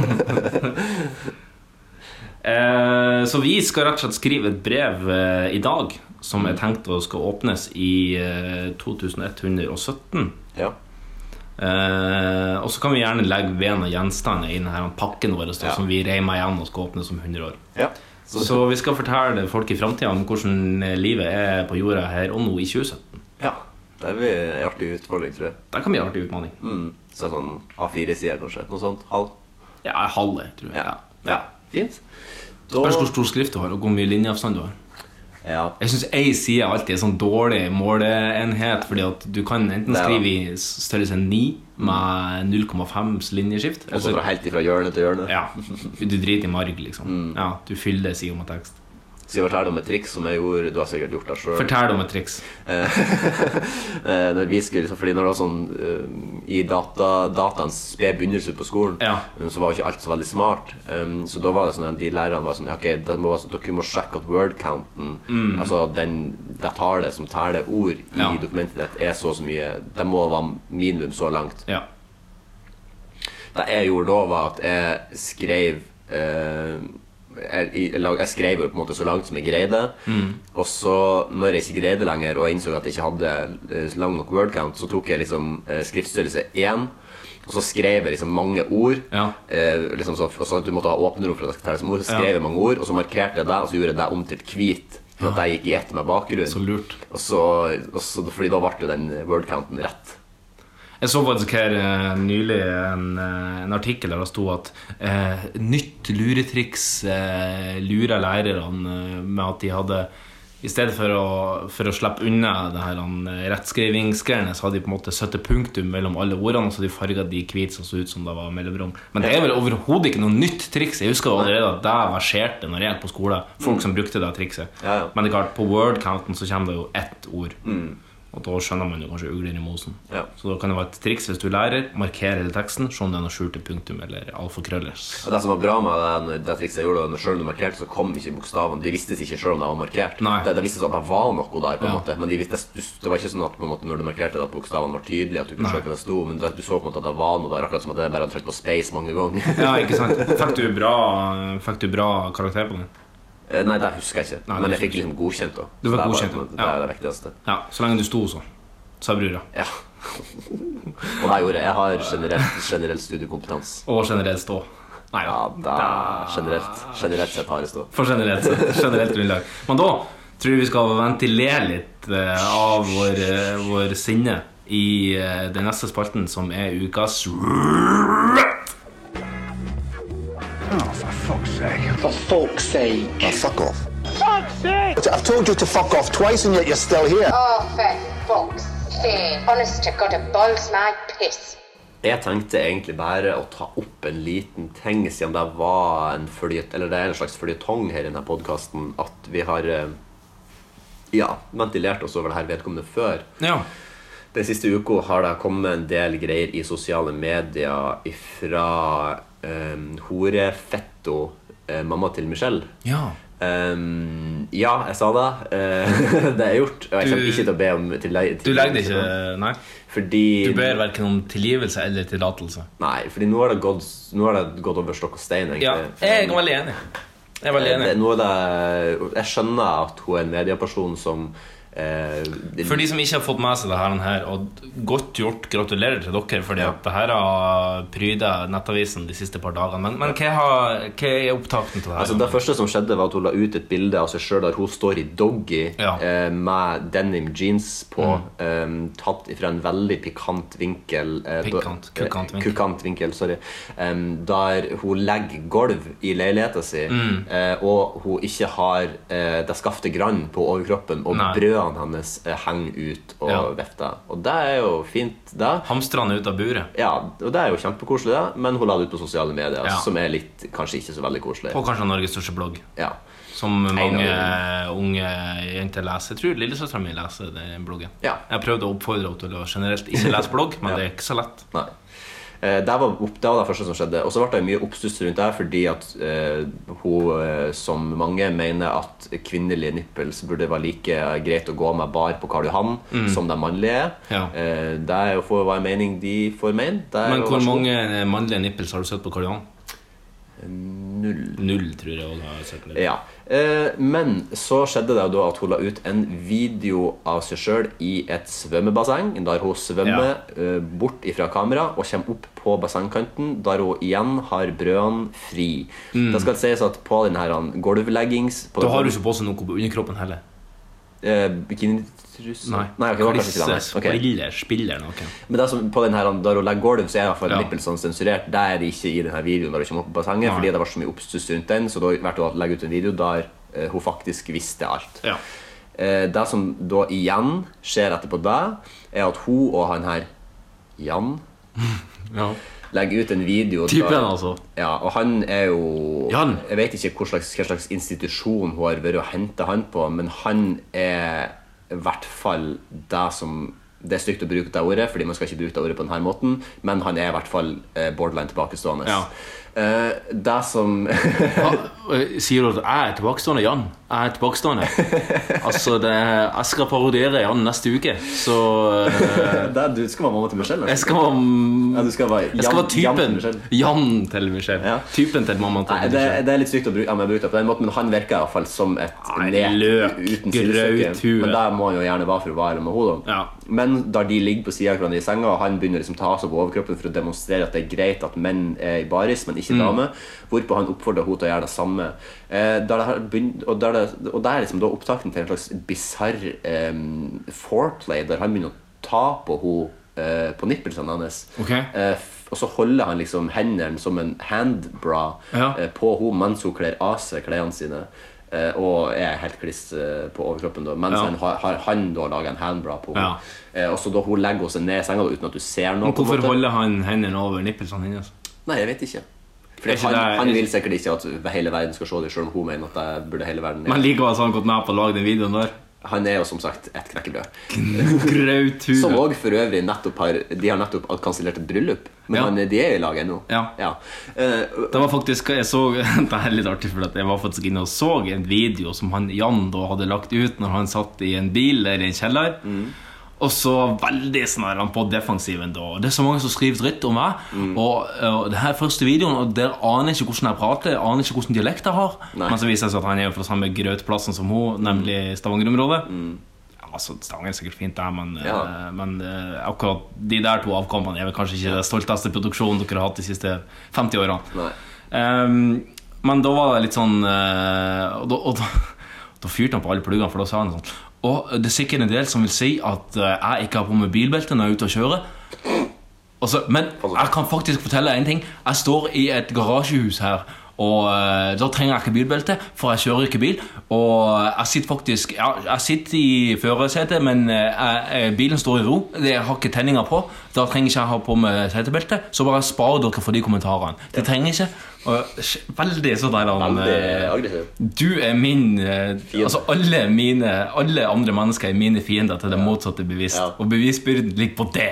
Eh, Så vi skal rett og slett skrive et brev eh, i dag som er tenkt å skal åpnes i eh, 2117.
Ja.
Eh, og så kan vi gjerne legge ved noen gjenstander i denne pakken vår da, som vi reimer igjen og skal åpne som 100 år. Så, vi skal fortelle folk i framtida om hvordan eh, livet er på jorda her og nå i 2017.
Ja. Det blir en artig utfordring, tror jeg.
Det kan bli en artig utfordring.
Mm. Så sånn A4-sider, kanskje. Noe sånt. Halv.
Ja, halv, tror jeg. Ja.
Fint. Da-
Spørs hvor stor skrift du har, og hvor mye linjeavstand du har. Jeg syns ei side alltid er sånn dårlig måleenhet, fordi at du kan enten
Det er
skrive i størrelse 9 med 0,5s linjeskift. altså,
Og så fra helt ifra hjørne til hjørne.
Ja. Du driter i marg, liksom.
Mm.
Ja, du fyller sida med tekst.
Skal jeg fortelle om et triks som jeg gjorde? Du har sikkert gjort det selv
Fortell om et triks.
Eh, eh, når vi skulle, liksom, fordi når det var sånn eh, I data, dataens spede begynnelse på skolen, eh, så var jo ikke alt så veldig smart. Um, så da var det sånn at de lærerne var sånn Ok, det må, dere må sjekke at word-counten,
Mm.
altså den, det tallet som teller ord i
Ja.
dokumentet ditt, er så og så mye Det må være minimum så langt.
Ja.
Det jeg gjorde da, var at jeg skrev eh, jeg, jeg, lag- jeg skrev jo på en måte så langt som jeg greide.
Mm.
Og så, når jeg ikke greide lenger og jeg innså at jeg ikke hadde eh, lang nok word count, så tok jeg liksom eh, skriftstørrelse 1. Og så skrev jeg liksom mange ord. Eh, liksom så, og så at du måtte ha åpne rom for at det skal telles som ord. Så skrev jeg
Ja.
mange ord, og så markerte jeg det, og så gjorde jeg det om til et hvit. Sånn at jeg gikk i ett med bakgrunnen.
Så lurt.
Og så, og så, fordi da ble jo den word counten rett.
Jeg så faktisk her eh, nylig en, eh, en artikkel der det sto at eh, nytt luretriks eh, lurer lærerne eh, med at de hadde I stedet for å, for å slippe unna det her han, rettskrivingsgreiene, så hadde de på en måte satt et punktum mellom alle ordene, og så de farga de hvite som så ut som det var mellomrom. Men det er vel overhodet ikke noe nytt triks. Jeg husker allerede at det verserte når jeg gikk på skole. Folk som brukte det trikset. Men det er klart, på word-counten så kommer det jo ett ord. Og da skjønner man jo kanskje ugler i mosen. Så da kan det være et triks hvis du lærer, markere hele teksten, se om det er noe skjulte punktum eller alfakrøller.
Og det som var bra med det, det trikset jeg gjorde, var at selv om du markerte, så kom ikke bokstavene. De visste ikke selv om de var markert. Det, det visste sånn at det var noe der, på en
Ja.
måte. Men de visste, det var ikke sånn at på en måte, når du markerte at bokstavene var tydelige, at du kunne
Nei.
se hva det sto, men det, du så på en måte at det var noe der, akkurat som at det bare hadde trykt på space mange ganger.
Ja, ikke sant? Fikk du bra, fikk du bra karakter på den?
Eh, Nei, det husker jeg ikke.
Nei, det
men jeg
husker
fikk liksom godkjent, da.
Du
Så
fikk
det er
godkjent,
bare- Det
ja.
er det viktigste.
Ja, så lenge du sto sånn. Sa brura.
Ja. Og det gjorde jeg. Jeg har generelt, generell studiekompetanse.
Og generelt stå. Nei da.
da. Generelt, generelt sett har jeg stå.
For generelt, generelt grunnlag. Men da tror jeg vi skal ventilere litt eh, av vår, eh, vår sinne i eh, den neste spalten, som er ukas
Oh, for fuck's sake.
For folk's sake.
Oh, fuck off.
Fuck's sake!
I've told you to fuck off twice and yet you're still here.
Oh, for fuck's sake. Honest to God, it boils my piss.
Jeg tenkte egentlig bare å ta opp en liten ting, siden det var en føljet, eller det er en slags føljetong her i denne podkasten, at vi har eh, ja, ventilert oss over det her vedkommende før.
Ja.
Den siste uka har det kommet en del greier i sosiale medier ifra um, horefetto eh, mamma til Michelle.
Ja.
Ehm, ja, jeg sa det. Eh, det er gjort. Og jeg kommer
Du-
ikke til å be om tillegg.
Du legger det ikke Nei.
Fordi
Du ber verken om tilgivelse eller tillatelse.
Nei, fordi nå har det gått, nå har det gått over stokk og stein, egentlig.
Ja, jeg er veldig enig. Jeg er veldig
Eh,
enig.
Det, nå er det, jeg skjønner at hun er en medieperson som eh, det-
For de som ikke har fått med seg det her, den her og godt gjort, gratulerer til dere, fordi at det her har pryda nettavisen de siste par dagene. Men, men hva, har, hva er opptakten til det her?
Altså Det første som skjedde, var at hun la ut et bilde av seg sjøl der hun står i doggy eh, med denim jeans på,
Mm.
eh, tatt fra en veldig pikant vinkel. eh, da-
Pikant, kukant
eh,
vinkel.
kukant vinkel, sorry. Eh, der hun legger gulv i leiligheta si,
Mm.
eh, og hun ikke har eh, det skaftet grann på overkroppen, og
Nei.
brødene hennes eh, henger ut og
Ja.
vifter. Og det er jo fint, det.
Hamstrene ut av buret.
Ja, og det er jo kjempekoselig, det. Men hun la det ut på sosiale medier,
Ja.
som er litt, kanskje ikke så veldig koselig.
På kanskje Norges største blogg.
Ja.
Som mange
av
unge jenter leser. Jeg tror lillesøstera mi leser den bloggen.
Ja.
Jeg prøvde å oppfordre henne til å generelt ikke lese blogg, men det er ikke så lett.
Nei. Eh, Det var, opp, det var det første som skjedde. Og så ble det mye oppstuss rundt det fordi at eh, hun, eh, som mange, mener at kvinnelige nipples burde være like greit å gå med bar på Karl Johan
Mm.
som de mannlige.
Ja.
Eh, det er jo for hva en mening de får mene. Det er
Men
jo
hvor
vær så god.
mange mannlige nipples har du sett på Karl Johan?
Null.
Null, tror jeg også har sett.
Ja. Eh, men så skjedde det jo da at hun la ut en video av seg sjøl i et svømmebasseng, der hun svømmer eh, bort ifra kamera og kommer opp på bassengkanten, der hun igjen har brødene fri.
Mm.
Det skal sies at på denne her han, gulvleggings på
Da har du ikke på seg noe på underkroppen heller.
eh, Bikinitruse?
Nei.
Nei ok, det var kanskje ikke det.
Klisse,
nei. Ok.
spiller, spiller noe.
Men det som på den her, der hun legger gulv, så er i hvert fall nippelsene sensurert. Det er det ikke i denne videoen når hun kommer opp på bassenget,
Nei.
fordi det var så mye oppstuss rundt den, så da valgte hun å legge ut en video der eh, hun faktisk visste alt. Eh, det som da igjen skjer etterpå det, er at hun og han her Jan legger ut en video
Typen,
der-
altså.
Ja, og han er jo Jeg vet ikke hva slags, hva slags institusjon hun har vært og henta han på, men han er i hvert fall det som Det er stygt å bruke det ordet, fordi man skal ikke bruke det ordet på denne måten, men han er i hvert fall eh, borderline tilbakestående.
Ja.
Eh, det som
Sier du at jeg er tilbakestående, Jan? Jeg er tilbakestående. Altså, det, jeg skal parodiere Jan neste uke, så eh,
Det er du skal være mamma til Michelle. altså.
Jeg skal være
ja, du skal være
jeg skal være
Jan- Jan
typen.
Michelle.
Jan til Michelle. Typen til mamma til
Nei, det,
Michelle.
det er litt stygt å bruke, ja, men jeg bruker det på den måten, men han virker i hvert fall som et
Nei,
net
løk,
uten sidestykke.
grøthue.
Men det må han jo gjerne være for å være med henne. da. Men da de ligger på sida av hverandre i senga, og han begynner liksom å ta av seg på overkroppen for å demonstrere at det er greit at menn er i baris, men ikke
Mm.
damer, hvorpå han oppfordrer henne til å gjøre det samme. Eh, der det har begynt, og, der det, og det er liksom da opptakten til en slags bisarr eh, foreplay, der han begynner å ta på henne eh, på nippelsene hennes.
Ok.
Eh, f- og så holder han liksom hendene som en handbra
Ja.
eh, på henne mens hun kler av seg klærne sine. eh, og er helt kliss eh, på overkroppen, da, mens
Ja.
han, har, har- han da lager en handbra på henne.
Ja.
Eh, og så da hun legger seg ned i senga da, uten at du ser noe.
Men
på en
hvorfor
måte.
holder han hendene over nippelsene hennes?
Nei, jeg vet ikke.
Er
Fordi
ikke
han,
det-
han vil sikkert ikke at hele verden skal se det, selv om hun mener at jeg burde hele verden
Men likevel så har han gått med på å lage den videoen der.
Han er jo som sagt et knekkebrød.
Grauthue.
Som òg for øvrig nettopp har De har nettopp kansellert et bryllup, men
Ja.
han, de er i lag ennå. Eh,
Ja. det var faktisk jeg så Det er litt artig, for at jeg var faktisk inne og så en video som han Jan da hadde lagt ut når han satt i en bil eller en kjeller.
Mm.
Og så veldig sånn er han på defensiven da. Og Det er så mange som skriver dritt om meg.
Mm.
Og, og det her er første videoen, og der aner jeg ikke hvordan jeg prater, jeg aner ikke hvordan dialekt jeg har.
Nei. Mm.
Men så viser det seg at han er jo fra samme grøtplassen som hun, nemlig Stavanger-området. Ja, altså, Stavanger er sikkert fint, det, men,
Ja.
eh, men eh, akkurat de der to avkampene er vel kanskje ikke den stolteste produksjonen dere har hatt de siste 50 årene. Ehm, men da var det litt sånn eh, Og da, og da, da fyrte han på alle pluggene, for da sa han sånn Og det er sikkert en del som vil si at eh, jeg ikke har på meg bilbelte når jeg er ute og kjører. Og så- men jeg kan faktisk fortelle deg en ting. Jeg står i et garasjehus her. Og eh, da trenger jeg ikke bilbelte, for jeg kjører ikke bil. Og jeg sitter faktisk ja, Jeg sitter i førersetet, men eh, jeg, eh, bilen står i ro. Det jeg har ikke tenninga på. Da trenger ikke jeg ha på meg setebelte. Så bare spar dere for de kommentarene. Det trenger jeg ikke. Og, sj- veldig sånn der han,
Veldig
eh,
aggressiv.
Du er min eh, Altså alle mine Alle andre mennesker er mine fiender til det motsatte bevisst. Og bevisbyrden ligger på det.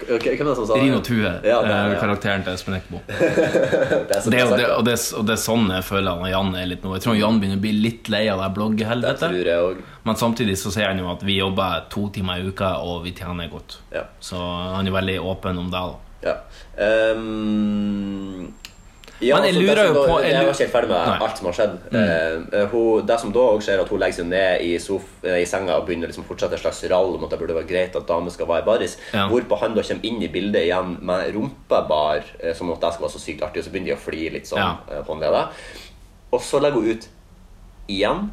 Ok, Hvem er det som sa det?
Rino Tue,
Ja, det, er-
eh,
ja.
karakteren til Espen Eckbo. Det
er
er jo
så bra sagt,
det,
da.
og, det, er- og det er sånn jeg føler han og Jan er litt nå. Jeg tror Jan begynner å bli litt lei av det bloggehelvetet. Men samtidig så sier han jo at vi jobber to timer i uka, og vi tjener godt. Så han er veldig åpen om det. da
Ja. Ehm, ja,
Men jeg
altså, det
lurer jo
som da-
på- jeg
Jeg var
lurer-
ikke helt ferdig med
Nei. Mm.
alt som har skjedd. Eh, hun, det som da også skjer, er at hun legger seg ned i, sof eh, i senga og begynner liksom fortsette et slags rall om at det burde være greit at damer skal være i baris.
Ja.
Hvorpå han da kommer inn i bildet igjen med rumpebar, eh, som at det skal være så sykt artig, og så begynner de å flire litt sånn
Ja.
eh, håndledet. Og så legger hun ut igjen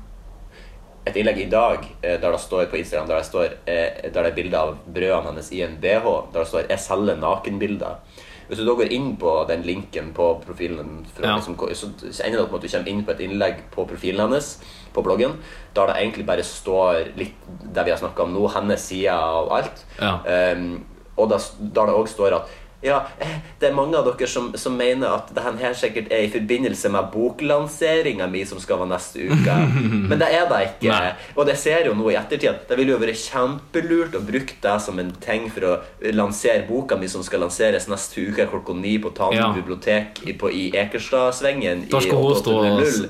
et innlegg i dag eh, der det står på Instagram der det, står, eh, der det er bilder av brødene hennes i en BH, der det står 'Jeg selger nakenbilder'. Hvis du da går inn på den linken på profilen, fra,
Ja.
liksom, så så ender det opp med at du kommer inn på et innlegg på profilen hennes, på bloggen, der det egentlig bare står litt det vi har snakka om nå, hennes side og alt.
Ja.
Ehm, og da, da det òg står at ja, eh, det er mange av dere som, som mener at det her sikkert er i forbindelse med boklanseringa mi som skal være neste uke. Men det er det ikke.
Nei.
Og det ser jo nå i ettertid at det ville jo vært kjempelurt å bruke det som en ting for å lansere boka mi som skal lanseres neste uke klokka ni på Tanum
Ja.
bibliotek i, på, i Ekerstadsvengen.
Der skal,
i
hun stå,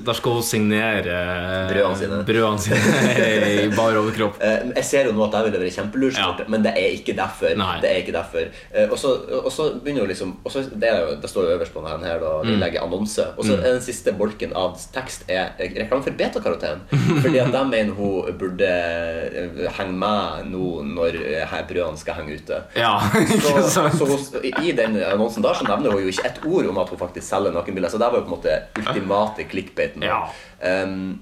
8800.
der skal hun signere eh,
Brødene sine.
brødene sine i bar overkropp.
Eh, Jeg ser jo nå at det ville vært kjempelurt, men det er ikke derfor. Det er ikke derfor. Eh, Og så, og så begynner jo liksom og så, det, er jo, det står jo øverst på denne her, da, vi
Mm.
legger annonse. Og så
Mm.
er den siste bolken av tekst er reklame for betakaroten. Fordi at de mener hun burde eh, henge med nå når eh, her brødene skal henge ute.
Ja,
så, så hun- I den annonsen der så nevner hun jo ikke ett ord om at hun faktisk selger nakenbilder. Så det var jo på en måte ultimate clickbaiten. da. Um,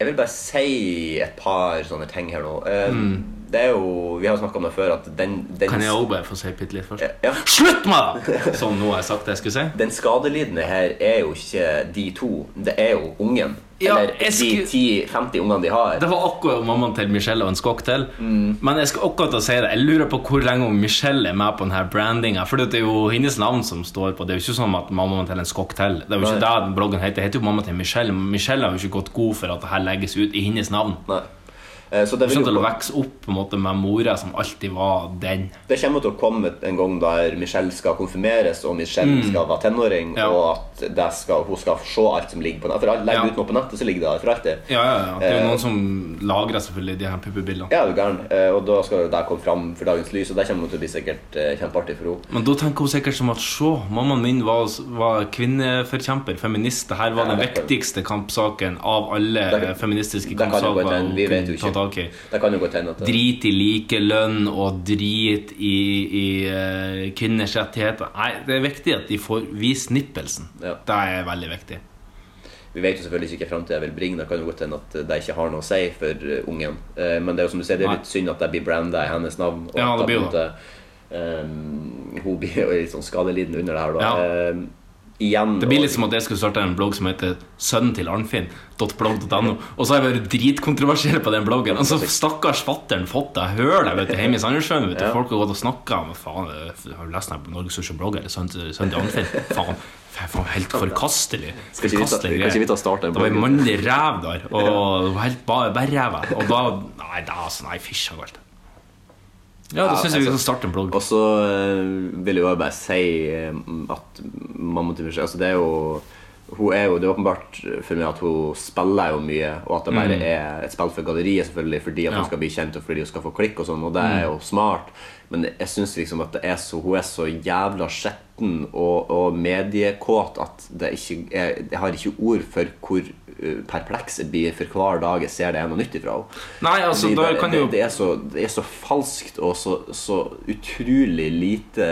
jeg vil bare si et par sånne ting her nå. Um, Det er jo, Vi har snakka om det før at den, den
Mm. Kan jeg også bare få si bitte litt først?
Ja.
Slutt med det! Som nå har jeg sagt det jeg skulle si.
Den skadelidende her er jo ikke de to. Det er jo ungen.
Ja,
Eller de
jeg skulle-
10-50 ungene de har.
Det var akkurat mammaen til Michelle og en skokk til. Men jeg skal akkurat til å si det Jeg lurer på hvor lenge hun Michelle er med på denne brandinga. For det er jo hennes navn som står på. Det er jo ikke sånn at mammaen til en skokk til. Det er jo ikke det
Nei.
den bloggen heter. Det heter jo mamma til Michelle. Men Michelle har jo ikke gått god for at det her legges ut i hennes navn.
Eh, Så det vil
sånn
jo
til å
komme-
vokse opp på en måte med mora som alltid var den.
Det kommer til å komme en gang der Michelle skal konfirmeres, og Michelle
Mm.
skal være tenåring, og at det skal, hun skal se alt som ligger på nettet. For alt- legger du ut noe på nettet, så ligger det der for alltid.
Ja, ja, ja. Det er jo
Eh,
noen som lagrer selvfølgelig de her puppebildene.
Ja, er du gæren. Eh, Og da skal jo det komme fram for dagens lys, og det kommer til å bli sikkert eh, kjempeartig for henne.
Men da tenker hun sikkert som at se, mammaen min var, var kvinneforkjemper, feminist. Det her var den viktigste kampsaken av alle
Det-
feministiske
det kan jo godt
kampsaker
hende,
hun
vi vet
kunne
jo
ta tak i.
Det kan jo godt hende at det-
Drit i likelønn og drit i, i eh, kvinners rettigheter. Nei, det er viktig at de får vist nippelsen. Det er veldig viktig.
Vi vet jo selvfølgelig ikke hva framtida vil bringe. Det kan jo godt hende at eh, det ikke har noe å si for eh, ungen. Eh, Men det er jo som du sier, det er litt synd at det blir branda i hennes navn. Og
Ja,
at
det
ehm,
blir
på en måte, eh, Hun blir jo litt sånn skadelidende under det her, da. Eh, igjen
Det blir litt som at jeg skulle starte en blogg som heter sønnen til Arnfinn.blogg.no, og så har jeg vært dritkontroversiell på den bloggen. Og så stakkars fatter'n fått det hølet vet du, hjemme i Sandnessjøen. vet du.
Ja.
Folk har gått og snakka om faen, jeg har du lest den her på Norges største blogg? Eller sønnen til sønnen til Arnfinn? Faen. faen, Helt forkastelig.
Skal ikke vi ta-
forkastelig
kan ikke vi ta
greie.
starte en
Det var en
blogg?
mannlig ræv der, og det var helt bare bare ræva. Og da Nei, da, altså, nei fysj og alt. Ja, da synes jeg vi
altså-
skal starte en blogg.
Og så eh, vil jeg jo bare si eh, at mamma til Michelle Altså, det er jo hun er jo, Det er åpenbart for meg at hun spiller jo mye, og at det bare
Mm.
er et spill for galleriet selvfølgelig fordi at
Ja. Mm.
hun skal bli kjent og fordi hun skal få klikk, og sånn, og det er jo smart, men jeg syns liksom at det er så, hun er så jævla skjetten og, og mediekåt at det ikke er, jeg har ikke ord for hvor eh, perpleks jeg blir for hver dag jeg ser det er noe nytt ifra henne.
Nei, altså,
Fordi
da
det,
kan
det,
jo-
det, er så, det er så falskt og så, så utrolig lite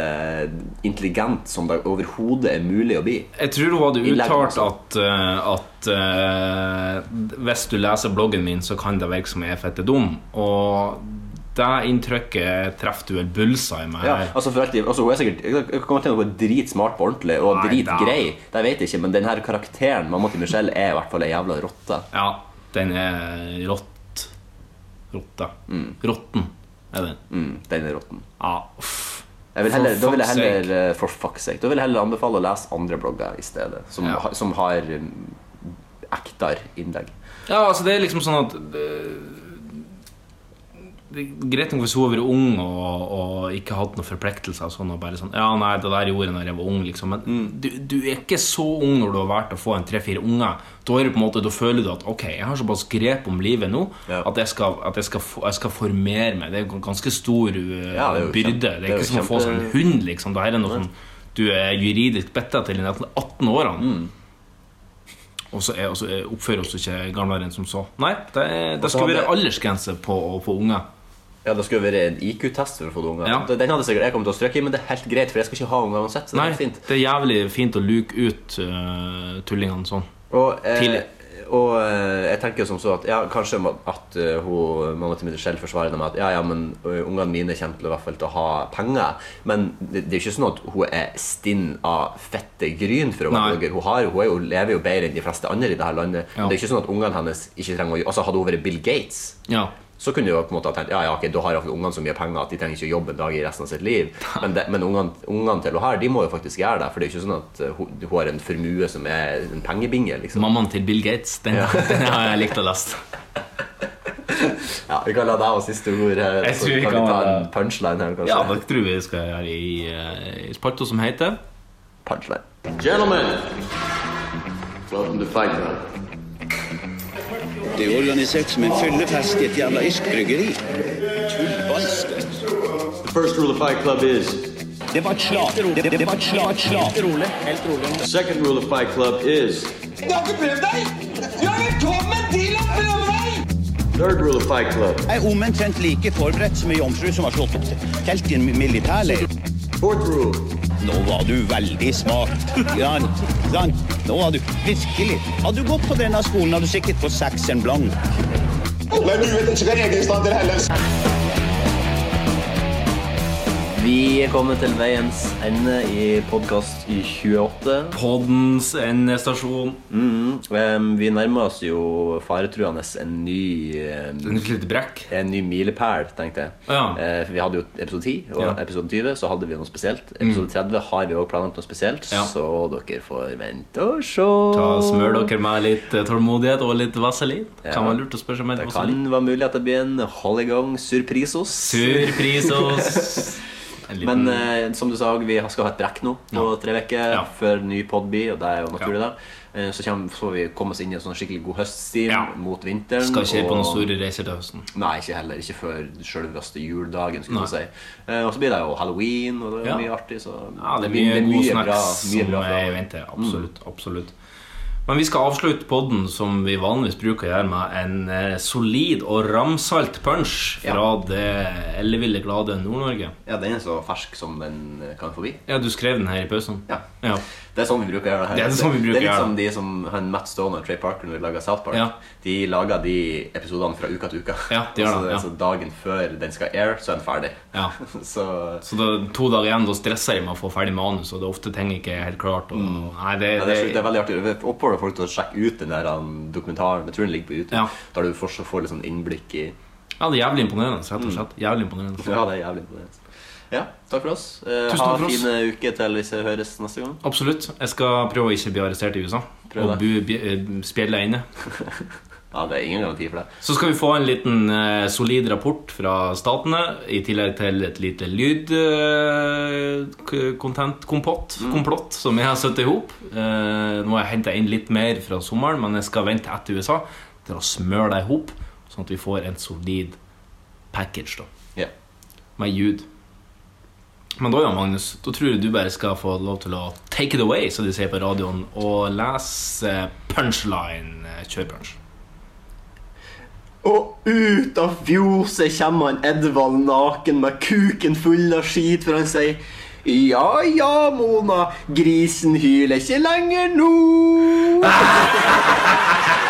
intelligent som det overhodet er mulig å bli.
Jeg tror hun hadde
I altså. leggen,
uttalt at, eh, at eh, hvis du leser bloggen min, så kan det virke som jeg er fette dum. Og det inntrykket treffer du en bullseye med
Ja,
her.
altså for alt, i- altså Hun er sikkert hun kommer til å være dritsmart på ordentlig og
Nei,
dritgrei, det vet jeg ikke, men den her karakteren mamma til Michelle er i hvert fall ei jævla rotte.
Ja, den er rått. Rotta.
Mm.
Rotten er den.
den er rotten.
Ja,
Jeg vil heller,
For
da vil jeg
fuck's
heller eh, For fuck's sake. Da vil jeg heller anbefale å lese andre blogger i stedet, som,
Ja.
ha- som har um, ektere innlegg.
Ja, altså det er liksom sånn at eh, det er Greit nok hvis hun har vært ung og, og ikke hatt noen forpliktelser og sånn, og bare sånn Ja, nei, det der gjorde jeg når jeg var ung, liksom. Men
Mm.
du, du er ikke så ung når du har valgt å få en tre-fire unger. Da er det på en måte, da føler du at ok, jeg har såpass grep om livet nå at, jeg skal, at jeg, skal, få- jeg skal formere meg. Det er en ganske stor eh,
Ja, det er jo
byrde.
kjempe-
det er
det er
ikke
jo
som å få
kjempe-
seg en hund, liksom. Det her er noe som du er juridisk bitta til i 18-årene. Og så er- og så er- oppfører oss ikke gamlere enn som så. Nei, det, er- det
Og så
skulle
hadde-
være aldersgrense på å få unger.
Ja, Det skulle være en IQ-test for å få unger.
Ja.
Den hadde sikkert jeg kommet til å strøke i, men det er helt greit, for jeg skal ikke ha unger uansett. Så det
Nei,
er fint.
det er jævlig fint å luke ut eh, tullingene sånn.
Og, eh,
Tidlig.
og eh, jeg tenker jo som så at ja, kanskje ma- at eh, hun, mamma til Michelle forsvarer det med at ja, ja, men eh, ungene mine kommer til, i hvert fall, til å ha penger. Men det, det er jo ikke sånn at hun er stinn av fette gryn for å være
Nei.
blogger. Hun, har, hun er jo, lever jo bedre enn de fleste andre i dette landet.
Ja.
Men det er ikke sånn at ungene hennes ikke trenger å jo- Altså, hadde hun vært Bill Gates
Ja.
så kunne du jo på en måte ha tenkt ja, ja, ok, da har iallfall ungene så mye penger at de trenger ikke å jobbe en dag i resten av sitt liv. Men, det, men ungene, ungene til hun her, de må jo faktisk gjøre det. For det er jo ikke sånn at eh, hun, hun har en formue som er en pengebinge, liksom.
Mammaen til Bill Gates, den,
Ja.
den har jeg likt å lese.
Ja, vi kan la deg ha siste ord her.
Jeg
Så
tror vi
kan vi
kan
ta
la-
en punchline her, kanskje.
Ja, det tror jeg vi skal gjøre i, eh, i spalta som heter
Punchline.
Gentlemen,
Welcome to Fight Club.
Det er organisert som en fyllefest i et jævla irsk bryggeri.
The first rule of Fight Club is.
Det var et slag. Det, det, det var et slag. Et slag. Rolig. Helt rolig.
The second rule of Fight Club is.
Jeg har ikke prøvd deg! Jeg velkommen til å prøve deg!
Third rule of Fight Club.
Jeg er omtrent like forberedt som ei jomfru som har slått opp til- telt i en militærleir.
Fourth rule.
Nå var du veldig smart. Ja, sant? Nå var du virkelig Hadde du gått på denne skolen, hadde du sikkert fått seks en blank.
Men du vet ikke hva regelstand dere heller.
Vi er kommet til veiens ende i podkast i 28.
Poddens endestasjon.
Mm, em, vi nærmer oss jo faretruende en ny eh, em, En ny milepæl, tenkte jeg.
Ja.
Eh, for vi hadde jo episode 10, og
Ja. Mm.
episode 20 så hadde vi noe spesielt. Episode 30 har vi også planlagt noe spesielt,
Ja.
så dere får vente og se.
Ta Smør dere med litt eh, tålmodighet og litt vaselin.
Ja.
Kan være lurt å spørre seg om
Det
litt
kan
vaselin.
være mulig at det blir en holdegang surprisos.
Surprisos. En liten-
Men eh, som du sa, vi skal ha et brekk nå på tre uker før ny pod blir, og det er jo naturlig, det. Eh, så kommer, får vi komme oss inn i en sånn skikkelig god høststim mot vinteren.
Skal ikke på
og-
noen store reiser til høsten.
Nei, ikke heller. Ikke før selveste juledagen. skulle jeg si eh, Og så blir det jo halloween, og det er
Ja.
mye artig. Så Mm.
Ja, det er mye, god snacks som er i vente. Absolutt. absolutt Men vi skal avslutte podden som vi vanligvis bruker å gjøre med en eh, solid og ramsalt punch fra det elleville, glade Nord-Norge.
Ja, den er så fersk som den eh, kan få bli.
Ja, du skrev den her i pausen?
Ja. Det er sånn vi bruker å gjøre det her.
Det er sånn vi bruker å
det er litt
gjøre
som de som han Matt Stone og Trey Parker når de lager South Park.
Ja.
De lager de episodene fra uka til uka.
Ja, de gjør
Altså,
det,
er
ja.
så dagen før den skal air, så er den ferdig.
Ja.
Så
Så det er to dager igjen, da stresser jeg med å få ferdig manus, og det er ofte ting ikke er helt klart. Og, nei, det,
Mm. Ja, det, er, det er veldig artig. Jeg oppfordrer folk til å sjekke ut den der um, dokumentaren. Jeg tror den ligger på YouTube. Der du fortsatt får litt sånn innblikk i
Ja, det er jævlig imponerende, rett og slett. Jævlig imponerende.
Mm. Ja, det er jævlig imponerende. Ja, takk for oss. Eh,
Tusen
ha
takk for oss.
fine uker til hvis vi høres neste gang.
Absolutt. Jeg skal prøve å ikke bli arrestert i USA.
Prøv
og
det.
bu, bi- eh, spjelle inne.
ja, det er ingen garanti for det.
Så skal vi få en liten eh, solid rapport fra statene, i tillegg til et lite eh, lydkontent-komplott komplott som jeg har satt i hop. Eh, nå har jeg henta inn litt mer fra sommeren, men jeg skal vente etter USA til å smøre det i hop, sånn at vi får en solid package da
Ja.
med ljud. Men da, ja, Magnus, da tror jeg du bare skal få lov til å take it away, som de sier på radioen, og lese eh, punchline. eh, Kjør punch.
Og ut av fjoset kommer han Edvald naken med kuken full av skit, for han sier Ja ja, Mona, grisen hyler ikke lenger nå.